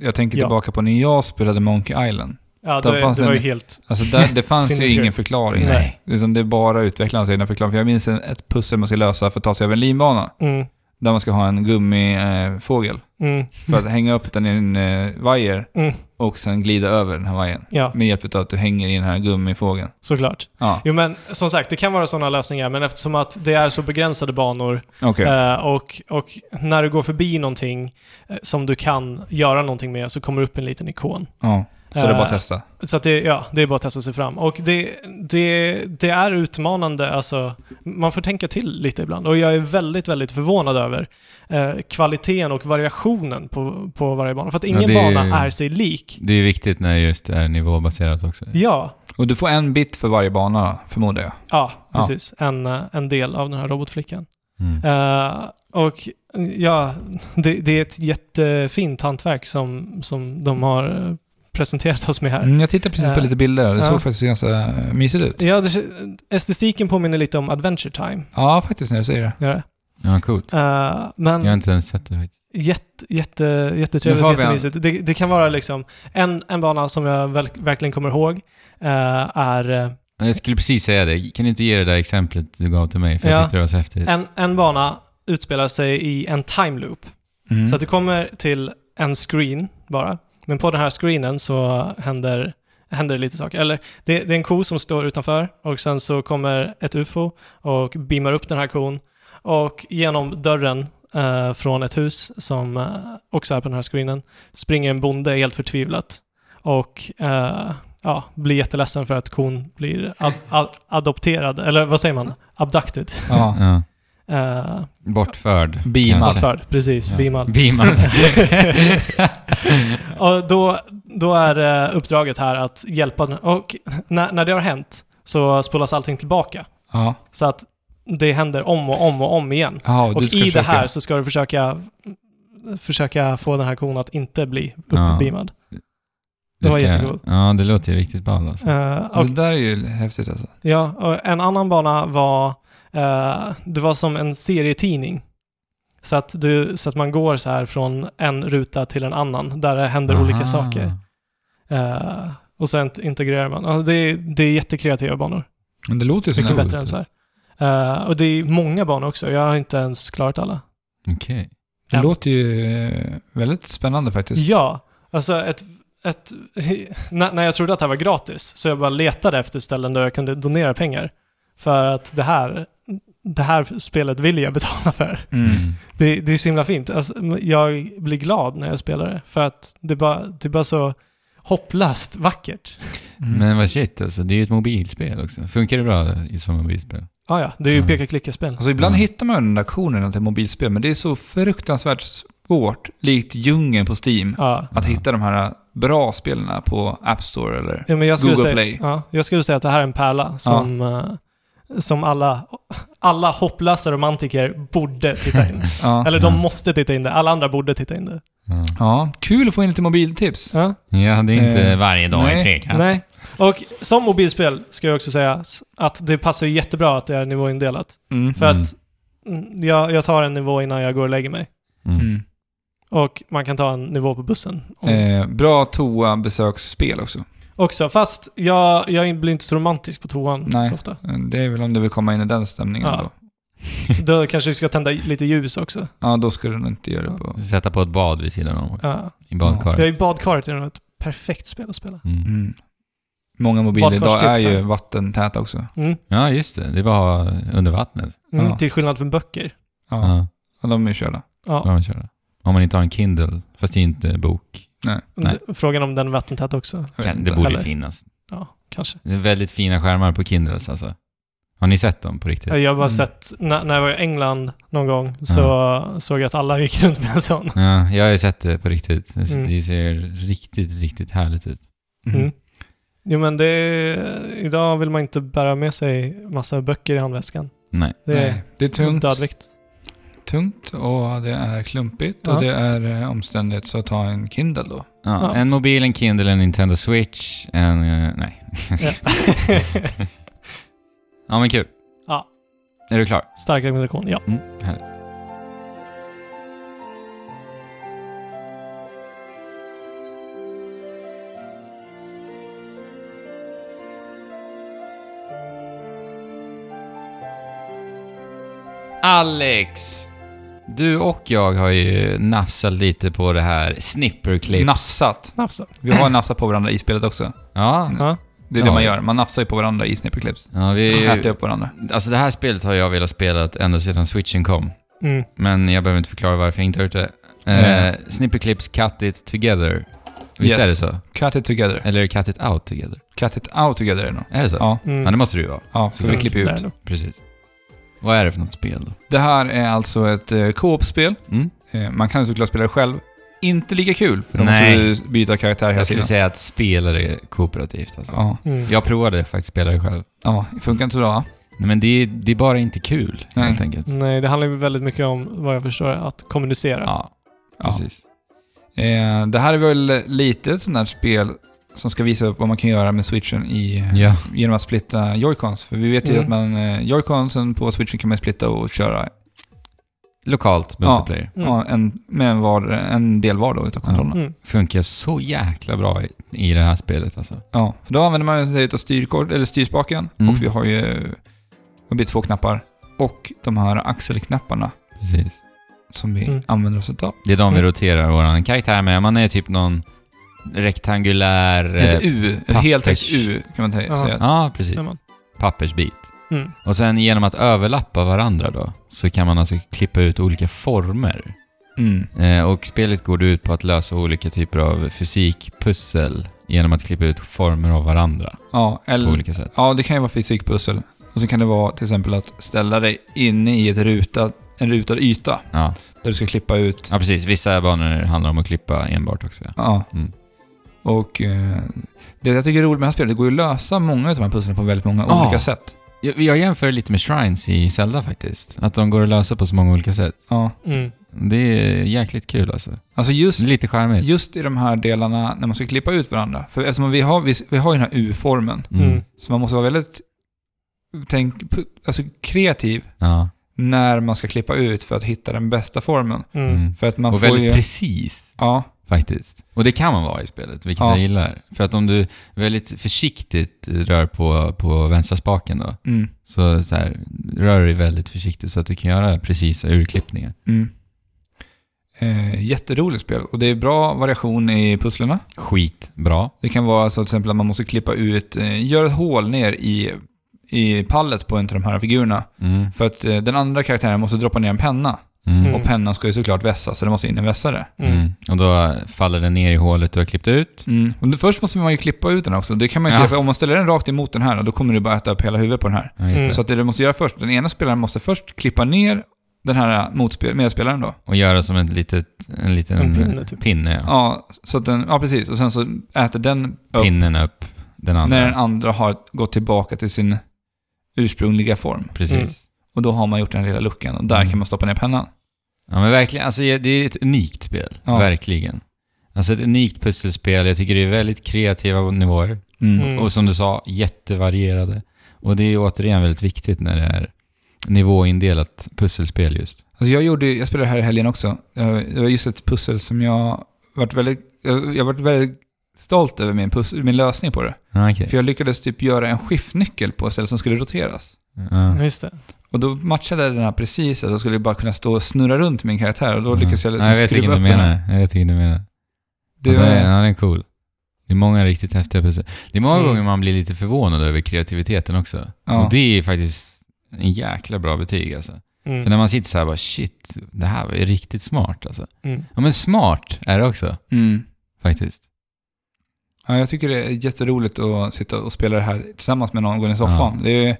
Speaker 1: jag tänker
Speaker 3: Ja.
Speaker 1: tillbaka på när jag spelade Monkey Island.
Speaker 3: ja,
Speaker 1: där
Speaker 3: det,
Speaker 1: fanns
Speaker 3: det var
Speaker 1: en-
Speaker 3: ju helt...
Speaker 1: Alltså där,
Speaker 3: (laughs)
Speaker 1: det fanns ju
Speaker 3: Sinnessjukt.
Speaker 1: ingen förklaring.
Speaker 3: Nej.
Speaker 1: Utan det är bara utvecklarnas egna förklaring. För jag minns en- ett pussel man ska lösa för att ta sig över en linbana.
Speaker 3: Mm,
Speaker 1: Där man ska ha en gummifågel. Eh, fågel.
Speaker 3: mm,
Speaker 1: för att hänga upp den i en eh, vajer
Speaker 3: Mm.
Speaker 1: och sen glida över den här vajern.
Speaker 3: ja,
Speaker 1: Med hjälp av att du hänger i den här gummifågeln.
Speaker 3: såklart.
Speaker 1: Ja,
Speaker 3: Jo men som sagt, det kan vara sådana lösningar, men eftersom att det är så begränsade banor
Speaker 1: okej.
Speaker 3: eh, och, och när du går förbi någonting eh, som du kan göra någonting med så kommer det upp en liten ikon.
Speaker 1: Ja. Så det är bara att
Speaker 3: eh,
Speaker 1: testa.
Speaker 3: Så att det, ja, det är bara att testa sig fram. Och det, det, det är utmanande, alltså. Man får tänka till lite ibland. Och jag är väldigt, väldigt förvånad över eh, kvaliteten och variationen på, på varje bana. För att
Speaker 2: Ja,
Speaker 3: ingen
Speaker 2: det är ju-
Speaker 3: bana är sig lik.
Speaker 2: Det är viktigt när just det är nivåbaserat också.
Speaker 3: Ja,
Speaker 1: Och du får en bit för varje bana, förmodar jag.
Speaker 3: ja
Speaker 1: Ja.
Speaker 3: precis. En, eh, en del av den här robotflickan.
Speaker 2: Mm.
Speaker 3: Eh, och ja, det, det är ett jättefint hantverk som, som de har eh, presenterat oss med här.
Speaker 1: Mm, jag tittar precis på
Speaker 3: Eh,
Speaker 1: lite bilder. Det
Speaker 3: ja.
Speaker 1: såg faktiskt ganska mysigt ut.
Speaker 3: Ja, det, estetiken påminner lite om Adventure Time.
Speaker 1: Ja, faktiskt när du säger det.
Speaker 3: Gör det.
Speaker 2: Ja, coolt.
Speaker 3: Eh, men
Speaker 2: Jag har inte ens sett det faktiskt.
Speaker 3: jätte, jätte,
Speaker 1: Men
Speaker 3: jättetrevligt,
Speaker 1: Fabian-
Speaker 3: jättemysigt. Det, det kan vara liksom, en, en bana som jag väl, verkligen kommer ihåg eh, är eh,
Speaker 2: Men Jag skulle precis säga det. Kan du inte ge det där exemplet du gav till mig? För
Speaker 3: Ja.
Speaker 2: jag tyckte det var så häftigt.
Speaker 3: en, en bana utspelar sig i en time loop.
Speaker 1: Mm.
Speaker 3: Så att du kommer till en screen bara. Men på den här screenen så händer, händer det lite saker. Eller det, det är en ko som står utanför och sen så kommer ett ufo och beamar upp den här kon. Och genom dörren eh, från ett hus som eh, också är på den här screenen springer en bonde helt förtvivlat. Och eh, ja, blir jätteledsen för att kon blir ad, ad, adopterad, eller vad säger man? Abducted.
Speaker 1: Ja.
Speaker 2: Ja.
Speaker 3: Eh,
Speaker 2: Bortförd.
Speaker 1: Beamad.
Speaker 2: kanske.
Speaker 3: abförd, precis.
Speaker 2: Ja.
Speaker 3: Beamad. (laughs)
Speaker 2: Beamad.
Speaker 3: Och då, då är eh, uppdraget här att hjälpa den. Och när, när det har hänt så spolas allting tillbaka.
Speaker 1: Ja.
Speaker 3: Så att det händer om och om och om igen.
Speaker 1: Ja,
Speaker 3: (laughs) Och
Speaker 1: du ska
Speaker 3: i det
Speaker 1: försöka.
Speaker 3: här så ska du försöka försöka få den här kon att inte bli
Speaker 2: Ja.
Speaker 3: uppbeamad. Det var
Speaker 2: ska jag-
Speaker 3: jättegod.
Speaker 2: Ja, det låter ju riktigt ball alltså.
Speaker 3: Eh, och,
Speaker 1: Det där är ju häftigt alltså.
Speaker 3: ja, och en annan bana var, eh, det var som en serietidning. Så att, du, så att man går så här från en ruta till en annan, där det händer olika
Speaker 2: Aha.
Speaker 3: saker. Eh, och sen integrerar man. Ja, det, är- det är jättekreativa banor.
Speaker 1: Men det låter ju som
Speaker 3: Mycket
Speaker 1: det.
Speaker 3: bättre än så här. Eh, och det är många banor också. Jag har inte ens klarat alla.
Speaker 2: Okej.
Speaker 1: Det
Speaker 3: Ja.
Speaker 1: låter ju eh, väldigt spännande faktiskt.
Speaker 3: Ja, alltså ett, ett, (laughs) när, när jag trodde att det här var gratis så jag bara letade efter ställen där jag kunde donera pengar. För att det här, det här spelet vill jag betala för.
Speaker 1: Mm.
Speaker 3: Det, det är så himla fint. Alltså, jag blir glad när jag spelar det. För att det är bara, det är bara så hopplöst vackert.
Speaker 1: Mm.
Speaker 2: Men vad shit alltså, det är ju ett mobilspel också. Funkar det bra i som mobilspel?
Speaker 3: Ah, ja, det är ju
Speaker 2: Mm.
Speaker 3: peka-klicka-spel.
Speaker 1: Alltså ibland
Speaker 2: Mm.
Speaker 1: hittar man den där konerna till mobilspel, men det är så fruktansvärt svårt, likt djungeln på Steam,
Speaker 3: Ja.
Speaker 1: att
Speaker 2: Ja.
Speaker 1: hitta de här bra spelen på App Store eller...
Speaker 3: Ja, men jag skulle
Speaker 1: Google
Speaker 3: säga,
Speaker 1: Play.
Speaker 3: Ja, jag skulle säga att det här är en pärla som, eh, som alla, alla hopplösa romantiker borde
Speaker 1: (laughs)
Speaker 3: titta in.
Speaker 1: Ja.
Speaker 3: Eller de
Speaker 2: Ja.
Speaker 3: måste titta in det. Alla andra borde titta in det.
Speaker 2: Ja.
Speaker 1: ja, kul att få in lite mobiltips.
Speaker 3: Ja,
Speaker 2: Ja, det är inte
Speaker 1: Eh,
Speaker 2: varje dag
Speaker 1: nej.
Speaker 2: i trekant.
Speaker 3: Nej. Och som mobilspel ska jag också säga s- att det passar jättebra att det är nivåindelat.
Speaker 1: Mm.
Speaker 3: För
Speaker 2: Mm.
Speaker 3: att mm, jag, jag tar en nivå innan jag går och lägger mig.
Speaker 2: Mm.
Speaker 1: Mm.
Speaker 3: Och man kan ta en nivå på bussen. Och,
Speaker 1: Eh, bra toa-besöksspel också.
Speaker 3: Också, fast jag, jag blir inte så romantisk på toan
Speaker 1: Nej.
Speaker 3: så ofta.
Speaker 1: Eh, Det är väl om du vill komma in i den stämningen
Speaker 3: Ja.
Speaker 1: då.
Speaker 3: Då kanske vi ska tända lite ljus också.
Speaker 1: Ja, då ska du inte göra det
Speaker 3: Ja.
Speaker 1: på...
Speaker 2: (laughs) Sätta på ett bad vid sidan om,
Speaker 3: Ja.
Speaker 2: i
Speaker 3: Jag
Speaker 2: badkaret.
Speaker 3: är i badkaret, det är nog ett perfekt spel att spela.
Speaker 2: Mm.
Speaker 1: Mm. Många mobiler idag är
Speaker 3: Badkarstipsen.
Speaker 1: ju vattentäta också.
Speaker 3: Mm.
Speaker 2: Ja, just det. Det är bara under vattnet.
Speaker 3: Mm,
Speaker 1: Ja.
Speaker 3: Till skillnad från böcker.
Speaker 1: Ja,
Speaker 2: Ja.
Speaker 1: och de är ju körda.
Speaker 2: Då har man kört det. Om man inte har en Kindle, fast det är ju inte bok. Nej.
Speaker 3: D- Frågan om den är vattentät också.
Speaker 1: Jag vet
Speaker 2: Kan,
Speaker 1: inte.
Speaker 2: det borde
Speaker 3: Eller-
Speaker 2: ju finnas.
Speaker 3: Ja, kanske.
Speaker 2: Det är väldigt fina skärmar på Kindles alltså. Har ni sett dem på riktigt?
Speaker 3: Jag har bara
Speaker 1: Mm.
Speaker 3: sett, när, när jag var i England någon gång så såg jag att alla gick runt med en sån.
Speaker 2: Ja, jag har ju sett det på riktigt. Det
Speaker 3: Mm.
Speaker 2: det ser riktigt, riktigt härligt ut.
Speaker 1: Mm.
Speaker 3: Mm. Jo men det, idag vill man inte bära med sig massa böcker i handväskan.
Speaker 2: Nej.
Speaker 3: Det är
Speaker 1: Nej, det är tungt,
Speaker 3: dödligt.
Speaker 1: tungt och det är klumpigt
Speaker 3: Ja.
Speaker 1: och det är eh, omständigt. Så ta en Kindle då.
Speaker 2: Ja,
Speaker 3: Ja.
Speaker 2: En mobil, en Kindle, en Nintendo Switch, en... eh, nej.
Speaker 3: Ja.
Speaker 2: (laughs) Ja, men kul.
Speaker 3: Ja.
Speaker 2: Är du klar?
Speaker 3: Stark rekommendation, ja.
Speaker 2: Mm, härligt. Alex! Du och jag har ju nafsat lite på det här snipperklipp.
Speaker 1: Nafsat.
Speaker 3: Nafsa.
Speaker 1: Vi har nafsat på varandra i spelet också.
Speaker 2: ja,
Speaker 3: alltså. Ja.
Speaker 1: Det är
Speaker 2: Ja.
Speaker 1: det man gör. Man nafsar ju på varandra i snipperclips.
Speaker 2: ja,
Speaker 1: (laughs)
Speaker 2: vi...
Speaker 1: Äter upp varandra.
Speaker 2: Alltså det här spelet har jag velat spela ända sedan switchen kom.
Speaker 3: Mm.
Speaker 2: Men jag behöver inte förklara varför jag inte har gjort det. Eh,
Speaker 1: Nej.
Speaker 2: snipper clips, cut it together. Visst
Speaker 1: Yes.
Speaker 2: är det så?
Speaker 1: Cut it together.
Speaker 2: Eller cut it out together.
Speaker 1: Cut it out together är det nog.
Speaker 2: Är det så?
Speaker 1: Ja,
Speaker 3: Mm.
Speaker 2: Ja, det måste det ju vara.
Speaker 1: ja, för vi
Speaker 2: Mm.
Speaker 1: klipper ju
Speaker 3: Där
Speaker 1: ut.
Speaker 3: då.
Speaker 2: Precis. Vad är det för något spel då?
Speaker 1: Det här är alltså ett eh, co-op-spel.
Speaker 2: Mm?
Speaker 1: Eh, Man kan såklart spela det själv. Inte lika kul, för då måste
Speaker 2: Nej.
Speaker 1: du byta karaktär hela
Speaker 2: Jag skulle
Speaker 1: tiden.
Speaker 2: säga att spela det kooperativt alltså.
Speaker 1: Ja,
Speaker 3: Mm.
Speaker 2: Jag provade faktiskt spela det själv.
Speaker 1: ja, det funkar inte så bra. va?
Speaker 2: Nej, men det är, det är bara inte kul,
Speaker 1: Nej. Mm.
Speaker 2: helt enkelt.
Speaker 3: Nej, det handlar ju väldigt mycket om, vad jag förstår, att kommunicera.
Speaker 2: Ja,
Speaker 1: Ja.
Speaker 2: precis.
Speaker 1: Eh, Det här är väl lite ett sånt här spel som ska visa upp vad man kan göra med switchen i, eh,
Speaker 2: Ja.
Speaker 1: genom att splitta joycons. För vi vet ju
Speaker 3: Mm.
Speaker 1: att man, eh, joyconsen på switchen kan man splitta och köra
Speaker 2: Lokalt multiplayer.
Speaker 3: Mm.
Speaker 1: ja, en, med en, var, en del var då utav kontrollerna.
Speaker 3: Mm.
Speaker 2: Funkar så jäkla bra i, i det här spelet alltså.
Speaker 1: Ja, för då använder man sig av styrkort, eller styrspaken
Speaker 2: Mm.
Speaker 1: och vi har ju det blir två knappar och de här axelknapparna
Speaker 2: Precis.
Speaker 1: som vi
Speaker 3: Mm.
Speaker 1: använder oss utav.
Speaker 2: Det är de vi
Speaker 3: Mm.
Speaker 2: roterar vår karaktär med. Man är typ någon rektangulär... eh,
Speaker 1: Ett U, ett
Speaker 2: pappers.
Speaker 1: heltäckt U kan man tä-
Speaker 3: Ja.
Speaker 1: säga.
Speaker 2: Ja, precis.
Speaker 3: Ja, man.
Speaker 2: Pappersbit.
Speaker 3: Mm.
Speaker 2: Och sen genom att överlappa varandra då, så kan man alltså klippa ut olika former.
Speaker 1: Mm.
Speaker 2: Eh, och spelet går då ut på att lösa olika typer av fysikpussel genom att klippa ut former av varandra
Speaker 1: Ja,
Speaker 2: på
Speaker 1: eller,
Speaker 2: olika sätt.
Speaker 1: ja, det kan ju vara fysikpussel. Och så kan det vara till exempel att ställa dig inne i ett rutat, en rutad yta
Speaker 2: Ja,
Speaker 1: där du ska klippa ut.
Speaker 2: ja precis. Vissa banor handlar om att klippa enbart också. ja.
Speaker 1: Ja.
Speaker 2: Mm.
Speaker 1: Och eh, det jag tycker är roligt med det här spelet, det går ju att lösa många av de här pusslen på väldigt många
Speaker 2: Ja.
Speaker 1: olika sätt.
Speaker 2: Jag, jag jämför lite med shrines i Zelda faktiskt. Att de går att lösa på så många olika sätt.
Speaker 1: Ja.
Speaker 3: Mm.
Speaker 2: Det är jäkligt kul alltså.
Speaker 1: Alltså
Speaker 2: Det
Speaker 1: just,
Speaker 2: är Lite charmigt.
Speaker 1: just i de här delarna när man ska klippa ut varandra. För eftersom vi har, vi, vi har ju den här U-formen.
Speaker 2: Mm.
Speaker 3: Mm.
Speaker 1: Så man måste vara väldigt tänk, pu- alltså kreativ
Speaker 2: Ja.
Speaker 1: när man ska klippa ut för att hitta den bästa formen.
Speaker 3: Mm.
Speaker 2: Mm.
Speaker 1: För att man
Speaker 2: Och
Speaker 1: får
Speaker 2: väldigt
Speaker 1: ju...
Speaker 2: precis
Speaker 1: Ja,
Speaker 2: faktiskt. Och det kan man vara i spelet, vilket
Speaker 1: Ja.
Speaker 2: jag gillar. För att om du väldigt försiktigt rör på, på vänstra spaken då,
Speaker 1: mm,
Speaker 2: så, så här, rör dig väldigt försiktigt så att du kan göra precisa urklippningar.
Speaker 1: mm. Eh, jätteroligt spel och det är bra variation i pusslerna.
Speaker 2: Skitbra.
Speaker 1: Det kan vara så till exempel att man måste klippa ut, eh, göra ett hål ner i, i pallet på en av de här figurerna.
Speaker 2: Mm.
Speaker 1: För att eh, den andra karaktären måste droppa ner en penna.
Speaker 2: Mm.
Speaker 1: Och pennan ska ju såklart vässa, så det måste in en vässare.
Speaker 3: Mm.
Speaker 2: Mm. Och då faller den ner i hålet du har klippt ut.
Speaker 1: Mm. Och då, först måste man ju klippa ut den också. Det kan man ju
Speaker 2: Ja.
Speaker 1: inte göra, för om man ställer den rakt emot den här, då kommer du bara äta upp hela huvudet på den här.
Speaker 2: Ja,
Speaker 3: Mm.
Speaker 2: just det.
Speaker 1: Så att det du måste göra först, den ena spelaren måste först klippa ner den här motspel, medspelaren då.
Speaker 2: Och göra som en, litet, en liten
Speaker 3: En pinne, typ.
Speaker 2: pinne, ja.
Speaker 1: Ja, så att den, ja precis. Och sen så äter den upp
Speaker 2: Pinnen upp den andra.
Speaker 1: när den andra har gått tillbaka till sin ursprungliga form.
Speaker 2: Precis.
Speaker 3: Mm.
Speaker 1: Och då har man gjort den lilla luckan och där
Speaker 2: Mm.
Speaker 1: kan man stoppa ner pennan.
Speaker 2: Ja men verkligen, alltså det är ett unikt spel.
Speaker 1: Ja.
Speaker 2: Verkligen. Alltså ett unikt pusselspel. Jag tycker det är väldigt kreativa nivåer.
Speaker 3: Mm.
Speaker 2: Och som du sa, jättevarierade. Och det är ju återigen väldigt viktigt när det är nivåindelat pusselspel just.
Speaker 1: Alltså jag, gjorde, jag spelade här i helgen också. Eh, Det var just ett pussel som jag varit väldigt, jag jag varit väldigt stolt över min, pussel, min lösning på det.
Speaker 2: Ja, okej.
Speaker 1: För jag lyckades typ göra en skiftnyckel på ett ställe som skulle roteras.
Speaker 2: Ja.
Speaker 3: Just det.
Speaker 1: Och då matchade den här precis, att jag skulle bara kunna stå och snurra runt min karaktär och då
Speaker 2: Ja.
Speaker 1: lyckades jag liksom
Speaker 2: ja, Mm. jag vet
Speaker 1: skruva
Speaker 2: vilken
Speaker 1: upp
Speaker 2: du
Speaker 1: den. här.
Speaker 2: menar. Jag vet vilken du menar.
Speaker 1: Det
Speaker 2: ja, den, är,
Speaker 1: var,
Speaker 2: ja, den är cool. Det är många riktigt häftiga pussel. Det är många
Speaker 3: Mm.
Speaker 2: gånger man blir lite förvånad över kreativiteten också.
Speaker 1: Ja.
Speaker 2: Och det är faktiskt en jäkla bra betyg alltså. För
Speaker 3: Mm.
Speaker 2: när man sitter så här bara shit, det här var ju riktigt smart alltså.
Speaker 3: Mm.
Speaker 2: Ja men smart är det också
Speaker 1: mm.
Speaker 2: faktiskt.
Speaker 1: Ja, jag tycker det är jätteroligt att sitta och spela det här tillsammans med någon, gå i soffan.
Speaker 2: Ja.
Speaker 1: Det är,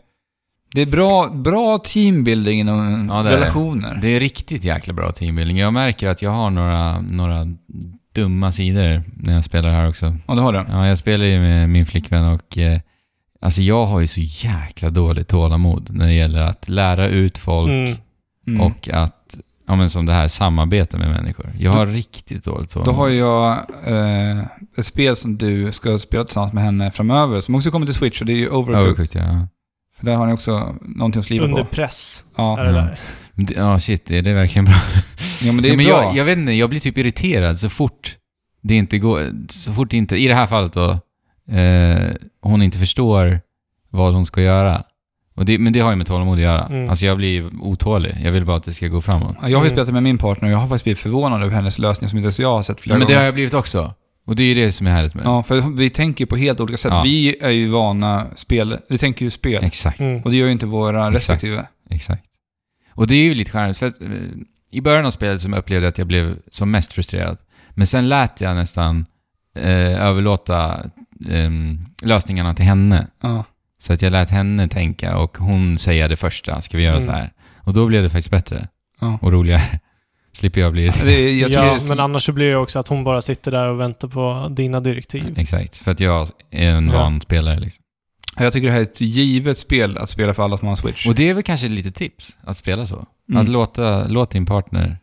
Speaker 1: det är bra, bra teambuilding inom
Speaker 2: Ja, det är det.
Speaker 1: relationer.
Speaker 2: Det är riktigt jäkla bra teambuilding. Jag märker att jag har några, några dumma sidor när jag spelar här också.
Speaker 1: Ja, det har du.
Speaker 2: Ja, jag spelar ju med min flickvän och eh, alltså jag har ju så jäkla dåligt tålamod när det gäller att lära ut folk
Speaker 3: Mm.
Speaker 1: Mm.
Speaker 2: och att, ja men som det här, samarbeta med människor. Jag har riktigt dåligt
Speaker 1: Då
Speaker 2: tålamod.
Speaker 1: har ju jag eh, ett spel som du ska spela tillsammans med henne framöver, som också kommer till Switch, och det är ju Overcooked.
Speaker 2: Overcooked, ja.
Speaker 1: För där har ni också någonting att sliva
Speaker 3: Under
Speaker 1: på.
Speaker 3: press är
Speaker 1: Ja.
Speaker 3: det
Speaker 2: Ja.
Speaker 3: där.
Speaker 2: Men det- Ja, shit, är det verkligen bra?
Speaker 1: ja, men det är
Speaker 2: men
Speaker 1: bra.
Speaker 2: Jag, jag vet inte, jag blir typ irriterad så fort det inte går, så fort det inte, i det här fallet då, eh, hon inte förstår vad hon ska göra. Och det, men det har ju med tålamod att göra.
Speaker 3: Mm.
Speaker 2: Alltså jag blir otålig, jag vill bara att det ska gå framåt.
Speaker 1: Ja, jag har ju
Speaker 3: Mm.
Speaker 1: spelat det med min partner och jag har faktiskt blivit förvånad över hennes lösning som inte ens jag har sett flera
Speaker 2: men det har
Speaker 1: gånger.
Speaker 2: jag blivit också. Och det är ju det som är härligt med det.
Speaker 1: Ja, för vi tänker ju på helt olika sätt.
Speaker 2: Ja.
Speaker 1: Vi är ju vana spel, vi tänker ju spel.
Speaker 2: Exakt,
Speaker 3: Mm.
Speaker 1: Och det gör ju inte våra
Speaker 2: Exakt.
Speaker 1: respektive.
Speaker 2: exakt. Och det är ju lite charmigt, för att, eh, i början av spelet som jag upplevde att jag blev som mest frustrerad. Men sen lät jag nästan eh, överlåta eh, lösningarna till henne.
Speaker 1: Ja.
Speaker 2: Så att jag lät henne tänka och hon säga det första, ska vi göra
Speaker 3: Mm.
Speaker 2: så här? Och då blev det faktiskt bättre
Speaker 1: Ja.
Speaker 2: och roligare. (laughs) Slipper jag bli irriterad.
Speaker 1: Det, jag tycker
Speaker 3: Ja,
Speaker 1: det-
Speaker 3: men annars så blir det också att hon bara sitter där och väntar på dina direktiv.
Speaker 2: (laughs) Exakt, för att jag är en
Speaker 3: Ja.
Speaker 2: van spelare liksom.
Speaker 1: Jag tycker det här är ett givet spel att spela för alla som har en Switch.
Speaker 2: Och det är väl kanske lite tips, att spela så.
Speaker 1: Mm.
Speaker 2: Att låta, låt din partner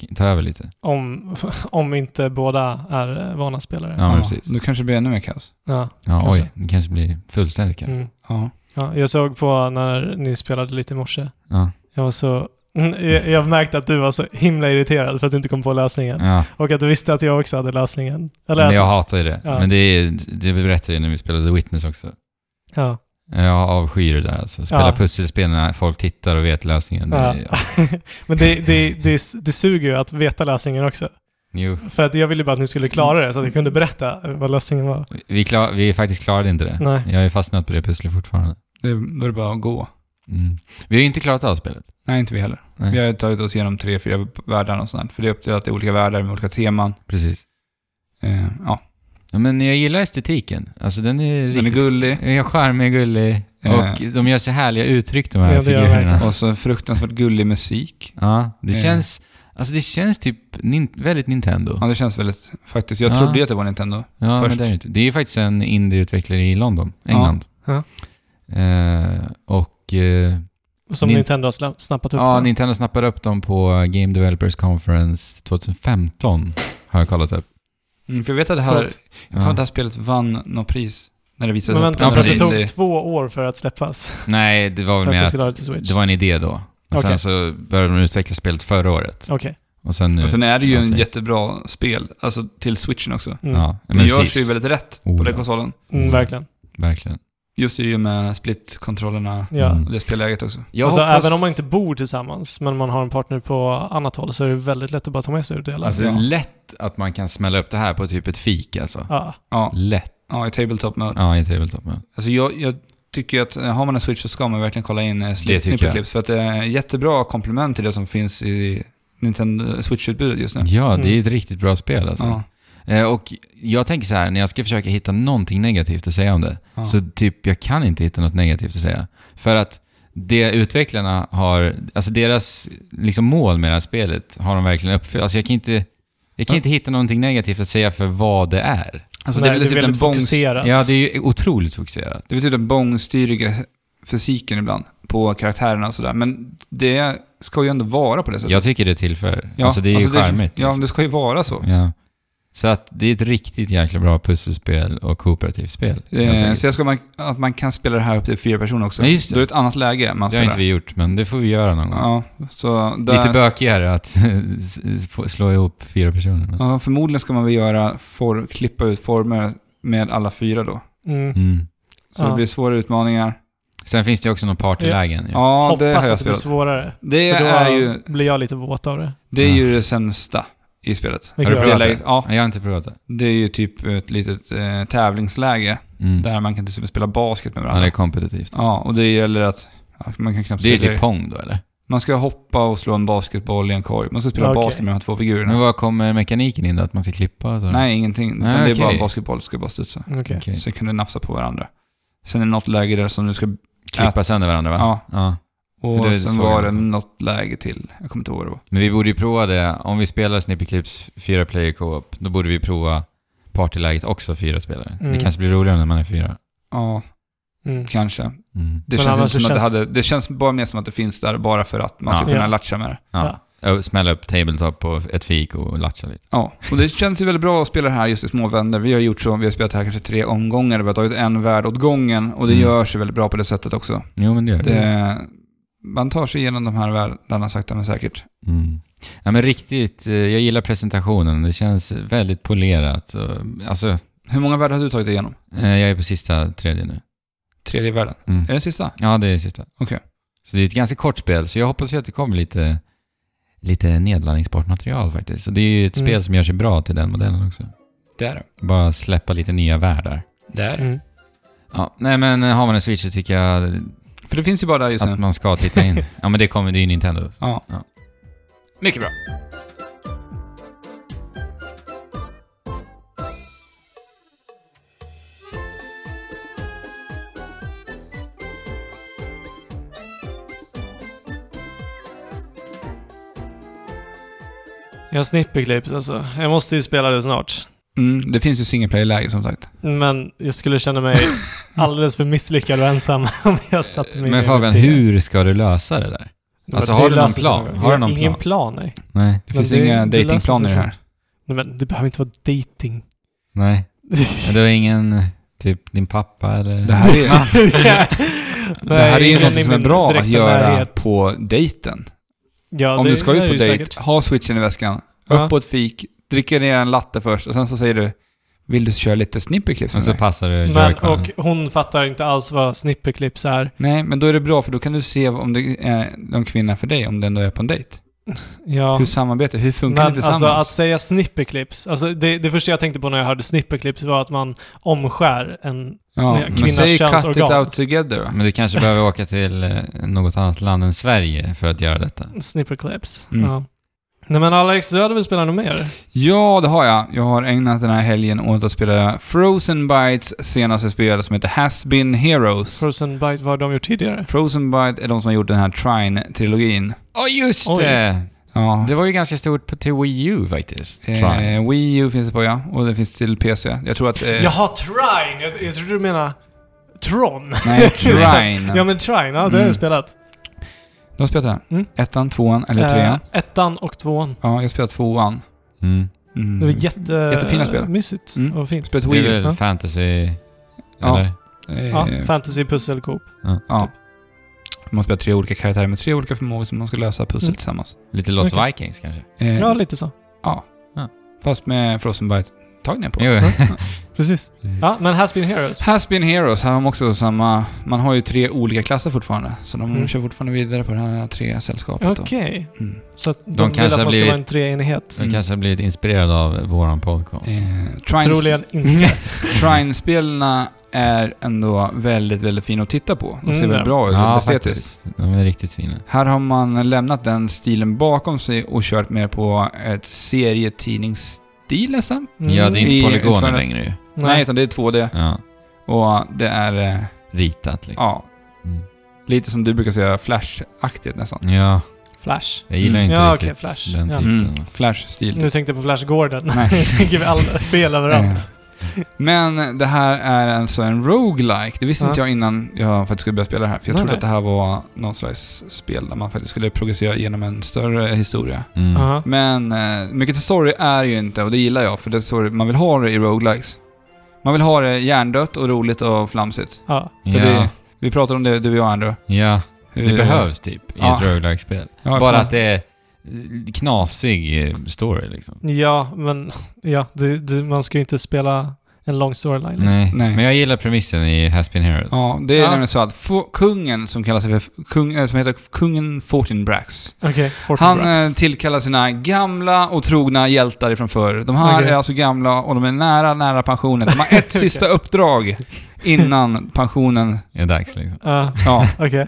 Speaker 2: k- ta över lite.
Speaker 3: Om, (laughs) om inte båda är eh, vana spelare.
Speaker 2: Ja, men precis.
Speaker 1: Då kanske det blir ännu mer kaos.
Speaker 3: Ja,
Speaker 2: Ja,
Speaker 3: Kanske.
Speaker 2: oj, det kanske blir fullständigt kanske.
Speaker 3: mm.
Speaker 1: Ja.
Speaker 3: ja, jag såg på när ni spelade lite i morse.
Speaker 2: Ja.
Speaker 3: Jag var så... (laughs) Mm, jag- Jag märkte att du var så himla irriterad för att du inte kom på lösningen.
Speaker 2: ja.
Speaker 3: Och att du visste att jag också hade lösningen. Eller
Speaker 2: Men jag
Speaker 3: att,
Speaker 2: hatar ju det.
Speaker 3: Ja.
Speaker 2: Men det, är, det berättade jag ju när vi spelade The Witness också.
Speaker 3: ja.
Speaker 2: Jag avskyr det där alltså. Spela
Speaker 3: Ja.
Speaker 2: pusselspel när folk tittar och vet lösningen. Det,
Speaker 3: Ja.
Speaker 2: är-
Speaker 3: Men det, det, det, det suger ju att veta lösningen också.
Speaker 2: Jo,
Speaker 3: För att jag ville bara att ni skulle klara det så att jag kunde berätta vad lösningen var.
Speaker 2: vi, klar, vi faktiskt klarade inte det.
Speaker 3: Nej.
Speaker 2: Jag är fastnat på det pusslet fortfarande.
Speaker 1: Det, då är det bara att gå.
Speaker 2: Mm. Vi har ju inte klarat av spelet.
Speaker 1: Nej, inte vi heller.
Speaker 2: Nej.
Speaker 1: Vi har tagit oss igenom tre, fyra världar och sånt. För det är uppdelat i olika världar med olika teman.
Speaker 2: Precis.
Speaker 1: Eh, ja.
Speaker 2: Ja, men jag gillar estetiken. Alltså den är
Speaker 1: Den är
Speaker 2: riktigt...
Speaker 1: gullig.
Speaker 2: Den är charmig, gullig.
Speaker 1: Ja.
Speaker 2: Och de gör så härliga uttryck de här
Speaker 3: Ja, det gör
Speaker 2: figurerna.
Speaker 3: verkligen.
Speaker 1: Och så fruktansvärt gullig musik.
Speaker 2: Ja, det
Speaker 1: Ja.
Speaker 2: känns... Alltså det känns typ nin, väldigt Nintendo.
Speaker 1: Ja, det känns väldigt... Faktiskt, jag
Speaker 2: Ja.
Speaker 1: trodde ju att det var Nintendo.
Speaker 2: Ja, men
Speaker 1: först.
Speaker 2: det är det inte. Det är ju faktiskt en indieutvecklare i London,
Speaker 1: Ja.
Speaker 2: England.
Speaker 3: Ja.
Speaker 2: Eh, och eh,
Speaker 3: Som
Speaker 2: Nin-
Speaker 3: Nintendo har sla- snappat upp
Speaker 2: ja,
Speaker 3: den.
Speaker 2: Nintendo snappade upp dem på Game Developers Conference 2015. Har jag kollat upp.
Speaker 1: Mm, för jag vet att det här,
Speaker 3: Coolt.
Speaker 1: jag får att det
Speaker 2: Ja.
Speaker 1: här spelet vann något pris. När det visades
Speaker 3: Men
Speaker 1: upp.
Speaker 3: vänta, alltså,
Speaker 2: Ja,
Speaker 3: så att det
Speaker 2: precis.
Speaker 3: tog två år för att släppas?
Speaker 2: Nej, det var
Speaker 3: För
Speaker 2: väl
Speaker 3: att
Speaker 2: mer
Speaker 3: jag
Speaker 2: att
Speaker 3: skulle ha det till Switch?
Speaker 2: det var en idé då. Och
Speaker 3: Okej.
Speaker 2: Sen så började de utveckla spelet förra året.
Speaker 3: Okej.
Speaker 2: Och sen nu.
Speaker 1: Och sen är det ju en
Speaker 2: Precis.
Speaker 1: jättebra spel, alltså till switchen också.
Speaker 3: Mm.
Speaker 2: Ja,
Speaker 1: Det
Speaker 2: men
Speaker 1: görs ju
Speaker 2: precis.
Speaker 1: väldigt rätt
Speaker 2: Oh,
Speaker 1: på den
Speaker 2: ja.
Speaker 1: konsolen.
Speaker 3: Mm, verkligen.
Speaker 2: Verkligen.
Speaker 1: Just i och med split-kontrollerna
Speaker 3: Ja.
Speaker 2: Mm.
Speaker 1: och det spelläget också.
Speaker 2: Jag
Speaker 3: alltså,
Speaker 2: hoppas-
Speaker 3: Även om man inte bor tillsammans, men man har en partner på annat håll, så är det väldigt lätt att bara ta med sig ut i alla
Speaker 2: Alltså det är
Speaker 1: Ja.
Speaker 2: lätt att man kan smälla upp det här på typ ett fik alltså.
Speaker 3: Ja.
Speaker 1: Ja,
Speaker 2: Lätt.
Speaker 1: ja i tabletop mode.
Speaker 2: Ja, i tabletop. ja.
Speaker 1: Alltså jag, jag tycker ju att eh, har man en switch så ska man verkligen kolla in eh,
Speaker 2: Det tycker jag.
Speaker 1: snippet-clips. För att det är jättebra komplement till det som finns i Nintendo Switch-utbudet just nu.
Speaker 2: Ja, det är
Speaker 3: Mm.
Speaker 2: ett riktigt bra spel alltså.
Speaker 1: Ja,
Speaker 2: Eh, Och jag tänker så här, när jag ska försöka hitta någonting negativt att säga om det,
Speaker 1: ja.
Speaker 2: så typ jag kan inte hitta något negativt att säga. För att det utvecklarna har, alltså deras liksom mål med det här spelet har de verkligen uppfyllt. Alltså jag kan inte, jag kan
Speaker 1: Ja.
Speaker 2: inte hitta någonting negativt att säga för vad det är.
Speaker 1: alltså
Speaker 3: Nej,
Speaker 1: det är väl typ den,
Speaker 3: väldigt
Speaker 1: bångs, det
Speaker 3: fokuserat.
Speaker 2: Ja, det är ju otroligt fokuserat.
Speaker 1: är väl typ den bångstyriga fysiken ibland på karaktärerna och sådär. Men det ska ju ändå vara på det sättet.
Speaker 2: Jag tycker det tillför. alltså det är ju charmigt.
Speaker 1: Ja, men
Speaker 2: liksom.
Speaker 1: det ska ju vara så.
Speaker 2: Ja. Så att det är ett riktigt jäkla bra pusselspel och kooperativt spel. helt
Speaker 1: Eh,
Speaker 2: enkelt.
Speaker 1: så jag ska man, att man kan spela det här upp till fyra personer också.
Speaker 2: Ja, just det.
Speaker 1: Då är det ett annat läge man
Speaker 2: Det har
Speaker 1: spelar.
Speaker 2: inte vi gjort, men det får vi göra någon gång.
Speaker 1: Ja, så där,
Speaker 2: Lite bökigare att (laughs) s- s- få- slå ihop fyra personer. men-
Speaker 1: Ja, förmodligen ska man väl göra for, klippa ut former med alla fyra då.
Speaker 3: Mm.
Speaker 2: Mm.
Speaker 1: Så
Speaker 3: Ja.
Speaker 1: det blir svåra utmaningar.
Speaker 2: Sen finns det ju också någon partylägen. ju.
Speaker 1: Ja,
Speaker 3: Hoppas
Speaker 1: det har jag
Speaker 3: att det blir
Speaker 1: spelat.
Speaker 3: svårare.
Speaker 1: Det
Speaker 3: För då
Speaker 1: är ju
Speaker 3: blir jag lite våt av det.
Speaker 1: det, är ju
Speaker 2: Ja.
Speaker 1: det sämsta i spelet.
Speaker 3: Vilket
Speaker 1: Det
Speaker 2: bra.
Speaker 1: läget- Ja,
Speaker 2: Jag har inte provat det.
Speaker 1: det är ju typ ett litet eh, tävlingsläge
Speaker 2: Mm.
Speaker 1: där man kan till exempel spela basket med
Speaker 2: Ja, det
Speaker 1: varandra.
Speaker 2: är
Speaker 1: Ja,
Speaker 2: kompetitivt.
Speaker 1: och det gäller att ja, man kan knappt
Speaker 2: Det är
Speaker 1: se
Speaker 2: typ pong då, eller?
Speaker 1: Man ska hoppa och slå en basketboll i en korg. Man ska spela
Speaker 3: Okej.
Speaker 1: basket med de här två figurerna.
Speaker 2: Men vad kommer mekaniken in då? Att man ska klippa? och Så?
Speaker 1: Nej, ingenting. Utan
Speaker 2: Mm. Nej,
Speaker 1: det är
Speaker 2: okej.
Speaker 1: bara en basketboll, ska bara studsa.
Speaker 3: Okej.
Speaker 2: Okej.
Speaker 1: Sen kan du nafsa på varandra. Sen är det något läge där som du ska...
Speaker 2: Klippa sönder varandra, va?
Speaker 1: Ja.
Speaker 2: För
Speaker 1: Och
Speaker 2: det
Speaker 1: sen
Speaker 2: såg
Speaker 1: var
Speaker 2: jag
Speaker 1: det
Speaker 2: också.
Speaker 1: något läge till. Jag kommer inte ihåg vad det var.
Speaker 2: Men vi borde ju prova det. Om vi spelar Snippy Clips 4 player co-op, då borde vi prova partyläget också fyra spelare.
Speaker 3: Mm.
Speaker 2: Det kanske blir roligare när man är fyra.
Speaker 1: Ja,
Speaker 3: Mm.
Speaker 1: kanske.
Speaker 2: Mm.
Speaker 1: Det
Speaker 3: Men
Speaker 1: känns,
Speaker 3: annars
Speaker 1: inte som
Speaker 3: så
Speaker 1: att det,
Speaker 3: känns-
Speaker 1: hade, det känns bara mer som att det finns där bara för att man ska
Speaker 2: Ja.
Speaker 1: kunna
Speaker 3: Ja.
Speaker 1: latcha med det.
Speaker 2: Ja. Och Smälla upp tabletop och ett fik och latcha lite.
Speaker 1: Ja, och det känns ju väldigt bra att spela det här just i små vänner. Vi har gjort så, vi har spelat det här kanske tre omgångar. Vi har tagit en värld åt gången och det
Speaker 2: Mm.
Speaker 1: gör sig väldigt bra på det sättet också.
Speaker 2: Jo, men det gör det.
Speaker 1: Det, man tar sig igenom de här världarna sakta men säkert.
Speaker 2: Mm. Ja, men riktigt. eh, Jag gillar presentationen. Det känns väldigt polerat. och- Alltså,
Speaker 1: Hur många världar har du tagit igenom?
Speaker 2: eh, jag är på sista tredje nu.
Speaker 1: Tredje världen.
Speaker 2: Mm.
Speaker 1: Är det sista?
Speaker 2: Ja, det är sista.
Speaker 1: Okej.
Speaker 2: Så det är ett ganska kort spel, så jag hoppas ju att det kommer lite, lite nedladdningsbart material faktiskt. Så det är ju ett
Speaker 3: Mm.
Speaker 2: spel som gör sig bra till den modellen också.
Speaker 1: Det är det.
Speaker 2: Bara släppa lite nya världar.
Speaker 1: det är
Speaker 3: Mm.
Speaker 2: Ja, nej men eh, har man en Switch så tycker jag
Speaker 1: För det finns ju bara där just
Speaker 2: att
Speaker 1: nu.
Speaker 2: man ska titta in. ja, men det kommer, det är ju Nintendo.
Speaker 1: Ja.
Speaker 2: Ja.
Speaker 1: Mycket bra.
Speaker 3: Jag har snippeklips alltså. Jag måste ju spela det snart.
Speaker 1: Mm, det finns ju single player-läge som sagt.
Speaker 3: Men jag skulle känna mig alldeles för misslyckad och ensam (laughs) om jag satte mig
Speaker 2: Men
Speaker 3: in i
Speaker 2: Fabian,
Speaker 3: det.
Speaker 2: hur ska du lösa det där?
Speaker 3: Men
Speaker 2: alltså,
Speaker 3: det
Speaker 2: har du någon
Speaker 3: löser sig
Speaker 2: plan?
Speaker 3: nog.
Speaker 2: Har
Speaker 3: Jag
Speaker 2: du någon
Speaker 3: ingen plan? Nej.
Speaker 2: Nej,
Speaker 1: Det
Speaker 3: Men
Speaker 1: finns
Speaker 3: det-
Speaker 1: inga
Speaker 3: det löser
Speaker 1: datingplaner i det
Speaker 3: sig
Speaker 1: här.
Speaker 3: Nej, men det behöver inte vara dating.
Speaker 2: nej.
Speaker 3: (laughs)
Speaker 2: Men Du har ingen, eh, typ din pappa eller?
Speaker 1: Det här är, det här är
Speaker 3: Nej,
Speaker 1: ju
Speaker 3: ingen
Speaker 1: något
Speaker 3: i
Speaker 1: som är
Speaker 3: min
Speaker 1: bra att
Speaker 3: direkta
Speaker 1: göra
Speaker 3: närhet.
Speaker 1: på dejten.
Speaker 3: Ja,
Speaker 1: Om
Speaker 3: det
Speaker 1: du ska ut
Speaker 3: är
Speaker 1: på
Speaker 3: ju
Speaker 1: dejt,
Speaker 3: säkert.
Speaker 1: ha switchen i väskan,
Speaker 3: Ja.
Speaker 1: upp på ett fik, dricka ner en latte först och sen så säger du Vill du köra lite snipperclips
Speaker 2: Och
Speaker 1: med
Speaker 2: så
Speaker 1: mig?
Speaker 2: passar du
Speaker 1: eh,
Speaker 3: Men,
Speaker 2: Joy-Conen.
Speaker 3: och hon fattar inte alls vad snipperklips är.
Speaker 1: Nej, men då är det bra för då kan du se om det är någon kvinna för dig, om den då är på en dejt.
Speaker 3: Ja.
Speaker 1: Hur samarbetar, hur funkar
Speaker 3: Men
Speaker 1: det tillsammans?
Speaker 3: alltså att säga snipperklips, alltså det, det första jag tänkte på när jag hörde snipperklips var att man omskär en...
Speaker 1: ja,
Speaker 3: med
Speaker 1: men
Speaker 3: kvinnans
Speaker 1: säg cut it
Speaker 3: könsorgan.
Speaker 1: out together då.
Speaker 2: Men du kanske behöver åka till eh, något annat land än Sverige för att göra detta.
Speaker 3: Snipperklips.
Speaker 1: Mm.
Speaker 3: Ja. Nej men Alex, du hade väl spelat något mer?
Speaker 1: Ja, det har jag. Jag har ägnat den här helgen åt att spela Frozen Bytes senaste spel som heter Has Been Heroes.
Speaker 3: Frozen Bite, vad har de gjort tidigare?
Speaker 1: Frozen Byte är de som har gjort den här Trine-trilogin.
Speaker 2: Ja, just
Speaker 3: Oj.
Speaker 2: det!
Speaker 1: Ja.
Speaker 2: Det var ju ganska stort på, till Wii U faktiskt. Try.
Speaker 1: Eh, Wii U finns det på ja, och det finns till PC. Jag tror att... Eh,
Speaker 3: Jaha, Trine! Jag, jag trodde du menade Tron.
Speaker 1: (laughs) Nej, Trine.
Speaker 3: (laughs) ja men Trine, ja, det har
Speaker 1: Mm.
Speaker 3: jag spelat.
Speaker 1: Du har spelat den?
Speaker 3: Mm.
Speaker 1: Ettan, tvåan eller trean?
Speaker 3: Eh, ettan och tvåan.
Speaker 1: Ja, jag har spelat tvåan.
Speaker 2: Mm.
Speaker 1: Mm.
Speaker 3: Det var jätte,
Speaker 1: Jättefina spel.
Speaker 3: Mysigt
Speaker 1: Mm.
Speaker 3: och fint.
Speaker 1: Spelat
Speaker 2: Det är
Speaker 1: Wii.
Speaker 2: väl
Speaker 3: Ja.
Speaker 2: fantasy...
Speaker 1: Ja.
Speaker 2: Eller?
Speaker 1: Eh,
Speaker 3: Ja, fantasy, pussel, coop.
Speaker 1: ja. Man spelar tre olika karaktärer med tre olika förmågor som man ska lösa pussel
Speaker 3: Mm.
Speaker 1: tillsammans.
Speaker 2: Lite Lost
Speaker 3: Okej.
Speaker 2: Vikings kanske?
Speaker 1: Eh,
Speaker 3: Ja, lite så.
Speaker 1: Fast med Frostbite-tagningar på. Mm.
Speaker 2: Jo.
Speaker 3: Precis.
Speaker 2: Mm.
Speaker 3: Ja, men Has Been Heroes.
Speaker 1: Has been heroes, här har man också samma... Man har ju tre olika klasser fortfarande. Så de
Speaker 3: Mm.
Speaker 1: kör fortfarande vidare på det här tre sällskapet. då.
Speaker 3: Okej.
Speaker 1: Mm.
Speaker 3: Så att de,
Speaker 2: De
Speaker 3: vill att
Speaker 2: kanske
Speaker 3: man
Speaker 2: har
Speaker 3: ska
Speaker 2: blivit-
Speaker 3: vara en treenighet.
Speaker 2: De kanske har blivit inspirerade av våran podcast.
Speaker 1: Eh, Trine-
Speaker 3: Troligen inte.
Speaker 1: (laughs) Trine-spelarna är ändå väldigt, väldigt fina att titta på. De ser
Speaker 3: Mm,
Speaker 1: väldigt
Speaker 3: ja.
Speaker 1: bra ut,
Speaker 2: ja,
Speaker 1: estetiskt.
Speaker 2: faktiskt. De är riktigt fina.
Speaker 1: Här har man lämnat den stilen bakom sig och kört mer på ett serietidningsstil nästan.
Speaker 3: Mm.
Speaker 2: Ja, det är
Speaker 1: I-
Speaker 2: inte polygoner
Speaker 1: utvärlden.
Speaker 2: längre ju.
Speaker 1: Nej. utan det är 2D.
Speaker 2: Ja.
Speaker 1: Och det är, eh,
Speaker 2: Ritat liksom.
Speaker 1: ja,
Speaker 2: Mm.
Speaker 1: lite som du brukar säga, Flash-aktigt nästan.
Speaker 2: Ja,
Speaker 3: Flash.
Speaker 2: jag gillar
Speaker 1: Mm.
Speaker 2: inte
Speaker 3: Ja,
Speaker 2: riktigt
Speaker 3: okej, Flash.
Speaker 2: den
Speaker 3: Ja.
Speaker 2: typen.
Speaker 1: Mm, Flash-stil.
Speaker 3: Nu tänkte jag på Flash Gordon.
Speaker 1: Nej.
Speaker 3: (laughs) Tänker vi
Speaker 1: (laughs)
Speaker 3: alla fel överallt.
Speaker 1: Men det här är alltså en roguelike. Det visste
Speaker 3: Ja.
Speaker 1: inte jag innan jag faktiskt skulle börja spela det här. För jag
Speaker 3: Nej,
Speaker 1: trodde
Speaker 3: nej.
Speaker 1: att det här var någon slags spel där man faktiskt skulle progressera genom en större historia.
Speaker 2: Mm.
Speaker 3: Aha.
Speaker 1: Men eh, mycket till story är ju inte, och det gillar jag, för det är story man vill ha det i roguelikes. Man vill ha det hjärndött och roligt och flamsigt.
Speaker 3: Ja.
Speaker 1: För
Speaker 2: Ja,
Speaker 1: det, vi pratade om det, du och jag Andrew.
Speaker 2: ja, det
Speaker 1: Hur-
Speaker 2: behövs typ i
Speaker 1: Ja.
Speaker 2: ett roguelike-spel.
Speaker 1: Ja,
Speaker 2: Bara
Speaker 1: fan.
Speaker 2: att det är knasig eh, story liksom.
Speaker 3: ja, men (laughs) ja, det, det, man ska ju inte spela en lång storyline. Liksom.
Speaker 2: Nej.
Speaker 1: Nej.
Speaker 2: men jag gillar premissen i Has Been Heroes.
Speaker 1: Ja, det är
Speaker 3: Ja.
Speaker 1: nämligen så att få- kungen som kallar sig för, kung, eh, som heter kungen Fortinbrax.
Speaker 3: Okej,
Speaker 1: Han eh,
Speaker 3: Fortinbrax.
Speaker 1: tillkallar sina gamla och trogna hjältar ifrån förr. De här
Speaker 3: Okej.
Speaker 1: är alltså gamla och de är nära, nära pensionen. De har
Speaker 3: (laughs)
Speaker 1: ett
Speaker 3: Okej.
Speaker 1: sista uppdrag innan pensionen.
Speaker 2: Det är dags liksom.
Speaker 3: Ja,
Speaker 1: Ja,
Speaker 3: okej.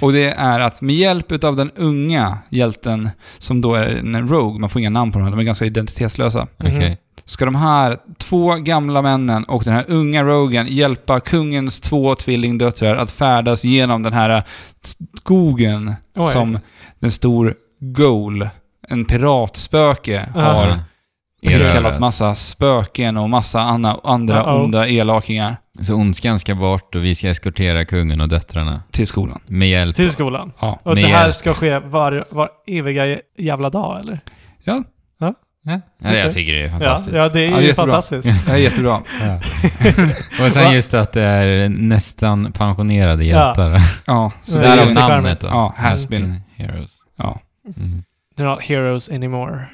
Speaker 1: och det är att med hjälp av den unga hjälten, som då är en rogue, man får inga namn på dem, de är ganska identitetslösa.
Speaker 3: Mhm.
Speaker 2: Okej.
Speaker 1: Ska de här två gamla männen och den här unga rogen hjälpa kungens två tvillingdöttrar att färdas genom den här skogen
Speaker 3: Oj.
Speaker 1: som en stor goal, en piratspöke,
Speaker 3: Ja.
Speaker 1: har
Speaker 2: Ja.
Speaker 1: tillkallat
Speaker 2: Erövrat.
Speaker 1: massa spöken och massa anna, andra
Speaker 3: Uh-oh.
Speaker 1: onda elakingar
Speaker 2: Så ondskan ska bort och vi ska eskortera kungen och döttrarna.
Speaker 1: till skolan.
Speaker 2: Med hjälp.
Speaker 3: Till skolan.
Speaker 1: Ja.
Speaker 3: Och
Speaker 2: Med
Speaker 3: det här
Speaker 2: hjälp.
Speaker 3: ska ske var, var eviga jävla dag, eller?
Speaker 2: Ja,
Speaker 3: Okej.
Speaker 2: Jag tycker det är
Speaker 3: Ja,
Speaker 2: fantastiskt.
Speaker 3: ja, det är
Speaker 1: Ja,
Speaker 3: ju
Speaker 1: jättebra. (laughs)
Speaker 3: fantastiskt.
Speaker 1: Det är jättebra.
Speaker 2: (laughs) Och sen
Speaker 3: Va?
Speaker 2: just att det är nästan pensionerade hjältar.
Speaker 1: Ja, så
Speaker 3: Det
Speaker 2: (laughs)
Speaker 1: där har
Speaker 3: är
Speaker 2: Därav
Speaker 1: vi...
Speaker 3: jättebra.
Speaker 2: namnet då.
Speaker 1: Ja, has been.
Speaker 2: Aspen Heroes.
Speaker 1: Ja.
Speaker 2: Mm.
Speaker 3: They're not heroes anymore.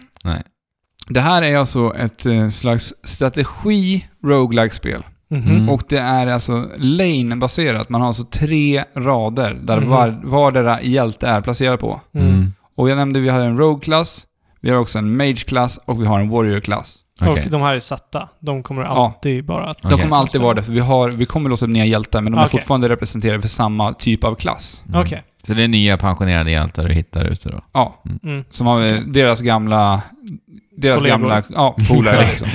Speaker 1: Det här är alltså ett eh, slags strategi roguelike spel
Speaker 3: Mhm.
Speaker 2: Mm.
Speaker 1: Och det är alltså lane-baserat. Man har alltså tre rader där
Speaker 3: Mhm.
Speaker 1: var, vardera hjälte är placerad på.
Speaker 3: Mm.
Speaker 2: Mm.
Speaker 1: Och jag nämnde vi har en rogue-klass, vi har också en mage-klass och vi har en warrior-klass.
Speaker 2: Okej.
Speaker 3: Och de här är satta. De kommer
Speaker 1: Mm, Ja.
Speaker 3: alltid bara att...
Speaker 1: De
Speaker 2: Okej.
Speaker 1: kommer alltid vara det, för vi, har, vi kommer låsa ner hjältar, men de är
Speaker 3: Okej.
Speaker 1: fortfarande representerade för samma typ av klass.
Speaker 2: Mm.
Speaker 3: Okej.
Speaker 2: Så det är nya pensionerade hjältar du hittar ute då?
Speaker 1: Ja,
Speaker 3: Mm.
Speaker 1: som har eh, deras gamla... Deras
Speaker 3: Kollegor.
Speaker 1: gamla...
Speaker 3: (laughs)
Speaker 1: Ja, polare liksom.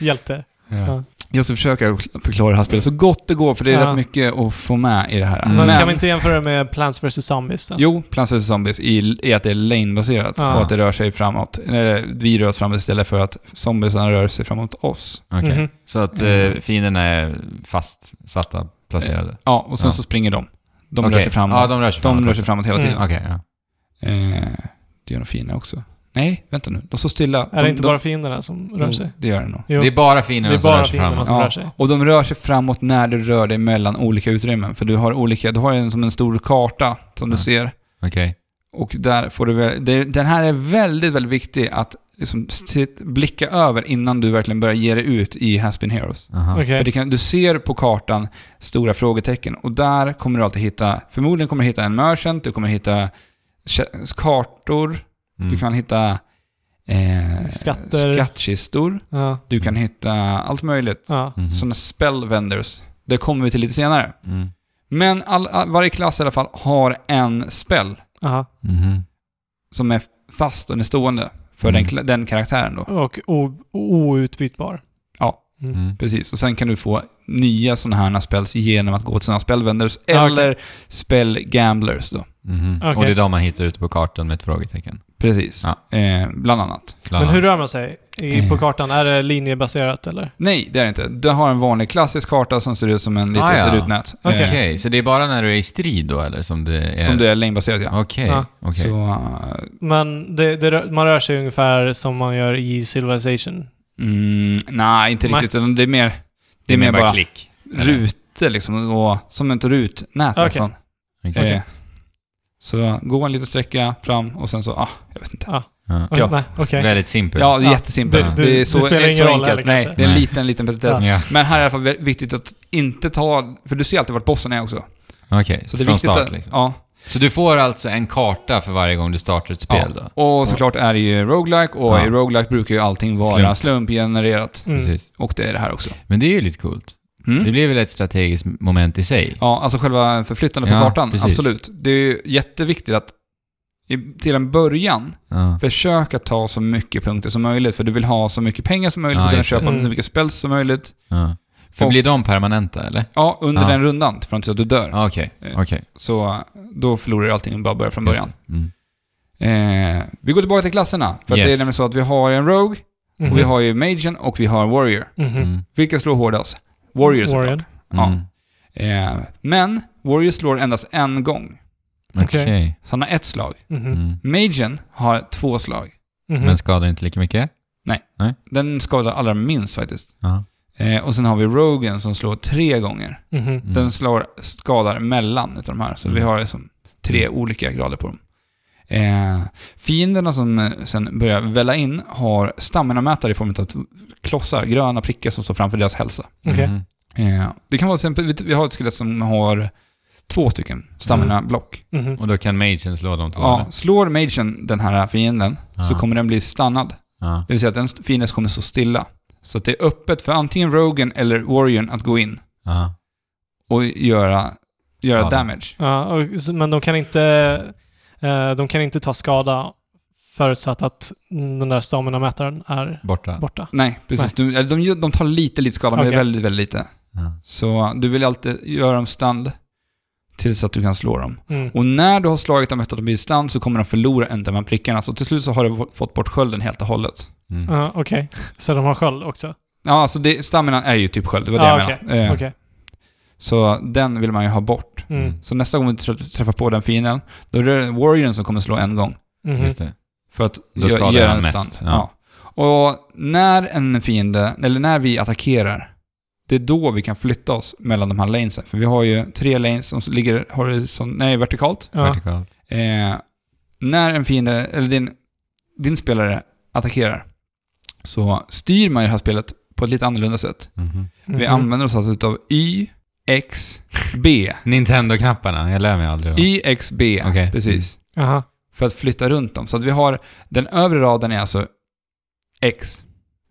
Speaker 3: Hjälte. Ja.
Speaker 1: Jag ska försöka förklara det här spelet så gott det går, för det är
Speaker 3: Ja.
Speaker 1: rätt mycket att få med i det här.
Speaker 2: Mm.
Speaker 3: Men,
Speaker 1: Men,
Speaker 3: kan vi inte jämföra med Plants vs Zombies då?
Speaker 1: jo, Plants vs. Zombies i, i att det är lane-baserat
Speaker 3: Ja.
Speaker 1: och att det rör sig framåt. Eh, Vi rör oss framåt istället för att zombiesarna rör sig framåt oss.
Speaker 2: Okej.
Speaker 3: Mhm.
Speaker 2: Så att
Speaker 1: Mm.
Speaker 2: eh, fienderna är fastsatta, placerade?
Speaker 1: Ja, och sen
Speaker 2: Ja.
Speaker 1: så springer de. De
Speaker 2: Okej.
Speaker 1: rör sig framåt.
Speaker 2: Ja, de rör sig
Speaker 1: de
Speaker 2: framåt.
Speaker 1: rör sig framåt hela
Speaker 3: Mm.
Speaker 1: tiden.
Speaker 2: också. Okej, ja.
Speaker 1: Eh, det gör de fina också. Nej, vänta nu. De står stilla.
Speaker 3: Är
Speaker 1: de,
Speaker 3: det inte
Speaker 1: de,
Speaker 3: bara fienderna som rör sig?
Speaker 1: Jo, det gör det nog.
Speaker 3: Jo.
Speaker 2: Det är bara
Speaker 3: Det
Speaker 2: fienderna
Speaker 3: är
Speaker 2: som rör
Speaker 3: bara
Speaker 2: sig
Speaker 3: fienderna
Speaker 2: framåt?
Speaker 3: som
Speaker 1: Ja.
Speaker 3: rör sig.
Speaker 1: Och de rör sig framåt när du rör dig mellan olika utrymmen. För du har olika, du har en som en stor karta som du
Speaker 2: Ja.
Speaker 1: ser.
Speaker 2: Okej.
Speaker 1: Och där får du väl, det, den här är väldigt, väldigt viktig att liksom sitt, blicka över innan du verkligen börjar ge dig ut i Haspin Heroes.
Speaker 2: Aha.
Speaker 3: Okej.
Speaker 1: För det kan, du ser på kartan stora frågetecken och där kommer du alltid hitta, förmodligen kommer du hitta en merchant, du kommer hitta kä- kartor,
Speaker 2: Mm.
Speaker 1: du kan hitta eh,
Speaker 3: Skatter.
Speaker 1: skattkistor,
Speaker 3: Ja.
Speaker 1: du kan hitta allt möjligt.
Speaker 3: Ja.
Speaker 2: Mhm.
Speaker 1: Sådana spell vendors. Det kommer vi till lite senare.
Speaker 2: Mm.
Speaker 1: Men all, all, varje klass i alla fall har en spell
Speaker 3: Aha.
Speaker 2: Mhm.
Speaker 1: som är fast och är stående för
Speaker 2: Mm.
Speaker 1: den, kla- den karaktären då.
Speaker 3: Och o- outbytbar.
Speaker 2: Mm.
Speaker 1: Precis, och sen kan du få nya sådana här spells genom att gå till sådana spell vendors eller spell gamblers då.
Speaker 2: Mhm.
Speaker 3: Okej.
Speaker 2: Och det är de man hittar ute på kartan med ett frågetecken.
Speaker 1: Precis, eh, bland annat.
Speaker 2: Bland
Speaker 3: Men hur
Speaker 2: annat.
Speaker 3: rör man sig? i, på
Speaker 2: Eh.
Speaker 3: kartan? Är det linjebaserat eller?
Speaker 1: Nej, det är det inte. Du har en vanlig klassisk karta som ser ut som en litet
Speaker 2: Ah, ja.
Speaker 1: rutnät. eh,
Speaker 2: Okej,
Speaker 3: Okej.
Speaker 2: så det är bara när du är i strid då eller som det är?
Speaker 1: Som du är längdbaserad, ja.
Speaker 2: Okej,
Speaker 3: Ja.
Speaker 2: okej.
Speaker 1: Så, eh,
Speaker 3: Men det, det, rör- man rör sig ungefär som man gör i Civilization.
Speaker 1: mm, nej, inte
Speaker 3: Nej.
Speaker 1: riktigt. utan Det är mer, det är mer bara
Speaker 2: klick. eller?
Speaker 1: rutor liksom. Och, som ett rutnät
Speaker 3: Okej.
Speaker 1: nästan.
Speaker 2: Okej.
Speaker 1: Eh, Så gå en liten sträcka fram och sen så, ah, jag vet inte.
Speaker 2: Ja.
Speaker 3: Oj,
Speaker 1: Ja.
Speaker 3: Nej, okej.
Speaker 2: Väldigt simpelt.
Speaker 1: Ja, det är
Speaker 3: Ja,
Speaker 1: jättesimpelt.
Speaker 2: det-
Speaker 1: Det,
Speaker 3: det-
Speaker 1: är så,
Speaker 3: det spelar
Speaker 1: det är
Speaker 3: ingen
Speaker 1: så
Speaker 3: roll
Speaker 1: enkelt.
Speaker 3: heller
Speaker 1: Nej, det
Speaker 3: kanske.
Speaker 1: är en
Speaker 2: Nej.
Speaker 1: liten, liten petitess.
Speaker 3: Ja.
Speaker 2: Ja,
Speaker 1: Men här är i alla fall vä- viktigt att inte ta, för du ser alltid vart bossen är också.
Speaker 2: Okej,
Speaker 1: Så det är
Speaker 2: från
Speaker 1: viktigt
Speaker 2: start
Speaker 1: att,
Speaker 2: liksom.
Speaker 1: ja,
Speaker 2: Så du får alltså en karta för varje gång du startar ett spel då?
Speaker 1: Och såklart är det ju roguelike och
Speaker 2: Ja.
Speaker 1: i roguelike brukar ju allting vara
Speaker 2: Slump.
Speaker 1: slumpgenererat.
Speaker 3: Mm.
Speaker 2: Precis.
Speaker 1: Och det är det här också.
Speaker 2: Men det är ju lite coolt. Det
Speaker 1: Mm.
Speaker 2: blir väl ett strategiskt moment i sig?
Speaker 1: Ja, alltså själva förflyttandet på
Speaker 2: Ja,
Speaker 1: kartan,
Speaker 2: precis.
Speaker 1: absolut. Det är ju jätteviktigt att i- till en början
Speaker 2: Ja.
Speaker 1: försöka ta så mycket punkter som möjligt för du vill ha så mycket pengar som möjligt
Speaker 2: Ja,
Speaker 1: för att kunna
Speaker 2: just det.
Speaker 1: köpa
Speaker 3: Mm.
Speaker 1: så mycket spels som möjligt.
Speaker 2: ja. För
Speaker 1: Och-
Speaker 2: blir de permanenta eller?
Speaker 1: Ja, under
Speaker 2: Ja.
Speaker 1: den rundan fram tills att du dör.
Speaker 2: Ja, Okej,
Speaker 1: Eh,
Speaker 2: okej.
Speaker 1: Så då förlorar du allting och bara börjar från
Speaker 2: Just
Speaker 1: början.
Speaker 2: det. Mm.
Speaker 1: Eh, vi går tillbaka till klasserna. För
Speaker 2: Yes.
Speaker 1: att det är nämligen så att vi har en Rogue,
Speaker 3: Mhm.
Speaker 1: och vi har ju Magen och vi har Warrior.
Speaker 3: Mhm.
Speaker 2: Mm.
Speaker 1: Vilka slår hårdast? Warrior såklart.
Speaker 3: Warrior.
Speaker 1: Ja.
Speaker 2: Mm.
Speaker 1: Eh, men Warrior slår endast en gång,
Speaker 2: Okej.
Speaker 3: Okej.
Speaker 1: så han har ett slag.
Speaker 3: Mhm.
Speaker 2: Mm.
Speaker 1: Magen har två slag.
Speaker 3: Mhm.
Speaker 2: Men skadar inte lika mycket?
Speaker 1: Den skadar allra minst faktiskt.
Speaker 2: Ja.
Speaker 1: Eh, och sen har vi Rogen som slår tre gånger.
Speaker 3: Mhm.
Speaker 2: Mm.
Speaker 1: Den slår, skadar mellan utav de här, så
Speaker 2: Mm.
Speaker 1: vi har liksom tre olika grader på dem. Eh, fienderna som eh, sen börjar välla in har stamina-mätare i form av t- klossar, gröna prickar som står framför deras hälsa.
Speaker 3: Okej.
Speaker 2: Mm.
Speaker 1: Eh, det kan vara till exempel, vi- vi har ett skelett som har två stycken
Speaker 2: Mm.
Speaker 1: stamina-block.
Speaker 3: Mhm.
Speaker 2: Och då kan magen slå de två?
Speaker 1: Ja,
Speaker 2: eller?
Speaker 1: slår magen den här fienden så
Speaker 2: Ja.
Speaker 1: kommer den bli stannad.
Speaker 2: Ja.
Speaker 1: Det vill säga att den fienden kommer stå stilla. Så att det är öppet för antingen rogen eller warriorn att gå in
Speaker 2: Ja.
Speaker 1: och göra, göra
Speaker 2: Skada.
Speaker 1: damage.
Speaker 3: Ja, och, så- men de kan inte eh, de kan inte ta skada förutsatt att den där stamina-mätaren är
Speaker 2: Borta.
Speaker 3: borta.
Speaker 1: Nej, precis. Du, eller de, gör- de tar lite, lite skada, men det
Speaker 3: Okej.
Speaker 1: är väldigt, väldigt lite.
Speaker 2: Ja.
Speaker 1: Så du vill alltid göra dem stand tills att du kan slå dem.
Speaker 3: Mm.
Speaker 1: Och när du har slagit dem efter att de blir stand så kommer de förlora en av de här prickarna. Så till slut så har du v- fått bort skölden helt och hållet.
Speaker 2: Mm.
Speaker 3: Ja, Okej, så de har sköld också?
Speaker 1: Ja, alltså det, stamina är ju typ sköld, det var det
Speaker 3: Ja,
Speaker 1: jag
Speaker 3: okej.
Speaker 1: menade. Eh,
Speaker 3: Okej.
Speaker 1: Så den vill man ju ha bort.
Speaker 3: Mm.
Speaker 2: Mm.
Speaker 1: Så nästa gång vi tr- träffar på den fienden, då är det Warriorn som kommer slå en gång.
Speaker 3: Mhm.
Speaker 2: Just det.
Speaker 1: För att
Speaker 2: Då
Speaker 1: gö-
Speaker 2: skadar
Speaker 1: göra
Speaker 2: han
Speaker 1: en
Speaker 2: mest,
Speaker 1: stand.
Speaker 2: ja.
Speaker 1: Ja. Och när en fiende, eller när vi attackerar, det är då vi kan flytta oss mellan de här lanesen. För vi har ju tre lanes som ligger horizon, nej, vertikalt.
Speaker 3: Ja.
Speaker 2: Vertikalt.
Speaker 1: Eh, när en fiende, eller din, din spelare attackerar, så styr man ju det här spelet på ett lite annorlunda sätt.
Speaker 2: Mhm.
Speaker 1: Vi
Speaker 3: Mhm.
Speaker 1: använder oss alltså utav Y, X,
Speaker 2: (laughs)
Speaker 1: B.
Speaker 2: Nintendo-knapparna, jag lär mig aldrig. dem.
Speaker 1: Y, X, B.
Speaker 2: Okej.
Speaker 1: Precis.
Speaker 3: Aha.
Speaker 1: för att flytta runt dem. Så att vi har, den övre raden är alltså X.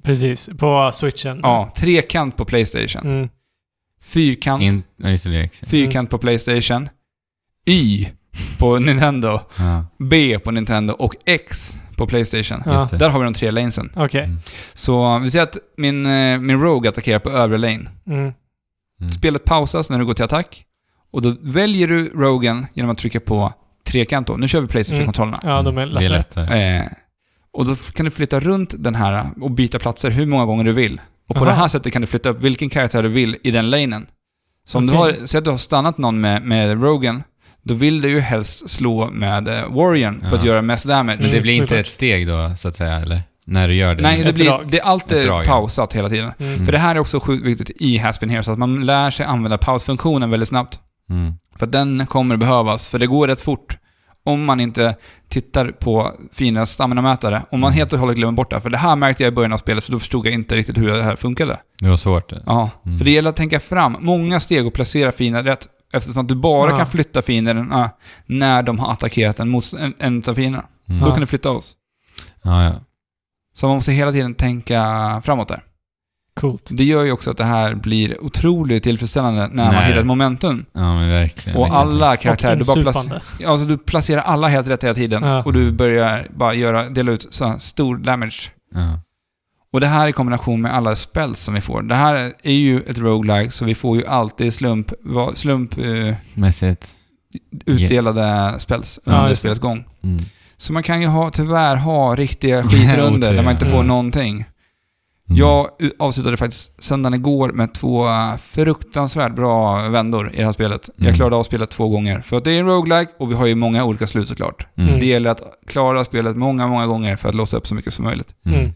Speaker 3: Precis, på switchen.
Speaker 1: Ja, trekant på Playstation.
Speaker 3: Mm.
Speaker 1: Fyrkant,
Speaker 2: In, ja, just det, det är X.
Speaker 1: fyrkant på Playstation. Y på (laughs) Nintendo.
Speaker 2: Ja,
Speaker 1: B på Nintendo och X på Playstation.
Speaker 3: Ja.
Speaker 2: just det. Mm.
Speaker 1: Där har vi de tre lanesen.
Speaker 3: Okej.
Speaker 1: Så vi ser att min, eh, min Rogue attackerar på övre lane.
Speaker 3: Mm.
Speaker 2: Mm.
Speaker 1: Spelet pausas när du går till attack. Och då väljer du Rogen genom att trycka på trekant då. Nu kör vi Playstation-kontrollerna.
Speaker 3: Ja, de är
Speaker 2: Mm. Det är
Speaker 3: lättare.
Speaker 2: lättare.
Speaker 1: Eh, och då f- kan du flytta runt den här och byta platser hur många gånger du vill. Och på
Speaker 3: Aha.
Speaker 1: det här sättet kan du flytta upp vilken karaktär du vill i den lanen. Så om
Speaker 3: Okej.
Speaker 1: du har, säg att du har stannat någon med, med Rogan, då vill du ju helst slå med eh, Warrior för att
Speaker 2: Ja.
Speaker 1: göra mest damage.
Speaker 2: Men det
Speaker 3: Mm,
Speaker 2: blir inte
Speaker 3: såklart.
Speaker 2: ett steg då, så att säga, eller? När du gör det?
Speaker 1: Nej, det,
Speaker 3: Ett
Speaker 1: blir,
Speaker 3: drag.
Speaker 1: det är
Speaker 2: Ett
Speaker 1: alltid
Speaker 2: drag, ja.
Speaker 1: pausat hela tiden.
Speaker 3: Mm.
Speaker 1: För det här är också sjukt viktigt i Haspin här, så att man lär sig använda pausfunktionen väldigt snabbt.
Speaker 2: Mm.
Speaker 1: För att den kommer behövas, för det går rätt fort. Om man inte tittar på fiendernas stamina-mätare. Om man helt och hållet glömmer bort det. här. För det här märkte jag i början av spelet, för då förstod jag inte riktigt hur det här funkade.
Speaker 2: Det var svårt. det.
Speaker 1: Ja,
Speaker 2: Mm.
Speaker 1: för det gäller att tänka fram många steg och placera fienden rätt. Eftersom att du bara
Speaker 3: Ja.
Speaker 1: kan flytta fienderna när de har attackerat en, motst- en, en av fienderna.
Speaker 2: Mm.
Speaker 1: Då
Speaker 3: Ja.
Speaker 1: kan du flytta oss.
Speaker 2: Ja, ja.
Speaker 1: Så man måste hela tiden tänka framåt där.
Speaker 3: Coolt.
Speaker 1: Det gör ju också att det här blir otroligt tillfredsställande när man
Speaker 2: Nej.
Speaker 1: hittar ett momentum.
Speaker 2: ja, men verkligen.
Speaker 1: Och
Speaker 2: verkligen.
Speaker 1: alla
Speaker 3: Och
Speaker 1: karaktärer, du bara placerar...
Speaker 3: insupande.
Speaker 1: Ja, Alltså du placerar alla helt rätt hela tiden
Speaker 3: Ja.
Speaker 1: och du börjar bara göra, dela ut så här stor damage.
Speaker 2: Ja.
Speaker 1: Och det här i kombination med alla spells som vi får. Det här är ju ett roguelike så vi får ju alltid slump, va- slump eh,
Speaker 2: Mässigt.
Speaker 1: utdelade spells
Speaker 2: Ja,
Speaker 1: under
Speaker 3: just det.
Speaker 1: spelets gång.
Speaker 2: Mm.
Speaker 1: Så man kan ju ha, tyvärr ha riktiga
Speaker 2: Ja, (laughs)
Speaker 1: skitrunder där man inte
Speaker 2: otur,
Speaker 1: får
Speaker 2: ja. Mm.
Speaker 1: någonting. Jag avslutade faktiskt söndagen igår med två eh, fruktansvärt bra vändor i det här spelet.
Speaker 2: Mm.
Speaker 1: Jag klarade av spelet två gånger. För att det är en roguelike och vi har ju många olika slut såklart.
Speaker 2: Mm.
Speaker 1: Det gäller att klara spelet många, många gånger för att låsa upp så mycket som möjligt.
Speaker 2: Mm.
Speaker 3: Mm.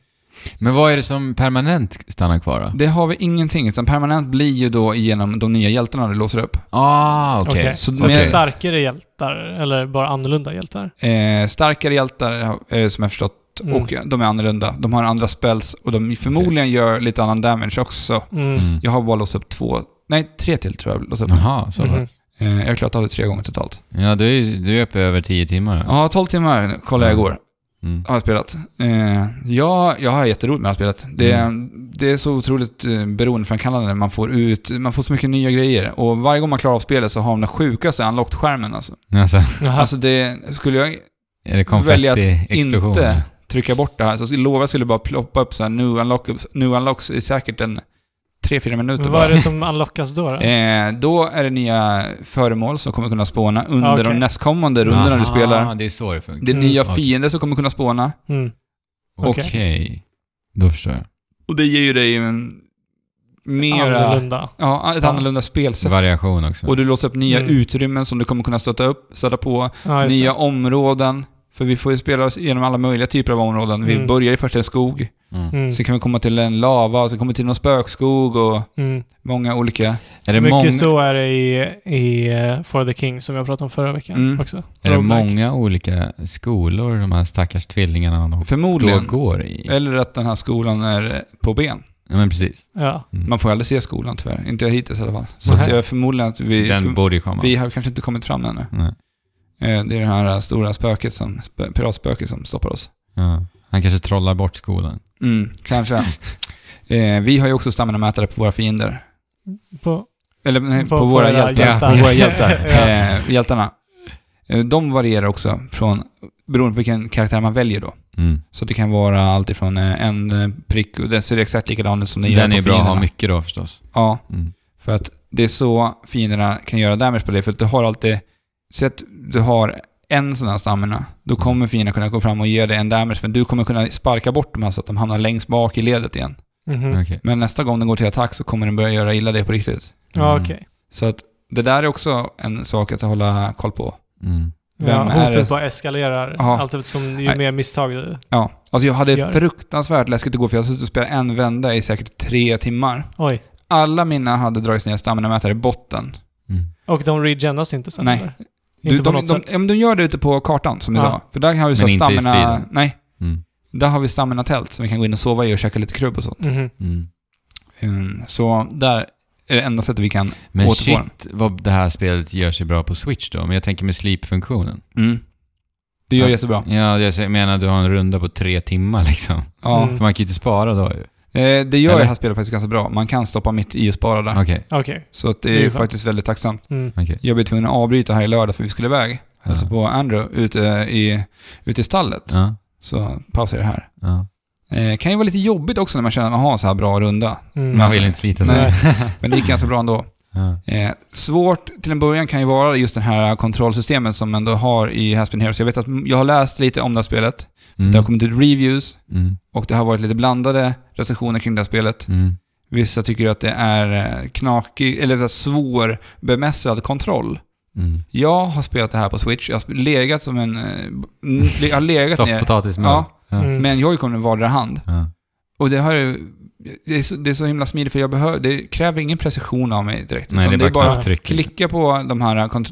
Speaker 2: Men vad är det som permanent stannar kvar då?
Speaker 1: Det har vi ingenting, utan permanent blir ju då genom de nya hjältarna du låser upp.
Speaker 2: Ah, okej.
Speaker 3: Okej.
Speaker 1: så
Speaker 3: Så att det
Speaker 1: mer-
Speaker 3: är starkare hjältar, eller bara annorlunda hjältar?
Speaker 1: Eh, starkare hjältar, eh, som jag förstått,
Speaker 3: Mm.
Speaker 1: och de är annorlunda. De har andra spells och de förmodligen gör lite annan damage också.
Speaker 3: Mm.
Speaker 2: Mm.
Speaker 1: Jag har bara låst upp två, nej tre till tror jag jag låst upp.
Speaker 2: Jaha, så
Speaker 3: Mhm.
Speaker 2: pass.
Speaker 1: Eh, jag har klarat av det tre gånger totalt.
Speaker 2: Ja, du är, ju- du är uppe över tio timmar. då.
Speaker 1: Ja, 12 timmar kollade jag igår.
Speaker 2: Mm.
Speaker 1: Har jag spelat. Eh, ja, jag har jätteroligt med det här spelet. Det,
Speaker 3: Mm.
Speaker 1: det är så otroligt eh, beroendeframkallande. Man får ut, man får så mycket nya grejer. Och varje gång man klarar av spelet så har man den sjukaste unlocked-skärmen alltså.
Speaker 2: Alltså,
Speaker 3: Jaha.
Speaker 1: Alltså det, skulle jag
Speaker 2: är det
Speaker 1: Välja att
Speaker 2: konfetti-explosion?
Speaker 1: inte trycka bort det här så jag lovar jag skulle bara ploppa upp så här new unlocks, new unlocks i säkert en 3-4 minuter
Speaker 3: Men
Speaker 1: bara.
Speaker 3: vad är det som unlockas då? då?
Speaker 1: (laughs) Eh, då är det nya föremål som kommer kunna spåna under
Speaker 3: Ah, okej.
Speaker 1: de nästkommande rundorna du
Speaker 2: Aha,
Speaker 1: spelar.
Speaker 2: det är så det funkar.
Speaker 1: Det är nya
Speaker 2: Mm.
Speaker 1: fiender som kommer kunna spåna.
Speaker 3: Mm.
Speaker 2: Okej.
Speaker 3: Okej.
Speaker 2: Då förstår jag.
Speaker 1: Och det ger ju dig en mera,
Speaker 3: Annorlunda.
Speaker 1: ja, ett
Speaker 3: Ja.
Speaker 1: annorlunda spelsätt.
Speaker 2: Variation också.
Speaker 1: Och du låser upp nya
Speaker 3: Mm.
Speaker 1: utrymmen som du kommer kunna stöta upp, stöta på,
Speaker 3: Ja, just
Speaker 1: nya
Speaker 3: det.
Speaker 1: områden. För vi får ju spela oss igenom alla möjliga typer av områden. Vi
Speaker 3: Mm.
Speaker 1: börjar i första i skog,
Speaker 2: Mm.
Speaker 3: Mm.
Speaker 1: Sen kan vi komma till en lava, sen kommer vi till någon spökskog och
Speaker 3: Mm.
Speaker 1: många olika.
Speaker 2: Är det,
Speaker 3: Mycket
Speaker 2: många,
Speaker 3: så är det i, i eh, For the King som jag pratade om förra veckan
Speaker 1: Mm.
Speaker 3: också.
Speaker 2: är det
Speaker 3: Roguelike.
Speaker 2: många olika skolor de här stackars tvillingarna de då
Speaker 1: Förmodligen. Eh.
Speaker 2: går i?
Speaker 1: Eller att den här skolan är på ben.
Speaker 2: Ja, men precis.
Speaker 3: Ja.
Speaker 2: Mm.
Speaker 1: Man får aldrig se skolan tyvärr. Inte hittills i alla fall. Så
Speaker 3: Nej.
Speaker 1: att jag är förmodligen att vi...
Speaker 2: Den
Speaker 1: för,
Speaker 2: borde ju komma.
Speaker 1: vi har kanske inte kommit fram ännu.
Speaker 2: Nej.
Speaker 1: Eh, Det är det här stora spöket som, spö, piratspöket som stoppar oss.
Speaker 2: Ja. Han kanske trollar bort skolan.
Speaker 1: Mm, kanske. (laughs) eh, vi har ju också stamina-mätare på våra fiender.
Speaker 3: På,
Speaker 1: Eller nej, på,
Speaker 3: På- på
Speaker 1: våra
Speaker 3: era
Speaker 1: hjältar.
Speaker 3: hjältar.
Speaker 1: På våra hjältar.
Speaker 3: (laughs) Ja.
Speaker 1: eh, hjältarna. Eh, De varierar också från, beroende på vilken karaktär man väljer då.
Speaker 2: Mm.
Speaker 1: Så det kan vara allt ifrån eh, en eh, prick, och den ser exakt likadan ut som den, gör
Speaker 2: Den
Speaker 1: på
Speaker 2: är bra att ha
Speaker 1: fienderna.
Speaker 2: mycket då förstås.
Speaker 1: Ja,
Speaker 2: Mm.
Speaker 1: för att det är så fienderna kan göra damage på dig. För att du har alltid, se att du har en sån här stamina, då kommer fienden kunna gå fram och ge dig en damage, men du kommer kunna sparka bort dem här så att de hamnar längst bak i ledet igen.
Speaker 3: mhm.
Speaker 2: Okej.
Speaker 1: Men nästa gång den går till attack så kommer den börja göra illa dig på riktigt.
Speaker 3: Ja,
Speaker 2: Mm.
Speaker 3: okej.
Speaker 1: Så att det där är också en sak att hålla koll på.
Speaker 2: Mm.
Speaker 1: Vem
Speaker 3: Ja,
Speaker 1: är
Speaker 3: hotet
Speaker 1: det?
Speaker 3: bara eskalerar
Speaker 1: Ja.
Speaker 3: allt eftersom ju
Speaker 1: Nej.
Speaker 3: mer misstag du...
Speaker 1: Ja, alltså jag hade
Speaker 3: Gör det.
Speaker 1: fruktansvärt läskigt igår för jag har suttit och spelat en vända i säkert tre timmar.
Speaker 3: Oj.
Speaker 1: Alla mina hade dragits ner staminamätare i botten.
Speaker 2: Mm.
Speaker 3: Och de regenas inte sen?
Speaker 1: Nej.
Speaker 3: eller?
Speaker 1: Du,
Speaker 3: Inte på
Speaker 1: de,
Speaker 3: något
Speaker 1: de,
Speaker 3: sätt?
Speaker 1: ja, men de gör det ute på kartan som du
Speaker 3: Ja.
Speaker 1: sa. För där har vi så
Speaker 2: Men
Speaker 1: här
Speaker 2: inte
Speaker 1: stamina...
Speaker 2: i striden.
Speaker 1: Nej,
Speaker 2: Mm.
Speaker 1: där har vi stamina-tält som vi kan gå in och sova i och käka lite krubb och sånt.
Speaker 3: Mhm.
Speaker 2: Mm.
Speaker 1: Mm, så där är det enda sättet vi kan...
Speaker 2: Men
Speaker 1: Återfå den.
Speaker 2: shit vad det här spelet gör sig bra på Switch då. Men jag tänker med sleep-funktionen.
Speaker 1: Mm. Det gör
Speaker 2: Ja.
Speaker 1: jättebra.
Speaker 2: Ja, jag menar du har en runda på tre timmar liksom.
Speaker 1: Ja.
Speaker 3: Mm.
Speaker 2: För man kan ju inte spara då ju.
Speaker 1: Eh, det gör
Speaker 2: Eller?
Speaker 1: det här spelet faktiskt ganska bra. Man kan stoppa mitt i och spara där.
Speaker 2: Okej,
Speaker 3: Okej.
Speaker 1: Så att det är,
Speaker 3: Det är ju skönt.
Speaker 1: faktiskt väldigt tacksamt.
Speaker 3: Mm.
Speaker 2: okej.
Speaker 1: Jag blev tvungen att avbryta här i lördag för vi skulle iväg.
Speaker 2: Ja.
Speaker 1: Alltså på Andrew ute i, ute i stallet.
Speaker 2: Ja,
Speaker 1: Så pausar jag det här.
Speaker 2: ja.
Speaker 1: Eh, kan ju vara lite jobbigt också när man känner att man har en så här bra runda.
Speaker 3: Mm.
Speaker 2: Man vill inte slita sig.
Speaker 1: Nej. (laughs) Men det gick ganska bra ändå.
Speaker 2: Ja.
Speaker 1: Eh, svårt till en början kan ju vara just det här kontrollsystemet som ändå har i Haspin Heroes. Jag vet att jag har läst lite om det här spelet.
Speaker 2: Mm.
Speaker 1: Det har kommit ut reviews
Speaker 2: Mm.
Speaker 1: och det har varit lite blandade recensioner kring det här spelet.
Speaker 2: Mm.
Speaker 1: Vissa tycker ju att det är eh, knakig, eller svårbemästrad kontroll.
Speaker 2: Mm.
Speaker 1: Jag har spelat det här på Switch. Jag har sp- legat som en... eh, n- Jag har legat ner
Speaker 2: Softpotatismjöl.
Speaker 1: Ja.
Speaker 2: Ja.
Speaker 3: Mm.
Speaker 1: med en joycon i vardera hand.
Speaker 2: Ja.
Speaker 1: Och det har ju... Det är, så, det är så himla smidigt för jag behöver, det kräver ingen precision av mig direkt.
Speaker 2: Nej,
Speaker 1: utan
Speaker 2: det är bara
Speaker 3: bara
Speaker 2: knapptryck. liksom.
Speaker 1: Klicka på de här kont-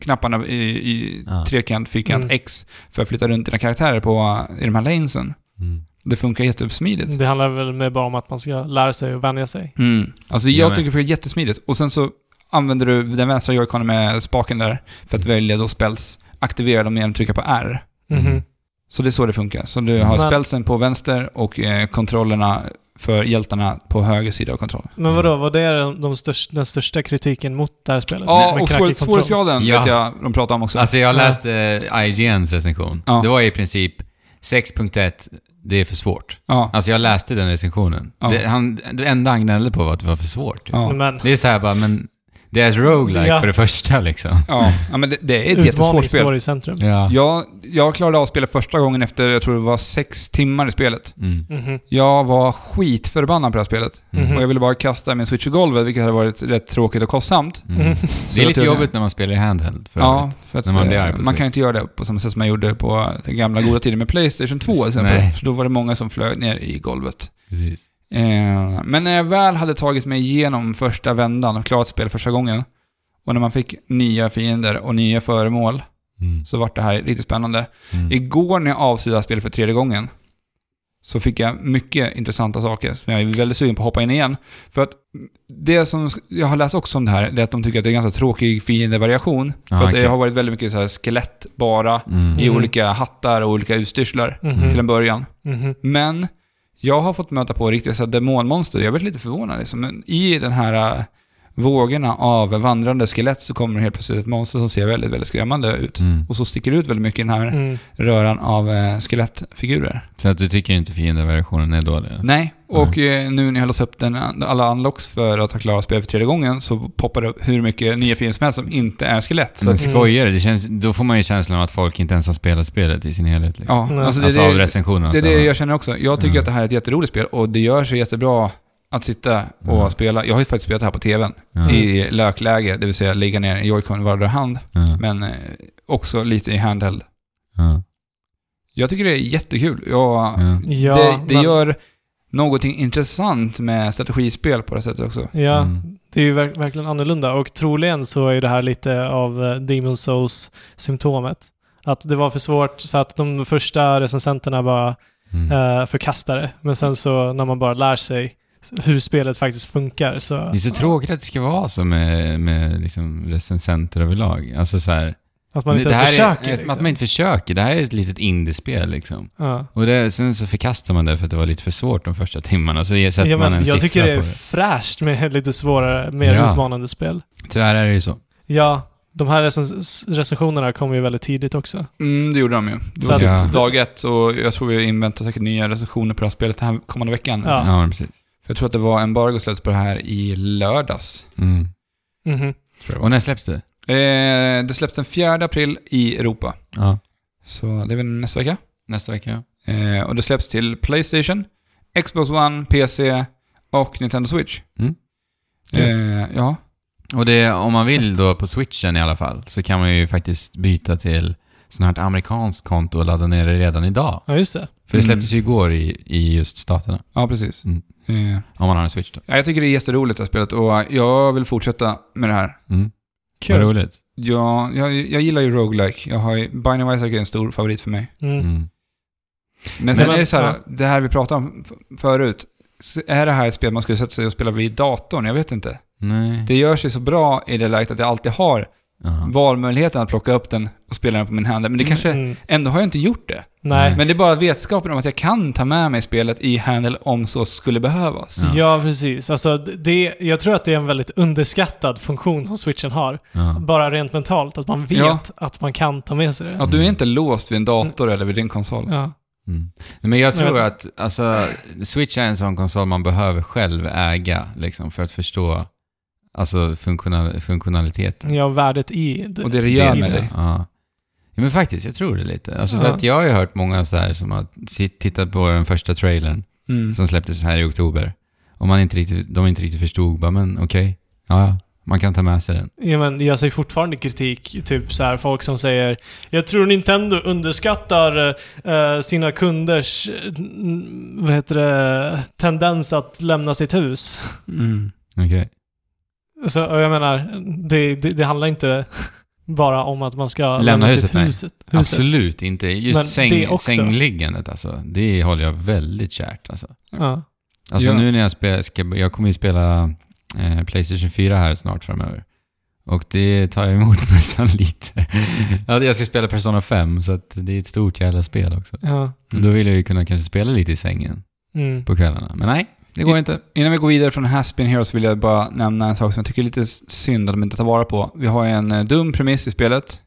Speaker 1: knapparna i, i
Speaker 2: Ja.
Speaker 1: trekant, fyrkant,
Speaker 3: Mm.
Speaker 1: X för att flytta runt dina karaktärer på, i de här lanesen.
Speaker 2: Mm.
Speaker 1: Det funkar jättesmidigt.
Speaker 3: Det handlar väl med bara om att man ska lära sig och vänja sig.
Speaker 1: Mm. Alltså
Speaker 2: Jag
Speaker 1: jag
Speaker 2: med.
Speaker 1: tycker det är jättesmidigt. Och sen så använder du den vänstra joyconen med spaken där för att välja då spells, aktivera dem genom att trycka på R.
Speaker 3: Mhm.
Speaker 2: Mm.
Speaker 1: Så det är så det funkar. Så du har
Speaker 3: Men-
Speaker 1: spelsen på vänster och eh, kontrollerna för hjältarna på höger sida av kontrollen.
Speaker 3: Men vadå, var det de, de störst, den största kritiken mot det här spelet?
Speaker 1: Ja,
Speaker 3: Med
Speaker 1: och
Speaker 3: knackig
Speaker 1: svår,
Speaker 3: kontroll?
Speaker 1: svårighetsgraden
Speaker 2: Ja.
Speaker 1: vet jag de pratar om också.
Speaker 2: Alltså jag
Speaker 3: Ja.
Speaker 2: läste eh, IGNs recension.
Speaker 1: Ja.
Speaker 2: Det var i princip 6.1, det är för svårt.
Speaker 1: ja.
Speaker 2: Alltså jag läste den recensionen.
Speaker 1: Ja.
Speaker 2: Det, han, det enda han gnällde på var att det var för svårt.
Speaker 1: ja.
Speaker 3: Men,
Speaker 2: Det är så här bara, men... Det är ett roguelike
Speaker 3: Ja.
Speaker 2: för det första liksom. Mm.
Speaker 1: Ja, ja men det, det är ett
Speaker 3: Utmaning
Speaker 1: jättesvårt spel.
Speaker 3: står i centrum.
Speaker 2: Ja.
Speaker 1: Jag, jag klarade av spelet första gången efter, jag tror det var sex timmar i spelet.
Speaker 2: Mm.
Speaker 3: Mhm.
Speaker 1: Jag var skitförbannad på det här spelet.
Speaker 2: Mm.
Speaker 3: Mhm.
Speaker 1: Och jag ville bara kasta min switch i golvet, vilket hade varit rätt tråkigt och kostsamt.
Speaker 2: Mm.
Speaker 3: Mm.
Speaker 2: Det är
Speaker 1: jag
Speaker 2: lite
Speaker 1: tror-
Speaker 2: jobbigt när man spelar i handheld för
Speaker 1: ja,
Speaker 2: övrigt.
Speaker 1: för att
Speaker 2: när man
Speaker 1: eh,
Speaker 2: blir arg på
Speaker 1: man,
Speaker 2: Switch.
Speaker 1: kan ju inte göra det på samma sätt som man gjorde på den gamla goda tiden med Playstation 2 till exempel.
Speaker 2: Nej.
Speaker 1: För då var det många som flög ner i golvet.
Speaker 2: Precis.
Speaker 1: Eh, men när jag väl hade tagit mig igenom första vändan och klarat spel första gången, och när man fick nya fiender och nya föremål,
Speaker 2: Mm.
Speaker 1: så vart det här riktigt spännande.
Speaker 2: Mm.
Speaker 1: Igår när jag avslutade spelet för tredje gången så fick jag mycket intressanta saker som jag är väldigt sugen på att hoppa in igen. För att det som jag har läst också om det här, det är att de tycker att det är ganska tråkig fiendevariation.
Speaker 2: Ja,
Speaker 1: för att
Speaker 2: okej.
Speaker 1: det har varit väldigt mycket så här skelett bara
Speaker 2: Mm.
Speaker 1: i
Speaker 3: Mm.
Speaker 1: olika hattar och olika utstyrslar
Speaker 3: Mhm.
Speaker 1: Mm. till en början.
Speaker 3: Mhm.
Speaker 1: Men jag har fått möta på riktiga så här demonmonster. Jag blev lite förvånad liksom. Men I den här äh, vågorna av vandrande skelett så kommer det helt plötsligt ett monster som ser väldigt, väldigt skrämmande ut.
Speaker 2: Mm.
Speaker 1: Och så sticker det ut väldigt mycket i den här
Speaker 3: Mm.
Speaker 1: röran av eh, skelettfigurer.
Speaker 2: Så att du tycker inte fiendeversionen är dålig?
Speaker 1: Nej, och
Speaker 2: Mm.
Speaker 1: eh, nu när jag låst upp den, alla unlocks för att ha klarat spelet för tredje gången så poppar det upp hur mycket nya fiender som helst som inte är skelett. Så
Speaker 2: Men
Speaker 1: att,
Speaker 3: Mm.
Speaker 2: skojar du? Det känns, då får man ju känslan av att folk inte ens har spelat spelet i sin helhet. Liksom.
Speaker 1: ja,
Speaker 3: Nej.
Speaker 1: alltså det,
Speaker 2: alltså av
Speaker 1: är det,
Speaker 2: recensionerna.
Speaker 1: det är
Speaker 2: att de-
Speaker 1: det jag känner också. Jag tycker
Speaker 2: Mm.
Speaker 1: att det här är ett jätteroligt spel och det gör sig jättebra att sitta och
Speaker 2: Mm.
Speaker 1: spela. Jag har ju faktiskt spelat det här på tvn
Speaker 2: ja.
Speaker 1: i lökläge, det vill säga ligga ner i joycon i vardera hand,
Speaker 2: Ja.
Speaker 1: men eh, också lite i handheld.
Speaker 2: Ja.
Speaker 1: Jag tycker det är jättekul. Jag,
Speaker 2: Ja.
Speaker 3: Ja,
Speaker 1: det det
Speaker 3: men-
Speaker 1: gör någonting intressant med strategispel på det sättet också.
Speaker 3: Ja,
Speaker 2: Mm.
Speaker 3: det är ju verk- verkligen annorlunda och troligen så är det här lite av eh, Demon Souls-symptomet. Att det var för svårt så att de första recensenterna bara
Speaker 2: Mm.
Speaker 3: eh, förkastade det. Men sen så när man bara lär sig hur spelet faktiskt funkar så...
Speaker 2: Det är så tråkigt att det ska vara så med, med liksom recensenter överlag. Alltså så här,
Speaker 3: Att man inte
Speaker 2: det
Speaker 3: ens
Speaker 2: här
Speaker 3: försöker.
Speaker 2: är,
Speaker 3: liksom.
Speaker 2: Att man inte försöker. Det här är ett litet indiespel liksom.
Speaker 3: ja.
Speaker 2: Och det, sen så förkastar man det för att det var lite för svårt de första timmarna. Så sätter
Speaker 3: Ja,
Speaker 2: man en
Speaker 3: men jag
Speaker 2: siffra
Speaker 3: tycker det är
Speaker 2: på det.
Speaker 3: fräscht med (laughs) lite svårare, mer
Speaker 2: Ja.
Speaker 3: utmanande spel.
Speaker 2: Tyvärr är det ju så.
Speaker 3: Ja, de här recens- recensionerna kommer ju väldigt tidigt också.
Speaker 1: Mm, det gjorde de ju. Det
Speaker 3: Så
Speaker 1: var
Speaker 3: att-
Speaker 1: typ
Speaker 2: Ja.
Speaker 1: dag ett och jag tror vi inväntar säkert nya recensioner på det här spelet den här kommande veckan.
Speaker 3: Ja.
Speaker 2: Ja, men precis.
Speaker 1: För jag tror att det var embargo släpps på det här i lördags.
Speaker 2: Mm.
Speaker 3: Mhm.
Speaker 2: Och när släpps det?
Speaker 1: Eh, det släpps den 4 april i Europa.
Speaker 2: Ja.
Speaker 1: Så det är väl nästa vecka.
Speaker 2: Nästa vecka, ja.
Speaker 1: Eh, och det släpps till Playstation, Xbox One, PC och Nintendo Switch.
Speaker 2: Mm.
Speaker 1: Eh, ja.
Speaker 2: Och det, om man vill då på switchen i alla fall, så kan man ju faktiskt byta till sånt här amerikanskt konto och ladda ner det redan idag.
Speaker 3: Ja, just det.
Speaker 2: För det
Speaker 1: Mm.
Speaker 2: släpptes ju igår i, i just staterna.
Speaker 1: Ja, precis.
Speaker 2: Mm.
Speaker 1: Eh,
Speaker 2: Om man har en switch då.
Speaker 1: ja, jag tycker det är jätteroligt det här spelet och jag vill fortsätta med det här.
Speaker 2: Mm. Vad
Speaker 3: Kul.
Speaker 2: roligt.
Speaker 1: Ja, jag, jag gillar ju roguelike. Jag har ju, Binding of Isaac är en stor favorit för mig.
Speaker 3: Mm.
Speaker 2: Mm.
Speaker 1: Men sen
Speaker 3: Men-
Speaker 1: är det så här, det här vi pratade om f- förut. S- Är det här ett spel man skulle sätta sig och spela vid datorn? Jag vet inte.
Speaker 2: Nej.
Speaker 1: Det gör sig så bra i det läget att jag alltid har
Speaker 2: Ja.
Speaker 1: valmöjligheten att plocka upp den och spela den på min hand. Men det kanske,
Speaker 3: Mm.
Speaker 1: ändå har jag inte gjort det.
Speaker 3: Nej.
Speaker 2: Mm.
Speaker 1: Men det är bara vetskapen om att jag kan ta med mig spelet i handel om så skulle behövas.
Speaker 2: Ja.
Speaker 3: Ja, precis. Alltså, det, jag tror att det är en väldigt underskattad funktion som switchen har.
Speaker 2: Ja.
Speaker 3: Bara rent mentalt, att man vet
Speaker 1: Ja.
Speaker 3: att man kan ta med sig det.
Speaker 1: Ja, du är inte låst vid en dator eller vid din konsol.
Speaker 3: Ja.
Speaker 2: Mm. Nej, Men jag
Speaker 3: Jag
Speaker 2: tror
Speaker 3: vet
Speaker 2: att alltså, Switch är en sån konsol man behöver själv äga liksom, för att förstå alltså, funktional funktionalitet.
Speaker 3: ja, värdet i det.
Speaker 1: Och det det gör
Speaker 3: Det är
Speaker 1: med
Speaker 3: det.
Speaker 1: dig.
Speaker 2: Ja. ja, men faktiskt, jag tror det lite. Alltså, för
Speaker 3: Ja.
Speaker 2: att jag har ju hört många så här som har sit- tittat på den första trailern
Speaker 1: Mm.
Speaker 2: som släpptes här i oktober. Och man inte riktigt, de inte riktigt förstod, bara, men okej, ja, ja, man kan ta med sig den.
Speaker 3: Ja, men jag ser fortfarande kritik, typ så här, folk som säger “Jag tror Nintendo underskattar eh, sina kunders, eh, n- vad heter det, tendens att lämna sitt hus”.
Speaker 1: Mm.
Speaker 2: Okej.
Speaker 3: Så, och jag menar, det, det, det handlar inte bara om att man ska lämna,
Speaker 2: Lämna huset,
Speaker 3: sitt
Speaker 2: nej.
Speaker 3: huset. huset.
Speaker 2: Absolut inte.
Speaker 3: Men
Speaker 2: Just
Speaker 3: det
Speaker 2: säng,
Speaker 3: också.
Speaker 2: sängliggandet alltså, det håller jag väldigt kärt alltså.
Speaker 3: Ja.
Speaker 2: Alltså
Speaker 1: Ja.
Speaker 2: nu när jag spelar, ska, jag kommer ju spela eh, Playstation 4 här snart framöver. Och det tar jag emot (laughs) nästan lite. Ja, jag ska spela Persona 5, så att det är ett stort jävla spel också.
Speaker 3: ja.
Speaker 1: Mm.
Speaker 2: Då vill jag ju kunna kanske spela lite i sängen
Speaker 3: Mm.
Speaker 2: på kvällarna. Men nej, det går inte.
Speaker 1: Innan vi går vidare från Haspin Heroes vill jag bara nämna en sak som jag tycker är lite synd att de inte tar vara på. Vi har ju en eh, dum premiss i spelet.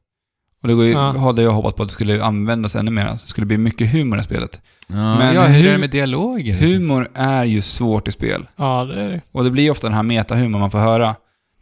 Speaker 1: Och det går ju,
Speaker 3: Ja.
Speaker 1: hade jag hoppats på att det skulle användas ännu mer. Så det skulle bli mycket humor i spelet.
Speaker 2: men
Speaker 1: ja,
Speaker 2: hur,
Speaker 1: hur-
Speaker 2: är det med dialoger?
Speaker 1: Humor är ju svårt i spel.
Speaker 3: Ja, det är det.
Speaker 1: Och det blir ju ofta den här metahumor man får höra.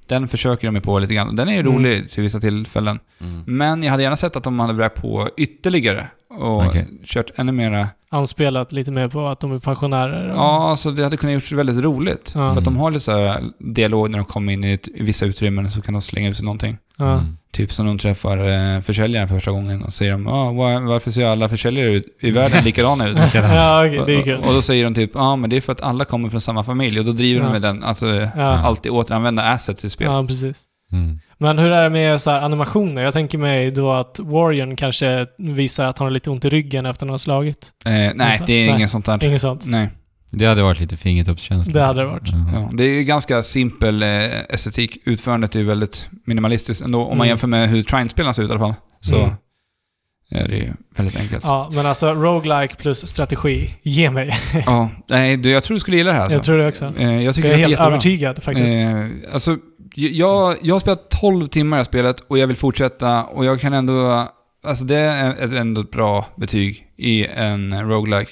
Speaker 1: Den försöker de ju på lite grann. Den är ju
Speaker 3: Mm.
Speaker 1: rolig till vissa tillfällen.
Speaker 2: Mm.
Speaker 1: Men jag hade gärna sett att de hade vräkt på ytterligare och
Speaker 2: Okej.
Speaker 1: kört ännu mera.
Speaker 3: Anspelat lite mer på att de är pensionärer. och-
Speaker 1: Ja, alltså det hade kunnat gjorts väldigt roligt.
Speaker 3: Ja.
Speaker 1: För att de har lite så här dialog när de kommer in i, ett, i vissa utrymmen så kan de slänga ut sig någonting.
Speaker 3: ja.
Speaker 2: Mm.
Speaker 1: Typ som de träffar eh, försäljaren för första gången och säger de, ah, var, varför ser alla försäljare ut, i världen likadana ut?
Speaker 3: (laughs) Ja, okej, det är kul.
Speaker 1: och, och då säger de typ, ja ah, men det är för att alla kommer från samma familj och då driver
Speaker 3: Ja.
Speaker 1: de med den, alltså
Speaker 3: Ja.
Speaker 1: alltid återanvända assets i spel.
Speaker 3: Ja, precis.
Speaker 2: Mm.
Speaker 3: Men hur är det med så här animationer? Jag tänker mig då att Warrior kanske visar att han har lite ont i ryggen efter att han har slagit.
Speaker 1: Eh, nej, det är
Speaker 3: Alltså, Nej.
Speaker 1: inget sånt där.
Speaker 3: Inget sånt.
Speaker 1: Nej.
Speaker 2: Det hade varit lite fingertoppskänsla.
Speaker 3: Det hade det varit.
Speaker 2: Ja.
Speaker 1: Ja, det är ju ganska simpel eh, estetik. Utförandet är ju väldigt minimalistiskt ändå, om man
Speaker 3: Mm.
Speaker 1: jämför med hur Trine-spelen ser ut i alla fall. Så
Speaker 3: Mm.
Speaker 1: är det ju väldigt enkelt. Ja.
Speaker 3: Ja, men alltså roguelike plus strategi. Ge mig.
Speaker 1: nej, du, jag tror du skulle gilla det här alltså.
Speaker 3: Jag tror det också.
Speaker 1: eh, jag tycker
Speaker 3: Jag är
Speaker 1: det är
Speaker 3: helt
Speaker 1: jättebra.
Speaker 3: övertygad faktiskt.
Speaker 1: Eh, alltså, j- jag, jag har spelat 12 timmar i det här spelet och jag vill fortsätta och jag kan ändå... Alltså det är ett- ändå ett bra betyg i en roguelike.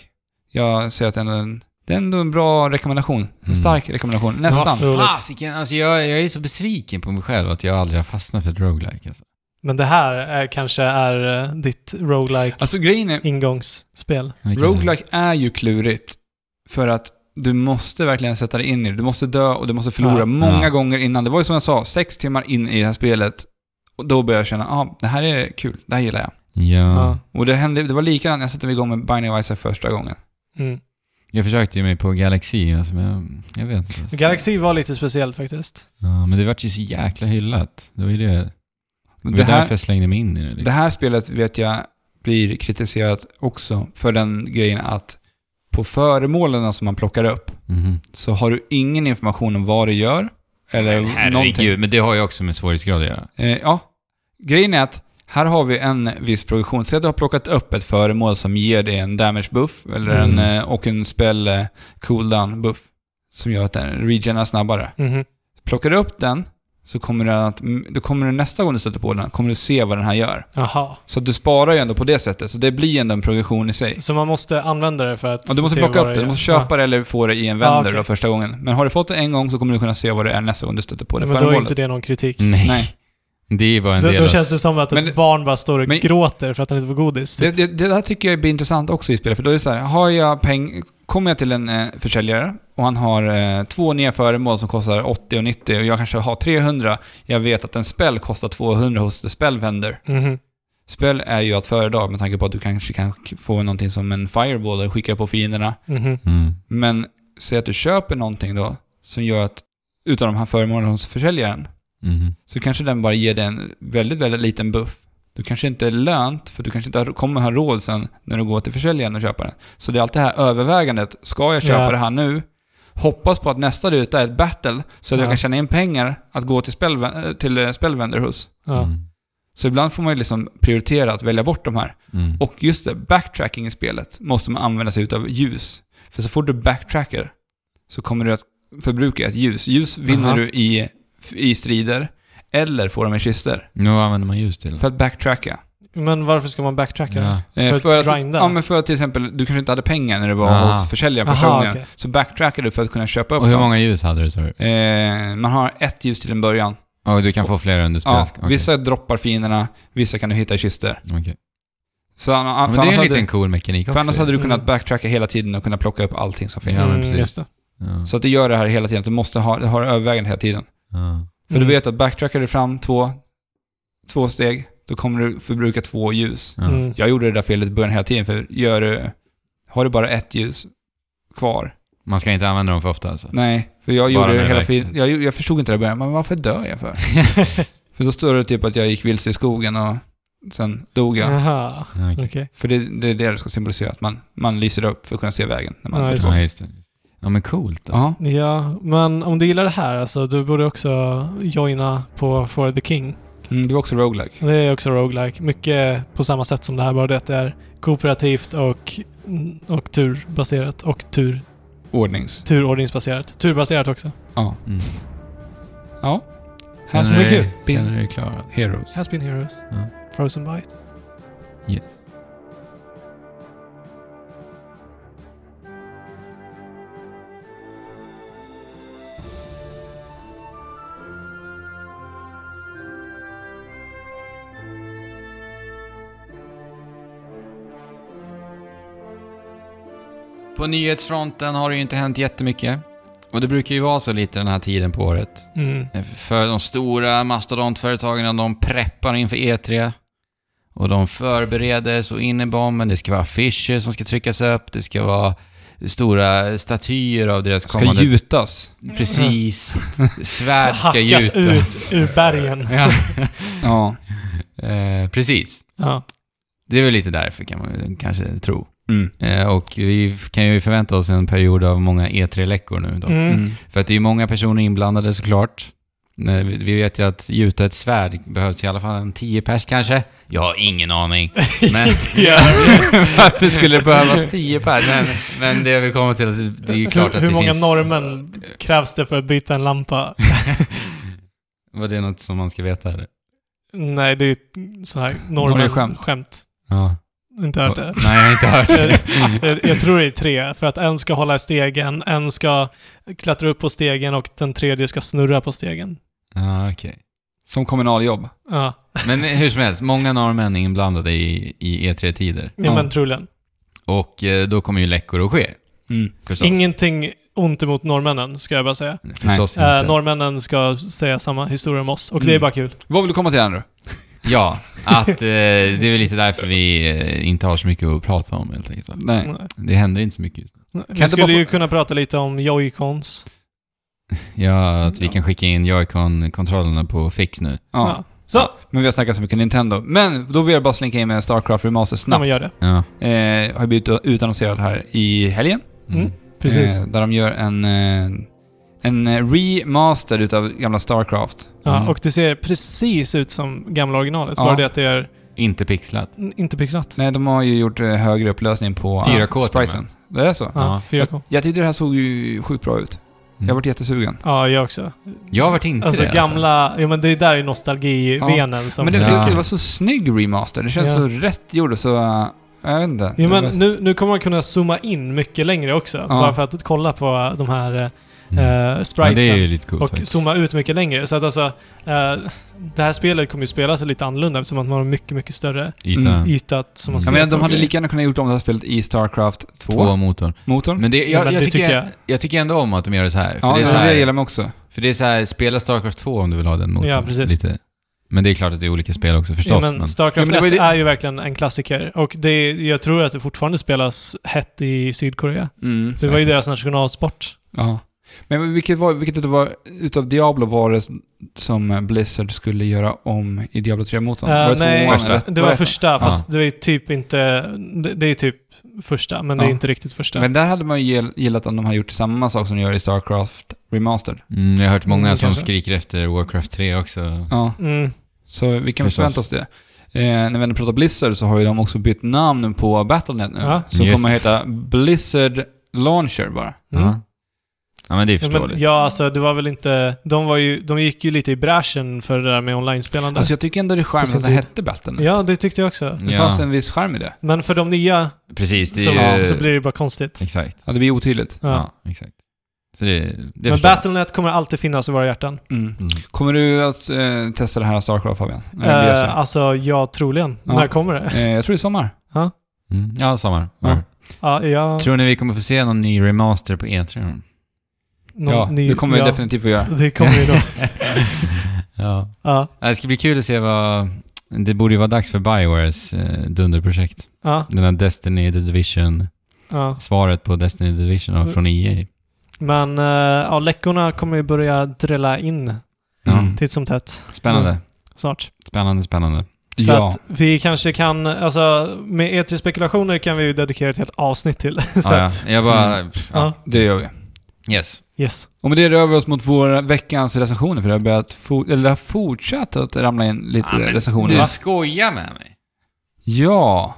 Speaker 1: Jag ser att det är ändå en, det är ändå en bra rekommendation. En
Speaker 2: Mm.
Speaker 1: stark rekommendation. Nästan.
Speaker 3: Ja, roligt.
Speaker 2: Fasiken, alltså jag, jag är så besviken på mig själv att jag aldrig har fastnat för ett roguelike. Alltså.
Speaker 3: Men det här är, kanske är eh, ditt roguelike
Speaker 1: Alltså grejen är,
Speaker 3: ingångsspel.
Speaker 2: Jag kanske-
Speaker 1: roguelike är ju klurigt. För att du måste verkligen sätta dig in i det. Du måste dö och du måste förlora
Speaker 3: Ja.
Speaker 1: många
Speaker 2: Ja.
Speaker 1: gånger innan. Det var ju som jag sa, sex timmar in i det här spelet. Och då började jag känna, ja, ah, det här är kul. Det här gillar jag.
Speaker 2: Ja.
Speaker 3: Ja.
Speaker 1: Och det, hände, det var likadant när jag satte mig igång med Binding of Isaac första gången.
Speaker 3: Mm.
Speaker 2: Jag försökte ju mig på Galaxy, alltså, men jag, jag vet inte. Alltså.
Speaker 3: Galaxy var lite speciellt faktiskt.
Speaker 2: Ja, men det vart ju så jäkla hyllat. Det var ju det. Det var
Speaker 1: Det
Speaker 2: därför
Speaker 1: här,
Speaker 2: jag slängde mig in i det. Liksom.
Speaker 1: det här spelet vet jag blir kritiserat också för den grejen att på föremålen som man plockar upp
Speaker 2: Mhm.
Speaker 1: så har du ingen information om vad du gör eller
Speaker 2: Men
Speaker 1: någonting.
Speaker 2: men det har ju också med svårighetsgrad att göra.
Speaker 1: Eh, ja, grejen är att här har vi en viss progression. Säg att du har plockat upp ett föremål som ger dig en damage buff eller en,
Speaker 2: Mm.
Speaker 1: eh, och en spell eh, cooldown buff som gör att den regenerar snabbare.
Speaker 3: Mhm.
Speaker 1: Plockar du upp den så kommer du, att, då kommer du nästa gång du stöter på den kommer du se vad den här gör.
Speaker 3: Jaha.
Speaker 1: Så att du sparar ju ändå på det sättet, så det blir ändå en progression i sig.
Speaker 3: Så man måste använda det för att
Speaker 1: Ja, du måste
Speaker 3: se
Speaker 1: plocka
Speaker 3: vad
Speaker 1: upp det, du
Speaker 3: är.
Speaker 1: måste köpa det eller få det i en vänder
Speaker 3: Ah, okej.
Speaker 1: då första gången. Men har du fått det en gång så kommer du kunna se vad det är nästa gång du stöter på
Speaker 3: Ja.
Speaker 1: det
Speaker 3: Men då är
Speaker 1: föremålet.
Speaker 3: inte det någon kritik.
Speaker 2: Nej.
Speaker 1: Nej.
Speaker 2: Det är ju bara en
Speaker 3: Då,
Speaker 2: del
Speaker 3: då
Speaker 2: av-
Speaker 3: känns det som att ett
Speaker 1: Men-
Speaker 3: barn bara står och
Speaker 1: men-
Speaker 3: gråter för att han inte får godis.
Speaker 1: Det, det, det där tycker jag blir intressant också i spelet, för då är det så här, har jag peng... Kommer jag till en eh, försäljare och han har eh, två nya föremål som kostar 80 och 90 och jag kanske har 300. Jag vet att en spell kostar 200 hos the spell vendor.
Speaker 3: Mhm.
Speaker 1: Spel är ju att föredra med tanke på att du kanske kan få någonting som en fireball och skicka på fienderna.
Speaker 3: Mhm.
Speaker 2: Mm.
Speaker 1: Men säg att du köper någonting då som gör att utav de här förmånerna hos försäljaren
Speaker 2: Mhm.
Speaker 1: så kanske den bara ger dig en väldigt, väldigt liten buff. Du kanske inte är lönt, för du kanske inte har- kommer ha råd sen när du går till försäljaren och köper den. Så det är alltid det här övervägandet. Ska jag köpa
Speaker 3: Ja.
Speaker 1: det här nu? Hoppas på att nästa ruta är ett battle, så att
Speaker 3: Ja.
Speaker 1: jag kan tjäna in pengar att gå till, spel, till eh, spellvender hos.
Speaker 3: Ja.
Speaker 2: Mm.
Speaker 1: Så ibland får man ju liksom prioritera att välja bort de här.
Speaker 2: Mm.
Speaker 1: Och just det, backtracking i spelet måste man använda sig utav ljus. För så fort du backtrackar så kommer du att förbruka ett ljus. Ljus vinner
Speaker 3: Aha.
Speaker 1: du i, i strider eller får dem i kister.
Speaker 2: Nu använder man ljus till.
Speaker 1: För att backtracka.
Speaker 3: Men varför ska man backtracka?
Speaker 2: Ja.
Speaker 1: Eh,
Speaker 3: För att grinda?
Speaker 1: Ja, men för att till exempel, du kanske inte hade pengar när du var
Speaker 2: Aha.
Speaker 1: hos försäljaren första
Speaker 3: Aha,
Speaker 1: gången.
Speaker 3: okej.
Speaker 1: Så backtrackar du för att kunna köpa upp
Speaker 2: Ah. Och hur
Speaker 1: dem.
Speaker 2: många ljus hade du sa du?
Speaker 1: Eh, man har ett ljus till en början.
Speaker 2: Och du kan få flera under
Speaker 1: Ja,
Speaker 2: spelet? Okej.
Speaker 1: Vissa droppar fienderna, vissa kan du hitta i kister.
Speaker 2: Okej.
Speaker 1: Så, an-
Speaker 2: Ja,
Speaker 1: för
Speaker 2: Men det är
Speaker 1: annars
Speaker 2: en
Speaker 1: hade-
Speaker 2: liten cool mekanik
Speaker 1: För
Speaker 2: också.
Speaker 1: annars hade du kunnat
Speaker 3: Mm.
Speaker 1: backtracka hela tiden och kunna plocka upp allting som finns.
Speaker 2: Ja, men
Speaker 3: Mm,
Speaker 2: precis.
Speaker 3: just det.
Speaker 2: Ja.
Speaker 1: Så att du gör det här hela tiden, att du måste ha, ha det övervägande hela tiden.
Speaker 2: Ja.
Speaker 1: För
Speaker 3: Mm.
Speaker 1: du vet att backtrackar du fram två, två steg, då kommer du förbruka två ljus.
Speaker 2: Ja.
Speaker 3: Mm.
Speaker 1: Jag gjorde det där felet i början hela tiden, för gör du, har du bara ett ljus kvar?
Speaker 2: Man ska inte använda dem för ofta (laughs) alltså?
Speaker 1: Nej, för jag
Speaker 2: Bara
Speaker 1: gjorde
Speaker 2: när
Speaker 1: det
Speaker 2: det
Speaker 1: hela
Speaker 2: verkligen-
Speaker 1: tiden. Jag, jag förstod inte det i början, men varför dör jag för? för då står det typ att jag gick vilse i skogen och sen dog jag.
Speaker 3: Jaha,
Speaker 2: Ja, okej.
Speaker 3: okej.
Speaker 1: För det, det är det det ska symbolisera, att man, man lyser upp för att kunna se vägen. När man
Speaker 3: Ja,
Speaker 1: går
Speaker 3: just
Speaker 1: tillbaka.
Speaker 2: Ja, just det. Ja, men coolt. Alltså.
Speaker 1: Jaha.
Speaker 3: Ja, men om du gillar det här alltså, du borde också joina på For the King.
Speaker 1: Mm, det var också roguelike.
Speaker 3: Det är också roguelike. Mycket på samma sätt som det här, bara det att det är kooperativt och, och turbaserat. Och tur,
Speaker 1: Ordnings.
Speaker 3: turordningsbaserat. Turbaserat också.
Speaker 1: Ja.
Speaker 2: Mm.
Speaker 1: Ja.
Speaker 2: Känner
Speaker 1: Has
Speaker 2: du dig-
Speaker 1: been
Speaker 2: Känner du dig klar?
Speaker 1: Heroes.
Speaker 3: Has been heroes.
Speaker 2: Ja.
Speaker 3: Frozen Bite.
Speaker 2: På nyhetsfronten har det ju inte hänt jättemycket. Och det brukar ju vara så lite den här tiden på året.
Speaker 3: Mm.
Speaker 2: För de stora mastodontföretagen, de preppar inför E3. Och de förbereder så in i bomben. Det ska vara affischer som ska tryckas upp. Det ska vara stora statyer av deras
Speaker 1: Ska
Speaker 2: kommande...
Speaker 1: gjutas.
Speaker 2: (laughs) Precis. Svärd ska
Speaker 3: Hackas
Speaker 2: gjutas.
Speaker 3: ut ur
Speaker 2: (laughs)
Speaker 3: bergen.
Speaker 2: Ja,
Speaker 1: Ja.
Speaker 2: eh, precis.
Speaker 3: Ja.
Speaker 2: Det är väl lite därför kan man väl kanske tro.
Speaker 1: Mm.
Speaker 2: Eh, och vi kan ju förvänta oss en period av många E3-läckor nu då.
Speaker 3: Mm.
Speaker 1: Mm.
Speaker 2: För att det är ju många personer inblandade såklart. Nej, Vi vi vet ju att gjuta ett svärd behövs i alla fall en 10 pers kanske. Jag har ingen aning. Men
Speaker 3: (laughs) Ja.
Speaker 2: (laughs) varför skulle det behövas 10 pers? Men, men det vi kommer till att det är ju klart
Speaker 3: hur,
Speaker 2: att
Speaker 3: hur
Speaker 2: det
Speaker 3: många
Speaker 2: finns...
Speaker 3: norrmän krävs det för att byta en lampa?
Speaker 2: (laughs) Var det något som man ska veta eller?
Speaker 3: Nej, det är ju så här
Speaker 1: Norrskämt.
Speaker 3: norrmän-skämt.
Speaker 2: Ja.
Speaker 3: Inte hört det.
Speaker 2: Nej, jag har inte (laughs) hört det.
Speaker 3: (laughs) jag, jag tror det är tre, för att en ska hålla i stegen, en ska klättra upp på stegen och den tredje ska snurra på stegen.
Speaker 2: Ja, okej.
Speaker 1: Som kommunaljobb.
Speaker 3: Ja,
Speaker 2: Men hur som helst, många norrmän är inblandade i, i E E3-tider.
Speaker 3: ja.
Speaker 1: Ja.
Speaker 3: men troligen.
Speaker 2: Och eh, då kommer ju läckor att ske.
Speaker 1: Mm.
Speaker 2: Förstås.
Speaker 3: Ingenting ont emot norrmännen, ska jag bara säga.
Speaker 2: Förstås
Speaker 3: Äh,
Speaker 2: inte.
Speaker 3: norrmännen ska säga samma historia om oss, och det är
Speaker 1: Mm.
Speaker 3: bara kul.
Speaker 1: Vad vill du komma till Andrew?
Speaker 2: Ja, att eh, det är väl lite därför vi eh, inte har så mycket att prata om helt enkelt. va?
Speaker 1: Nej.
Speaker 3: Nej.
Speaker 2: Det händer inte så mycket just nu.
Speaker 3: Mm. Vi
Speaker 1: inte
Speaker 3: skulle
Speaker 1: bara få-
Speaker 3: ju kunna prata lite om joycons.
Speaker 2: Ja, att vi kan skicka in Joy-Con-kontrollerna på fix nu.
Speaker 1: Ja.
Speaker 3: Ja. Så,
Speaker 1: Men vi har snackat så mycket Nintendo. Men då vill jag bara slinka in med Starcraft Remaster
Speaker 3: ja,
Speaker 1: snabbt.
Speaker 3: men gör det.
Speaker 2: Ja.
Speaker 1: eh, har blivit utannonserad här i helgen.
Speaker 3: Mm. Precis.
Speaker 1: Eh, där de gör en, eh, en remaster utav gamla Starcraft.
Speaker 3: Ja,
Speaker 2: Mm.
Speaker 3: och det ser precis ut som gamla originalet,
Speaker 1: Ja.
Speaker 3: bara det att det är
Speaker 2: Inte pixlat.
Speaker 3: n- inte pixlat.
Speaker 1: Nej, de har ju gjort eh, högre upplösning på
Speaker 2: 4K till och med.
Speaker 1: spriten. Det är så?
Speaker 3: Ja,
Speaker 2: Ja.
Speaker 3: 4K.
Speaker 1: Jag tyckte det här såg ju sjukt bra ut. Jag har varit jättesugen.
Speaker 3: Ja, jag också.
Speaker 2: Jag varit inte
Speaker 3: Alltså
Speaker 2: det.
Speaker 3: gamla... Ja, men det är där i nostalgivenen som...
Speaker 1: Men det,
Speaker 2: Ja.
Speaker 1: det, det var så snygg remaster. Det känns
Speaker 3: Ja.
Speaker 1: så rätt gjord och så... eh, jag vet inte.
Speaker 3: Jo,
Speaker 1: Det
Speaker 3: men
Speaker 1: var-
Speaker 3: nu, nu kommer man kunna zooma in mycket längre också. Bara för att kolla på de här eh,
Speaker 2: Mm.
Speaker 3: eh,
Speaker 2: Ja, det är
Speaker 3: spritesen.
Speaker 2: ju lite coolt
Speaker 3: och
Speaker 2: faktiskt.
Speaker 3: zooma ut mycket längre. Så att alltså... Eh, det här spelet kommer ju spelas lite annorlunda eftersom att man har mycket, mycket större
Speaker 2: Yta.
Speaker 1: Mm.
Speaker 3: yta som man
Speaker 2: Jag
Speaker 1: Jag
Speaker 3: ser.
Speaker 1: menar,
Speaker 3: på
Speaker 1: de hade
Speaker 3: grejer.
Speaker 1: lika gärna kunnat gjort om det här spelet i Starcraft
Speaker 2: Två
Speaker 1: 2-motorn.
Speaker 2: motorn. Men det, jag,
Speaker 3: Ja, Mm, men
Speaker 2: jag,
Speaker 3: det
Speaker 2: tycker,
Speaker 3: tycker
Speaker 2: jag.
Speaker 3: jag.
Speaker 2: tycker ändå om att de gör det så här. För
Speaker 1: Ja,
Speaker 2: det
Speaker 1: det,
Speaker 2: är så
Speaker 1: det
Speaker 2: här,
Speaker 1: gillar man också.
Speaker 2: för det är så här, spela Starcraft 2 om du vill ha den motorn.
Speaker 3: Ja, precis.
Speaker 2: Lite. Men det är klart att det är olika spel också
Speaker 3: Ja,
Speaker 2: förstås.
Speaker 3: men
Speaker 2: men,
Speaker 1: Ja,
Speaker 3: Starcraft
Speaker 1: men det var
Speaker 3: 1
Speaker 1: ju det-
Speaker 3: är ju verkligen en klassiker. Och det, är- jag tror att det fortfarande spelas hett i Sydkorea.
Speaker 1: Mm.
Speaker 3: Det var ju deras nationalsport.
Speaker 1: Ja. Men vilket, var, vilket var, utav Diablo var det som Blizzard skulle göra om i Diablo 3-motorn?
Speaker 3: Eh,
Speaker 1: var det
Speaker 3: nej,
Speaker 1: tvåan
Speaker 2: första.
Speaker 1: eller-
Speaker 3: Det var
Speaker 1: det-
Speaker 3: första, fast
Speaker 2: Ja.
Speaker 3: det är typ inte... Det, det är typ första, men det är
Speaker 1: Ja.
Speaker 3: inte riktigt första.
Speaker 1: Men där hade man ju gill- gillat om de hade gjort samma sak som de gör i Starcraft Remastered.
Speaker 2: mm, jag har hört många
Speaker 3: Mm,
Speaker 2: som
Speaker 3: kanske.
Speaker 2: skriker efter Warcraft 3 också.
Speaker 1: Ja,
Speaker 3: Mm.
Speaker 1: så vi kan väl
Speaker 2: Förstås.
Speaker 1: förvänta oss det. Eh, när vi ändå pratar Blizzard så har ju de också bytt namn på Battlenet nu.
Speaker 3: Ja.
Speaker 1: Så
Speaker 2: Yes.
Speaker 1: kommer att heta Blizzard Launcher bara.
Speaker 3: Mm.
Speaker 2: Ja. ja, men det är
Speaker 3: Ja, men,
Speaker 2: förståeligt.
Speaker 3: ja, alltså det var väl inte... De, var ju, de gick ju lite i bräschen för det där med online-spelande.
Speaker 1: Alltså jag tycker ändå det är
Speaker 3: På sin
Speaker 1: charmigt att det
Speaker 3: tid.
Speaker 1: hette Battlenet.
Speaker 3: ja, det tyckte jag också.
Speaker 1: Det
Speaker 2: Ja.
Speaker 1: fanns en viss charm i det.
Speaker 3: Men för de nya
Speaker 2: Precis, det
Speaker 3: som,
Speaker 2: är ju...
Speaker 3: så blir det bara konstigt.
Speaker 2: Exakt.
Speaker 1: Ja, det blir otydligt.
Speaker 3: Ja.
Speaker 2: Ja, exakt. Så det, det
Speaker 3: men
Speaker 2: förstår jag.
Speaker 3: Battlenet kommer alltid finnas i våra hjärtan.
Speaker 1: Mm.
Speaker 2: Mm.
Speaker 1: Kommer du att eh, testa det här Starcraft Fabian? När det blir så?
Speaker 3: Uh, alltså, ja, troligen.
Speaker 1: Ja.
Speaker 3: När kommer det?
Speaker 1: Eh, jag tror det är sommar.
Speaker 2: Mm. Ja, sommar.
Speaker 1: Ja.
Speaker 2: Ja.
Speaker 3: Ja, jag...
Speaker 2: Tror ni vi kommer få se någon ny remaster på E E3?
Speaker 3: någon
Speaker 1: ja,
Speaker 3: ny-
Speaker 1: det kommer vi
Speaker 3: ja, Mm,
Speaker 1: definitivt att göra.
Speaker 3: Det kommer
Speaker 2: (laughs)
Speaker 3: ju då.
Speaker 2: ja.
Speaker 3: Ja,
Speaker 2: Ja, Det ska bli kul att se vad... Det borde ju vara dags för Biowares eh, dunderprojekt.
Speaker 3: ja,
Speaker 2: Den här Destiny The Division,
Speaker 3: ja.
Speaker 2: svaret på Destiny The Division
Speaker 3: Mm.
Speaker 2: av- från E EA.
Speaker 3: Men eh, ja, läckorna kommer ju börja drälla in
Speaker 2: Ja.
Speaker 1: Mm.
Speaker 3: titt som tätt
Speaker 2: Spännande.
Speaker 3: snart.
Speaker 2: Spännande, spännande.
Speaker 3: Så
Speaker 1: Ja.
Speaker 3: att vi kanske kan, alltså med E3-spekulationer kan vi ju dedikera ett helt avsnitt till. (laughs) så
Speaker 2: Ja,
Speaker 3: att,
Speaker 2: ja. Jag bara...
Speaker 3: ja.
Speaker 2: Ja.
Speaker 1: Det gör vi.
Speaker 2: Yes.
Speaker 3: Yes.
Speaker 1: Och med det rör vi oss mot vår veckans recensioner, för det har, börjat for- eller det har fortsatt att ramla in lite
Speaker 2: Ja, men
Speaker 1: recensioner. va?
Speaker 2: skojar med mig.
Speaker 1: Ja.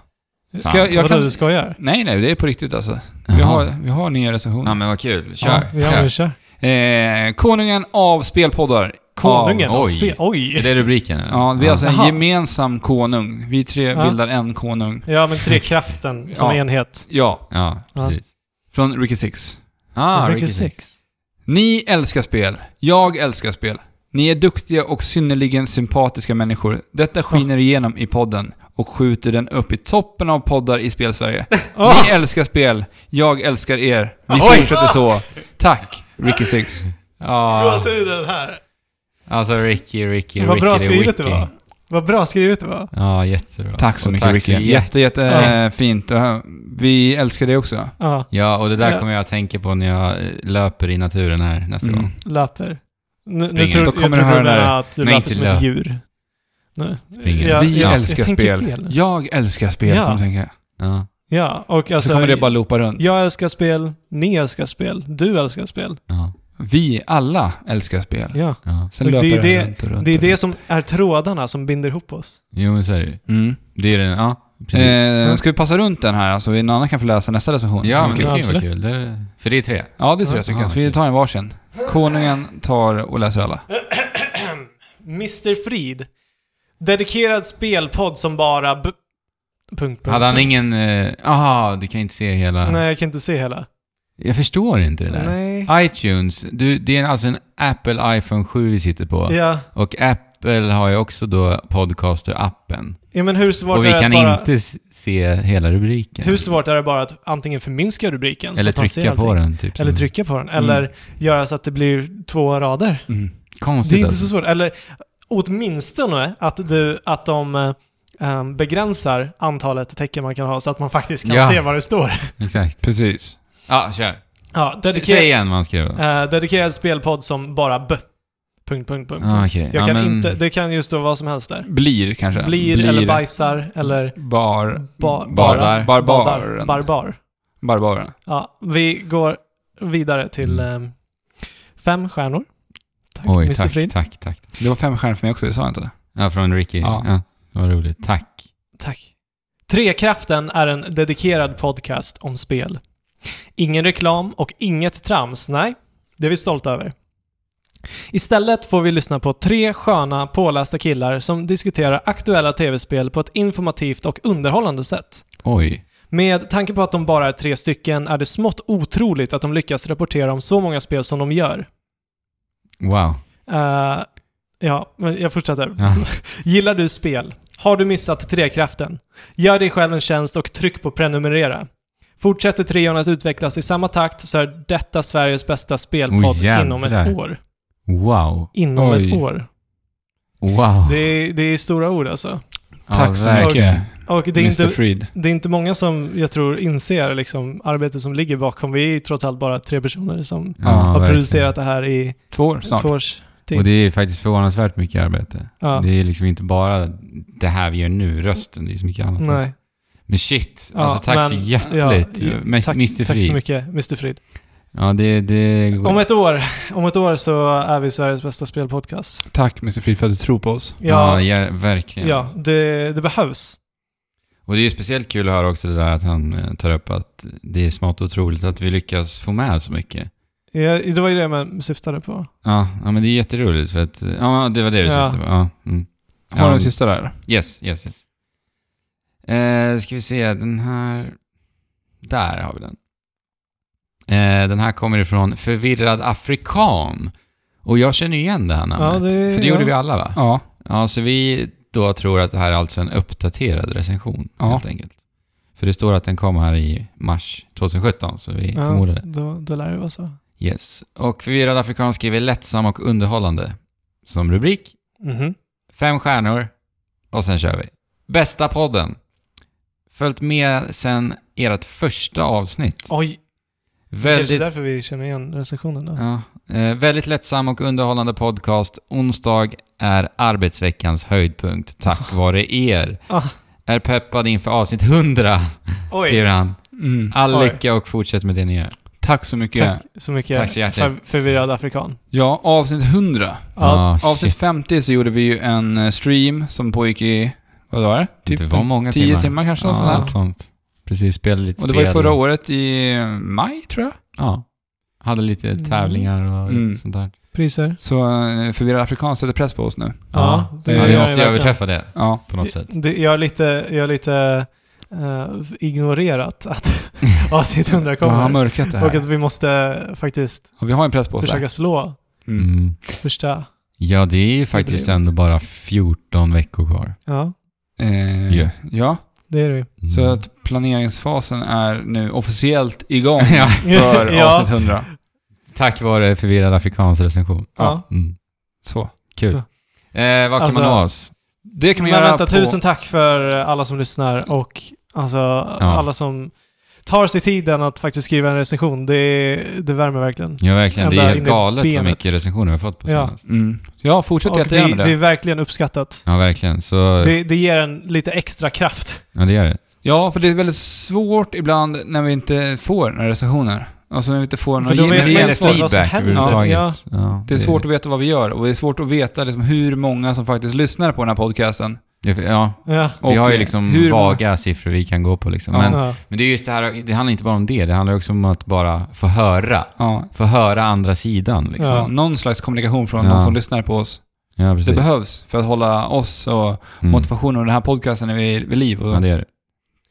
Speaker 2: Fan.
Speaker 1: Ska jag, jag
Speaker 3: Vadå,
Speaker 1: kan...
Speaker 3: du skojar?
Speaker 1: Nej, nej, det är på riktigt alltså. Vi
Speaker 2: Jaha.
Speaker 1: har, vi har nya recensioner.
Speaker 2: Ja, men vad kul.
Speaker 3: Ja,
Speaker 2: Kör.
Speaker 3: ja, men vi kör.
Speaker 1: Eh, konungen av spelpoddar.
Speaker 3: Konungen.
Speaker 2: oj.
Speaker 3: Oj. Spe-
Speaker 2: Är
Speaker 3: oj.
Speaker 2: det rubriken? eller?
Speaker 1: Av, ja, vi är alltså en
Speaker 3: Aha.
Speaker 1: gemensam konung. Vi tre
Speaker 3: Ja.
Speaker 1: bildar en konung.
Speaker 3: Ja, men Trekraften som
Speaker 1: Ja.
Speaker 3: enhet.
Speaker 1: Ja,
Speaker 2: Ja, precis.
Speaker 1: från Ricky Six.
Speaker 2: Ah,
Speaker 3: Ricky
Speaker 2: Ricky Six.
Speaker 3: Six.
Speaker 1: Ni älskar spel. Jag älskar spel. Ni är duktiga och synnerligen sympatiska människor. Detta skiner igenom i podden och skjuter den upp i toppen av poddar i
Speaker 3: (laughs)
Speaker 1: Spelsverige.
Speaker 3: Åh!
Speaker 1: Ni älskar spel, jag älskar er. Vi
Speaker 2: Oj!
Speaker 1: fortsätter så. Tack, Ricky Six.
Speaker 2: Ja,
Speaker 3: Gåshud den här.
Speaker 2: alltså Ricky, Ricky,
Speaker 3: Vad
Speaker 2: Ricky.
Speaker 3: bra
Speaker 2: det är
Speaker 3: skrivet det
Speaker 2: Wiki.
Speaker 3: var. Vad bra skrivet det var.
Speaker 2: Ja, jättebra.
Speaker 1: Tack så
Speaker 2: Och
Speaker 1: mycket Ricky.
Speaker 2: jätte-
Speaker 1: Jätte, jätte eh, fint. Eh, Vi älskar dig också.
Speaker 3: Ja,
Speaker 2: Ja, och det där
Speaker 3: Ja.
Speaker 2: kommer jag att tänka på när jag eh, löper i naturen här nästa
Speaker 1: Mm.
Speaker 2: gång.
Speaker 3: löper. Nu, nu
Speaker 2: Springer.
Speaker 3: tror,
Speaker 1: Då
Speaker 3: jag
Speaker 1: kommer
Speaker 3: tror
Speaker 1: du höra
Speaker 3: du
Speaker 1: det här.
Speaker 3: menar att du
Speaker 2: Nej,
Speaker 3: löper
Speaker 2: inte
Speaker 3: som ett
Speaker 2: lö-
Speaker 3: djur. Nu.
Speaker 2: Springer.
Speaker 3: Jag-
Speaker 1: Vi
Speaker 3: jag-
Speaker 1: älskar
Speaker 3: jag tänker
Speaker 1: spel.
Speaker 3: fel.
Speaker 1: Jag älskar spel,
Speaker 3: Ja.
Speaker 1: kommer jag tänka.
Speaker 2: Ja.
Speaker 3: Ja, och alltså...
Speaker 1: Så kommer det bara loopa runt.
Speaker 3: Jag älskar spel, ni älskar spel, du älskar spel.
Speaker 2: Ja.
Speaker 1: Vi alla älskar spel.
Speaker 3: Ja.
Speaker 2: ja.
Speaker 1: Sen
Speaker 3: Och det
Speaker 1: löper
Speaker 3: är
Speaker 1: det,
Speaker 3: det-
Speaker 1: runt och runt.
Speaker 3: Det är
Speaker 1: och
Speaker 3: det
Speaker 1: runt.
Speaker 3: som är trådarna som binder ihop oss.
Speaker 2: Jo, men så är det ju.
Speaker 1: Mm.
Speaker 2: Det är den, ja. Precis.
Speaker 1: Eh, ska vi passa runt den här så någon annan kan få läsa nästa recension?
Speaker 2: ja, men
Speaker 1: Okej.
Speaker 2: det kan ju vara
Speaker 3: absolut.
Speaker 2: kul. Det, för det är tre.
Speaker 1: ja det tror jag tycker
Speaker 2: Ja,
Speaker 1: jag. Så vi
Speaker 2: okej.
Speaker 1: tar en varsin. Konungen tar och läser alla.
Speaker 3: Mr. Frid. Dedikerad spelpodd som bara... B- punkt, punkt,
Speaker 2: Hade han
Speaker 3: punkt.
Speaker 2: ingen... eh, Aha, du kan inte se hela...
Speaker 3: Nej, jag kan inte se hela.
Speaker 2: Jag förstår inte det där.
Speaker 3: Nej.
Speaker 2: iTunes, du, det är alltså en Apple iPhone 7 vi sitter på.
Speaker 3: Ja.
Speaker 2: Och Apple har ju också då Podcaster-appen.
Speaker 3: ja, men hur svårt
Speaker 2: Och vi
Speaker 3: är det
Speaker 2: kan
Speaker 3: att bara...
Speaker 2: inte s- se hela rubriken.
Speaker 3: Hur svårt är det bara att antingen förminska rubriken så
Speaker 2: Eller
Speaker 3: att man ser
Speaker 2: trycka på
Speaker 3: allting.
Speaker 2: den, typ.
Speaker 3: Eller
Speaker 2: som-
Speaker 3: trycka på den. Eller göra så att det blir två rader.
Speaker 1: Mm.
Speaker 2: Konstigt
Speaker 3: Det är inte
Speaker 2: alltså.
Speaker 3: så svårt. Eller åtminstone att, du, att de eh, ehm, begränsar antalet tecken man kan ha så att man faktiskt kan
Speaker 2: Ja.
Speaker 3: se vad det står.
Speaker 2: Exakt.
Speaker 1: Precis.
Speaker 2: Ja, kör.
Speaker 3: Ja,
Speaker 2: S- Säg
Speaker 3: dediker-
Speaker 2: igen vad han skrev.
Speaker 3: eh, dedikerad spelpodd som bara b... Punkt, punkt, punkt.
Speaker 2: Ah, okej.
Speaker 3: Jag
Speaker 2: ja,
Speaker 3: kan
Speaker 2: men-
Speaker 3: inte, det kan ju stå vad som helst där.
Speaker 1: Blir kanske.
Speaker 3: Blir, eller bajsar eller
Speaker 1: Bar.
Speaker 3: ba,
Speaker 2: Badar.
Speaker 3: bara.
Speaker 1: Barbaren.
Speaker 3: Barbar.
Speaker 1: Barbaren.
Speaker 3: Ja, vi går vidare till ehm, fem stjärnor. Tack,
Speaker 2: Mm. Oj,
Speaker 3: Mr.
Speaker 2: tack,
Speaker 3: Frid.
Speaker 2: tack, tack.
Speaker 1: Det var fem stjärnor för mig också, det sa jag inte.
Speaker 2: Ja, från Ricky.
Speaker 1: Ja.
Speaker 2: Ja. vad roligt. Tack.
Speaker 3: Tack. Trekraften är en dedikerad podcast om spel. Ingen reklam och inget trams, nej. Det är vi stolta över. Istället får vi lyssna på tre sköna, pålästa killar som diskuterar aktuella tv-spel på ett informativt och underhållande sätt.
Speaker 2: Oj.
Speaker 3: Med tanke på att de bara är tre stycken är det smått otroligt att de lyckas rapportera om så många spel som de gör.
Speaker 2: Wow.
Speaker 3: Eh, ja, men jag fortsätter.
Speaker 2: Ja.
Speaker 3: Gillar du spel? Har du missat Trekraften? Gör dig själv en tjänst och tryck på prenumerera. Fortsätter trion att utvecklas i samma takt så är detta Sveriges bästa spelpodd
Speaker 2: Oj, jävlar.
Speaker 3: inom ett år.
Speaker 2: Wow.
Speaker 3: Inom
Speaker 1: Oj.
Speaker 3: ett år.
Speaker 2: Wow.
Speaker 3: Det är, det är stora ord alltså.
Speaker 2: Ja,
Speaker 1: Tack så
Speaker 2: verkligen.
Speaker 1: mycket,
Speaker 3: Och det är,
Speaker 1: Mr.
Speaker 3: inte,
Speaker 1: Fried.
Speaker 3: det är inte många som jag tror inser liksom, arbetet som ligger bakom. Vi är ju trots allt bara tre personer som
Speaker 2: Ja,
Speaker 1: Har
Speaker 3: har
Speaker 2: verkligen.
Speaker 3: producerat det här i
Speaker 1: Två år snart.
Speaker 3: två års
Speaker 2: Och
Speaker 3: tid.
Speaker 2: det är faktiskt förvånansvärt mycket arbete.
Speaker 3: Ja.
Speaker 2: Det är liksom inte bara det här vi gör nu, rösten, det är så mycket annat. också.
Speaker 3: Nej.
Speaker 2: Men shit,
Speaker 3: Ja,
Speaker 2: alltså tack så
Speaker 3: men-
Speaker 2: hjärtligt.
Speaker 3: ja,
Speaker 2: Men-
Speaker 3: tack,
Speaker 2: Mr.
Speaker 3: tack så
Speaker 2: Frid.
Speaker 3: mycket, Mr. Frid.
Speaker 2: Ja, det... det
Speaker 3: Om ett år, om ett år så är vi Sveriges bästa spelpodcast.
Speaker 1: Tack Mr. Fried för att du tror på oss.
Speaker 3: Ja,
Speaker 2: ja, ja, verkligen.
Speaker 3: ja det, det behövs.
Speaker 2: Och det är ju speciellt kul att höra också det där att han eh, tar upp att det är smått otroligt att vi lyckas få med så mycket.
Speaker 3: Ja, det var ju det man syftade på.
Speaker 2: Ja, ja men det är jätteroligt för att... Ja, det var det du
Speaker 3: Ja.
Speaker 2: syftade på. Ja, mm.
Speaker 1: Har du
Speaker 2: Ja,
Speaker 1: en sista där?
Speaker 2: Yes, yes, yes. Eh, ska vi se, den här... Där har vi den. Eh, den här kommer ifrån Förvirrad Afrikan. Och jag känner igen det här namnet.
Speaker 3: Ja, det-
Speaker 2: för det gjorde
Speaker 3: ja.
Speaker 2: vi alla va?
Speaker 1: Ja.
Speaker 2: Ja, så vi då tror att det här är alltså en uppdaterad recension
Speaker 1: Ja.
Speaker 2: helt enkelt. För det står att den kom här i mars 2017, så vi
Speaker 3: Ja,
Speaker 2: förmodar det.
Speaker 3: då, då lär det vara så.
Speaker 2: Yes. Och Förvirrad Afrikan skriver lättsam och underhållande som rubrik.
Speaker 3: Mhm.
Speaker 2: Fem stjärnor och sen kör vi. Bästa podden. Följt med sen ert första avsnitt.
Speaker 3: Oj, kanske
Speaker 2: väldigt,
Speaker 3: därför vi känner igen recensionen då.
Speaker 2: ja, eh, väldigt lättsam och underhållande podcast. Onsdag är arbetsveckans höjdpunkt tack vare er.
Speaker 3: Ah.
Speaker 2: Är peppad inför avsnitt 100,
Speaker 3: Oj,
Speaker 2: skriver han.
Speaker 1: Mm.
Speaker 2: All
Speaker 3: Oj.
Speaker 2: lycka och fortsätt med det ni gör.
Speaker 1: Tack så mycket.
Speaker 3: tack så mycket
Speaker 2: Tack så hjärtligt.
Speaker 3: för, förvirrad afrikan.
Speaker 1: Ja, avsnitt 100.
Speaker 3: Ja,
Speaker 2: Ah,
Speaker 1: Avsnitt
Speaker 2: shit.
Speaker 1: 50 så gjorde vi ju en eh, stream som pågick i, vad var det?
Speaker 2: det var många
Speaker 1: 10 typ timmar,
Speaker 2: timmar.
Speaker 1: kanske,
Speaker 2: Ja, alltså.
Speaker 1: något sånt
Speaker 2: något
Speaker 1: där.
Speaker 2: sånt. Precis, spelade lite
Speaker 1: Och det var ju
Speaker 2: spel
Speaker 1: förra
Speaker 2: och-
Speaker 1: året i eh, maj, tror jag.
Speaker 2: Ja. Hade lite tävlingar och
Speaker 1: Mm.
Speaker 2: sånt där.
Speaker 3: Priser.
Speaker 1: Så eh, förvirrad afrikan sätter press på oss nu.
Speaker 3: Ja, det
Speaker 2: ja,
Speaker 3: gör
Speaker 2: vi
Speaker 3: jag
Speaker 2: måste ju
Speaker 3: verkligen.
Speaker 2: överträffa det
Speaker 1: Ja.
Speaker 2: på något sätt.
Speaker 3: Det, jag har lite, jag har lite eh, ignorerat att (laughs) avsnitt 100
Speaker 1: Då har han
Speaker 3: kommer.
Speaker 1: mörkat det
Speaker 3: Och att
Speaker 1: här.
Speaker 3: vi måste faktiskt
Speaker 1: Och vi har en press på oss där.
Speaker 3: försöka slå
Speaker 1: Mm.
Speaker 2: Mm.
Speaker 3: första...
Speaker 2: Ja, det är ju faktiskt
Speaker 3: Jubileet.
Speaker 2: ändå bara 14 veckor kvar. Mm.
Speaker 3: Ja.
Speaker 1: Eh,
Speaker 2: Ja.
Speaker 1: Ja,
Speaker 3: Det är det ju.
Speaker 1: så att planeringsfasen är nu officiellt igång
Speaker 2: (laughs) Ja.
Speaker 1: för
Speaker 3: (laughs) Ja.
Speaker 1: avsnitt 100.
Speaker 2: Tack vare förvirrad afrikansk recension.
Speaker 3: Ja.
Speaker 2: Mm.
Speaker 1: Så.
Speaker 2: Kul.
Speaker 3: Så.
Speaker 2: Eh, vad kan
Speaker 3: Alltså-
Speaker 2: man nå oss?
Speaker 1: Det kan man
Speaker 3: Men
Speaker 1: göra
Speaker 3: vänta,
Speaker 1: på...
Speaker 3: tusen tack för alla som lyssnar och alltså, alla som tar sig tiden att faktiskt skriva en recension. Det, det värmer verkligen.
Speaker 2: Ja, verkligen. Det
Speaker 3: Ända
Speaker 2: är
Speaker 3: in
Speaker 2: helt
Speaker 3: i
Speaker 2: galet vad
Speaker 3: benet.
Speaker 2: mycket recensioner vi har fått på
Speaker 3: Ja.
Speaker 2: senast.
Speaker 1: Mm. Ja, fortsätt
Speaker 3: Och
Speaker 1: jättegärna
Speaker 3: det,
Speaker 1: med det.
Speaker 3: det är verkligen uppskattat.
Speaker 2: Ja, verkligen. Så,
Speaker 3: Det, det ger en lite extra kraft.
Speaker 2: ja, det gör det.
Speaker 1: Ja, för det är väldigt svårt ibland när vi inte får några recensioner. Alltså när vi inte får
Speaker 3: För
Speaker 1: några
Speaker 3: då vet
Speaker 1: gen-
Speaker 3: man inte
Speaker 1: gensvar.
Speaker 3: vad som
Speaker 2: Feedback
Speaker 3: händer.
Speaker 2: överhuvudtaget.
Speaker 3: Ja.
Speaker 2: Ja,
Speaker 1: Det är svårt att veta vad vi gör och det är svårt att veta liksom hur många som faktiskt lyssnar på den här podcasten.
Speaker 2: det- Ja,
Speaker 3: Ja.
Speaker 1: Och
Speaker 2: vi har ju liksom
Speaker 1: hur många-
Speaker 2: vaga siffror vi kan gå på liksom.
Speaker 1: Ja.
Speaker 2: Men,
Speaker 3: ja.
Speaker 2: men det är just det här, det handlar inte bara om det. Det handlar också om att bara få höra.
Speaker 1: Ja,
Speaker 2: Få höra andra sidan liksom.
Speaker 1: ja. någon slags kommunikation från
Speaker 2: Ja.
Speaker 1: de som lyssnar på oss.
Speaker 2: Ja, precis.
Speaker 1: Det behövs för att hålla oss och
Speaker 2: Mm.
Speaker 1: motivationen och den här podcasten är vid, vid liv. Och
Speaker 2: Ja, det gör det.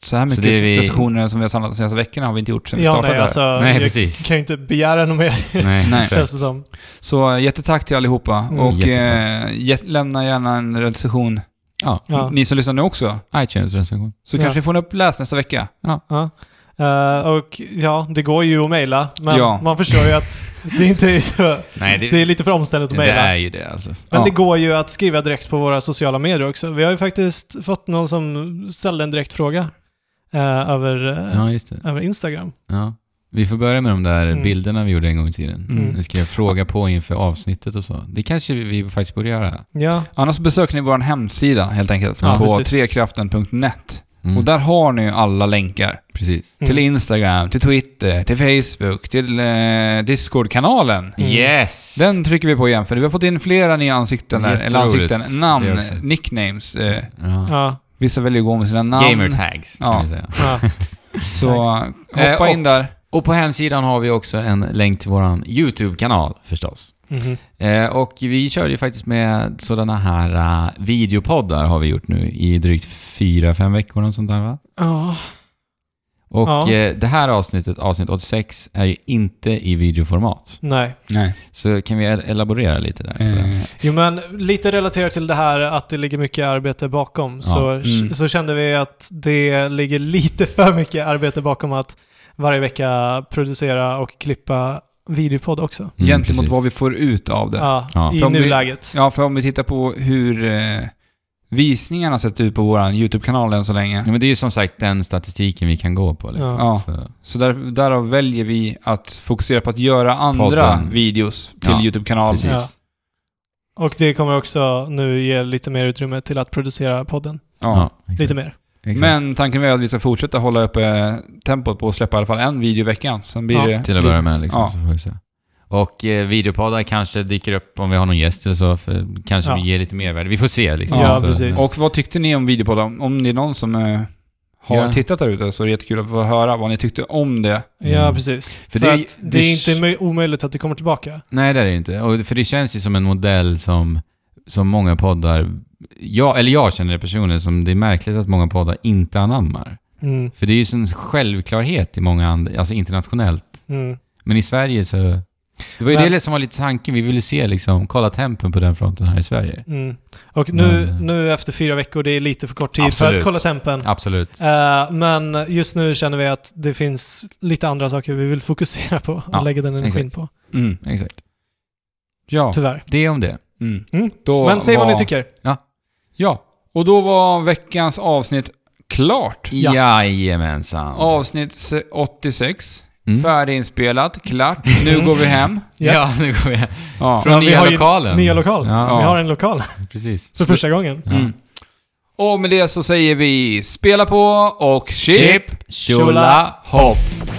Speaker 1: Så här mycket
Speaker 2: det är vi-
Speaker 1: recensioner som vi har samlat de senaste veckorna har vi inte gjort sedan vi
Speaker 3: ja
Speaker 1: startade
Speaker 3: nej,
Speaker 1: det här.
Speaker 3: alltså,
Speaker 2: Nej,
Speaker 3: jag
Speaker 2: precis.
Speaker 3: kan ju inte begära något mer,
Speaker 2: (laughs) (laughs) Nej,
Speaker 1: Nej.
Speaker 2: exakt.
Speaker 3: känns det som.
Speaker 1: Så äh, jättetack till allihopa
Speaker 3: Mm.
Speaker 1: och
Speaker 2: Jättetack.
Speaker 1: eh, jä- lämna gärna en recension.
Speaker 2: Ja,
Speaker 3: Ja.
Speaker 1: Ni som lyssnar nu också.
Speaker 2: iTunes-recension.
Speaker 1: Så
Speaker 3: Ja.
Speaker 1: kanske vi får en uppläst nästa vecka.
Speaker 3: Ja. Eh, och ja, det går ju att mejla, men
Speaker 1: Ja.
Speaker 3: man förstår ju att det inte är så,
Speaker 2: Nej,
Speaker 3: Det är lite för omständigt att
Speaker 2: det
Speaker 3: mejla.
Speaker 2: är ju det alltså.
Speaker 3: Men
Speaker 1: Ja.
Speaker 3: det går ju att skriva direkt på våra sociala medier också. Vi har ju faktiskt fått någon som ställde en direkt fråga eh, över, eh,
Speaker 2: Ja, just det.
Speaker 3: över Instagram.
Speaker 2: Ja. Vi får börja med de där
Speaker 3: Mm.
Speaker 2: bilderna vi gjorde en gång i tiden.
Speaker 1: Mm.
Speaker 2: Vi skrev fråga på inför avsnittet och så. Det kanske vi faktiskt borde göra.
Speaker 3: Ja,
Speaker 1: Annars besöker ni vår hemsida helt enkelt
Speaker 3: Ja,
Speaker 1: på
Speaker 3: precis.
Speaker 1: trekraften.net.
Speaker 2: Mm.
Speaker 1: Och där har ni ju alla länkar.
Speaker 2: Precis.
Speaker 3: Mm.
Speaker 1: Till Instagram, till Twitter, till Facebook, till eh, Discord-kanalen.
Speaker 3: Mm.
Speaker 2: Yes!
Speaker 1: Den trycker vi på igen, för vi har fått in flera nya ansikten där. Eller
Speaker 2: Jätteroligt.
Speaker 1: ansikten,
Speaker 2: Det
Speaker 1: namn,
Speaker 2: också.
Speaker 1: nicknames. Eh,
Speaker 2: ja.
Speaker 3: ja,
Speaker 1: vissa väljer att gå med sina namn.
Speaker 2: Gamertags kan
Speaker 1: Ja.
Speaker 2: vi säga.
Speaker 3: ja.
Speaker 1: (laughs) Så
Speaker 2: Eh,
Speaker 1: hoppa
Speaker 2: och-
Speaker 1: in där.
Speaker 2: Och på hemsidan har vi också en länk till vår YouTube-kanal förstås.
Speaker 3: Mhm.
Speaker 2: Eh, och vi kör ju faktiskt med sådana här eh, videopoddar har vi gjort nu i drygt fyra, fem veckor och sånt där va?
Speaker 3: Ja.
Speaker 2: Och
Speaker 3: Ja.
Speaker 2: eh, det här avsnittet, avsnitt 86, är ju inte i videoformat.
Speaker 3: nej.
Speaker 1: Nej.
Speaker 2: Så kan vi el- elaborera lite där? på det? Mm,
Speaker 1: Eh,
Speaker 3: Jo men lite relaterat till det här att det ligger mycket arbete bakom så,
Speaker 1: Mm.
Speaker 3: så kände vi att det ligger lite (laughs) för mycket arbete bakom att varje vecka producera och klippa videopodd också.
Speaker 2: Mm,
Speaker 1: gentemot
Speaker 2: precis.
Speaker 1: vad vi får ut av det.
Speaker 3: Ja,
Speaker 2: Ja.
Speaker 3: i
Speaker 1: För om vi-
Speaker 3: nuläget.
Speaker 1: Ja, för om vi tittar på hur eh, visningarna har sett ut på vår YouTube-kanal än så länge.
Speaker 2: Ja, men det är ju som sagt den statistiken vi kan gå på. Liksom.
Speaker 1: Ja.
Speaker 2: Så,
Speaker 1: Så där, därav väljer vi att fokusera på att göra andra
Speaker 2: Podden.
Speaker 1: videos till
Speaker 2: Ja,
Speaker 1: YouTube-kanalen.
Speaker 2: precis.
Speaker 3: Ja. Och det kommer också nu ge lite mer utrymme till att producera podden.
Speaker 1: Ja.
Speaker 2: exakt.
Speaker 3: Lite mer.
Speaker 2: Exakt.
Speaker 1: Men tanken är att vi ska fortsätta hålla uppe tempot på att släppa i alla fall en video i veckan. Sen blir
Speaker 3: Ja,
Speaker 1: det...
Speaker 2: Till att börja med liksom,
Speaker 1: Ja.
Speaker 2: så får vi se. Och eh, videopoddar kanske dyker upp om vi har någon gäst eller så. För kanske
Speaker 3: Ja.
Speaker 2: vi ger lite mervärde. Vi får se liksom.
Speaker 1: Ja,
Speaker 2: så.
Speaker 3: precis.
Speaker 1: Och vad tyckte ni om videopodden? Om det är någon som eh, har
Speaker 2: Ja.
Speaker 1: tittat där ute så är det jättekul att få höra vad ni tyckte om det.
Speaker 3: Ja,
Speaker 2: Mm.
Speaker 3: precis. För,
Speaker 2: För det-
Speaker 3: att det
Speaker 2: det-
Speaker 3: är inte möj- omöjligt att det kommer tillbaka.
Speaker 2: Nej, det är det ju inte. Och, för det känns ju som en modell som, som många poddar... Jag, eller jag känner det personligen som det är märkligt att många poddar inte anammar.
Speaker 3: Mm,
Speaker 2: För det är ju en självklarhet i många andra, alltså internationellt.
Speaker 3: mm.
Speaker 2: Men i Sverige så... Det var ju
Speaker 3: Men-
Speaker 2: det som var lite tanken. Vi ville se liksom, kolla tempen på den fronten här i Sverige.
Speaker 3: Mm. Och nu,
Speaker 2: Men, eh,
Speaker 3: nu efter fyra veckor, det är lite för kort tid för
Speaker 2: Absolut.
Speaker 3: att kolla tempen.
Speaker 2: Absolut.
Speaker 3: Eh, men just nu känner vi att det finns lite andra saker vi vill fokusera på och
Speaker 2: Ja,
Speaker 3: lägga den energin
Speaker 2: exakt.
Speaker 3: på.
Speaker 1: Mm.
Speaker 2: Exakt.
Speaker 1: Ja.
Speaker 3: Tyvärr.
Speaker 2: Det om det.
Speaker 1: Mm.
Speaker 3: Mm.
Speaker 1: Då
Speaker 3: Men säg vad
Speaker 1: var-
Speaker 3: ni tycker.
Speaker 1: Ja. Och då var veckans avsnitt klart.
Speaker 3: Ja.
Speaker 2: Jajamensan.
Speaker 1: Avsnitt se- 86.
Speaker 2: Mm.
Speaker 1: Färdiginspelat, klart. Nu går vi
Speaker 2: (laughs)
Speaker 1: hem.
Speaker 2: Ja,
Speaker 3: Ja.
Speaker 2: nu går vi.
Speaker 1: Ja.
Speaker 2: Från
Speaker 3: Ja, vi
Speaker 2: nya
Speaker 3: har ju
Speaker 2: lokalen.
Speaker 3: Nya lokal.
Speaker 2: Ja.
Speaker 3: Vi har en (laughs) lokal
Speaker 2: Precis.
Speaker 3: för första gången.
Speaker 2: Ja.
Speaker 1: Mm. Och med det så säger vi spela på och chip!
Speaker 2: Chip, Chula, Hopp.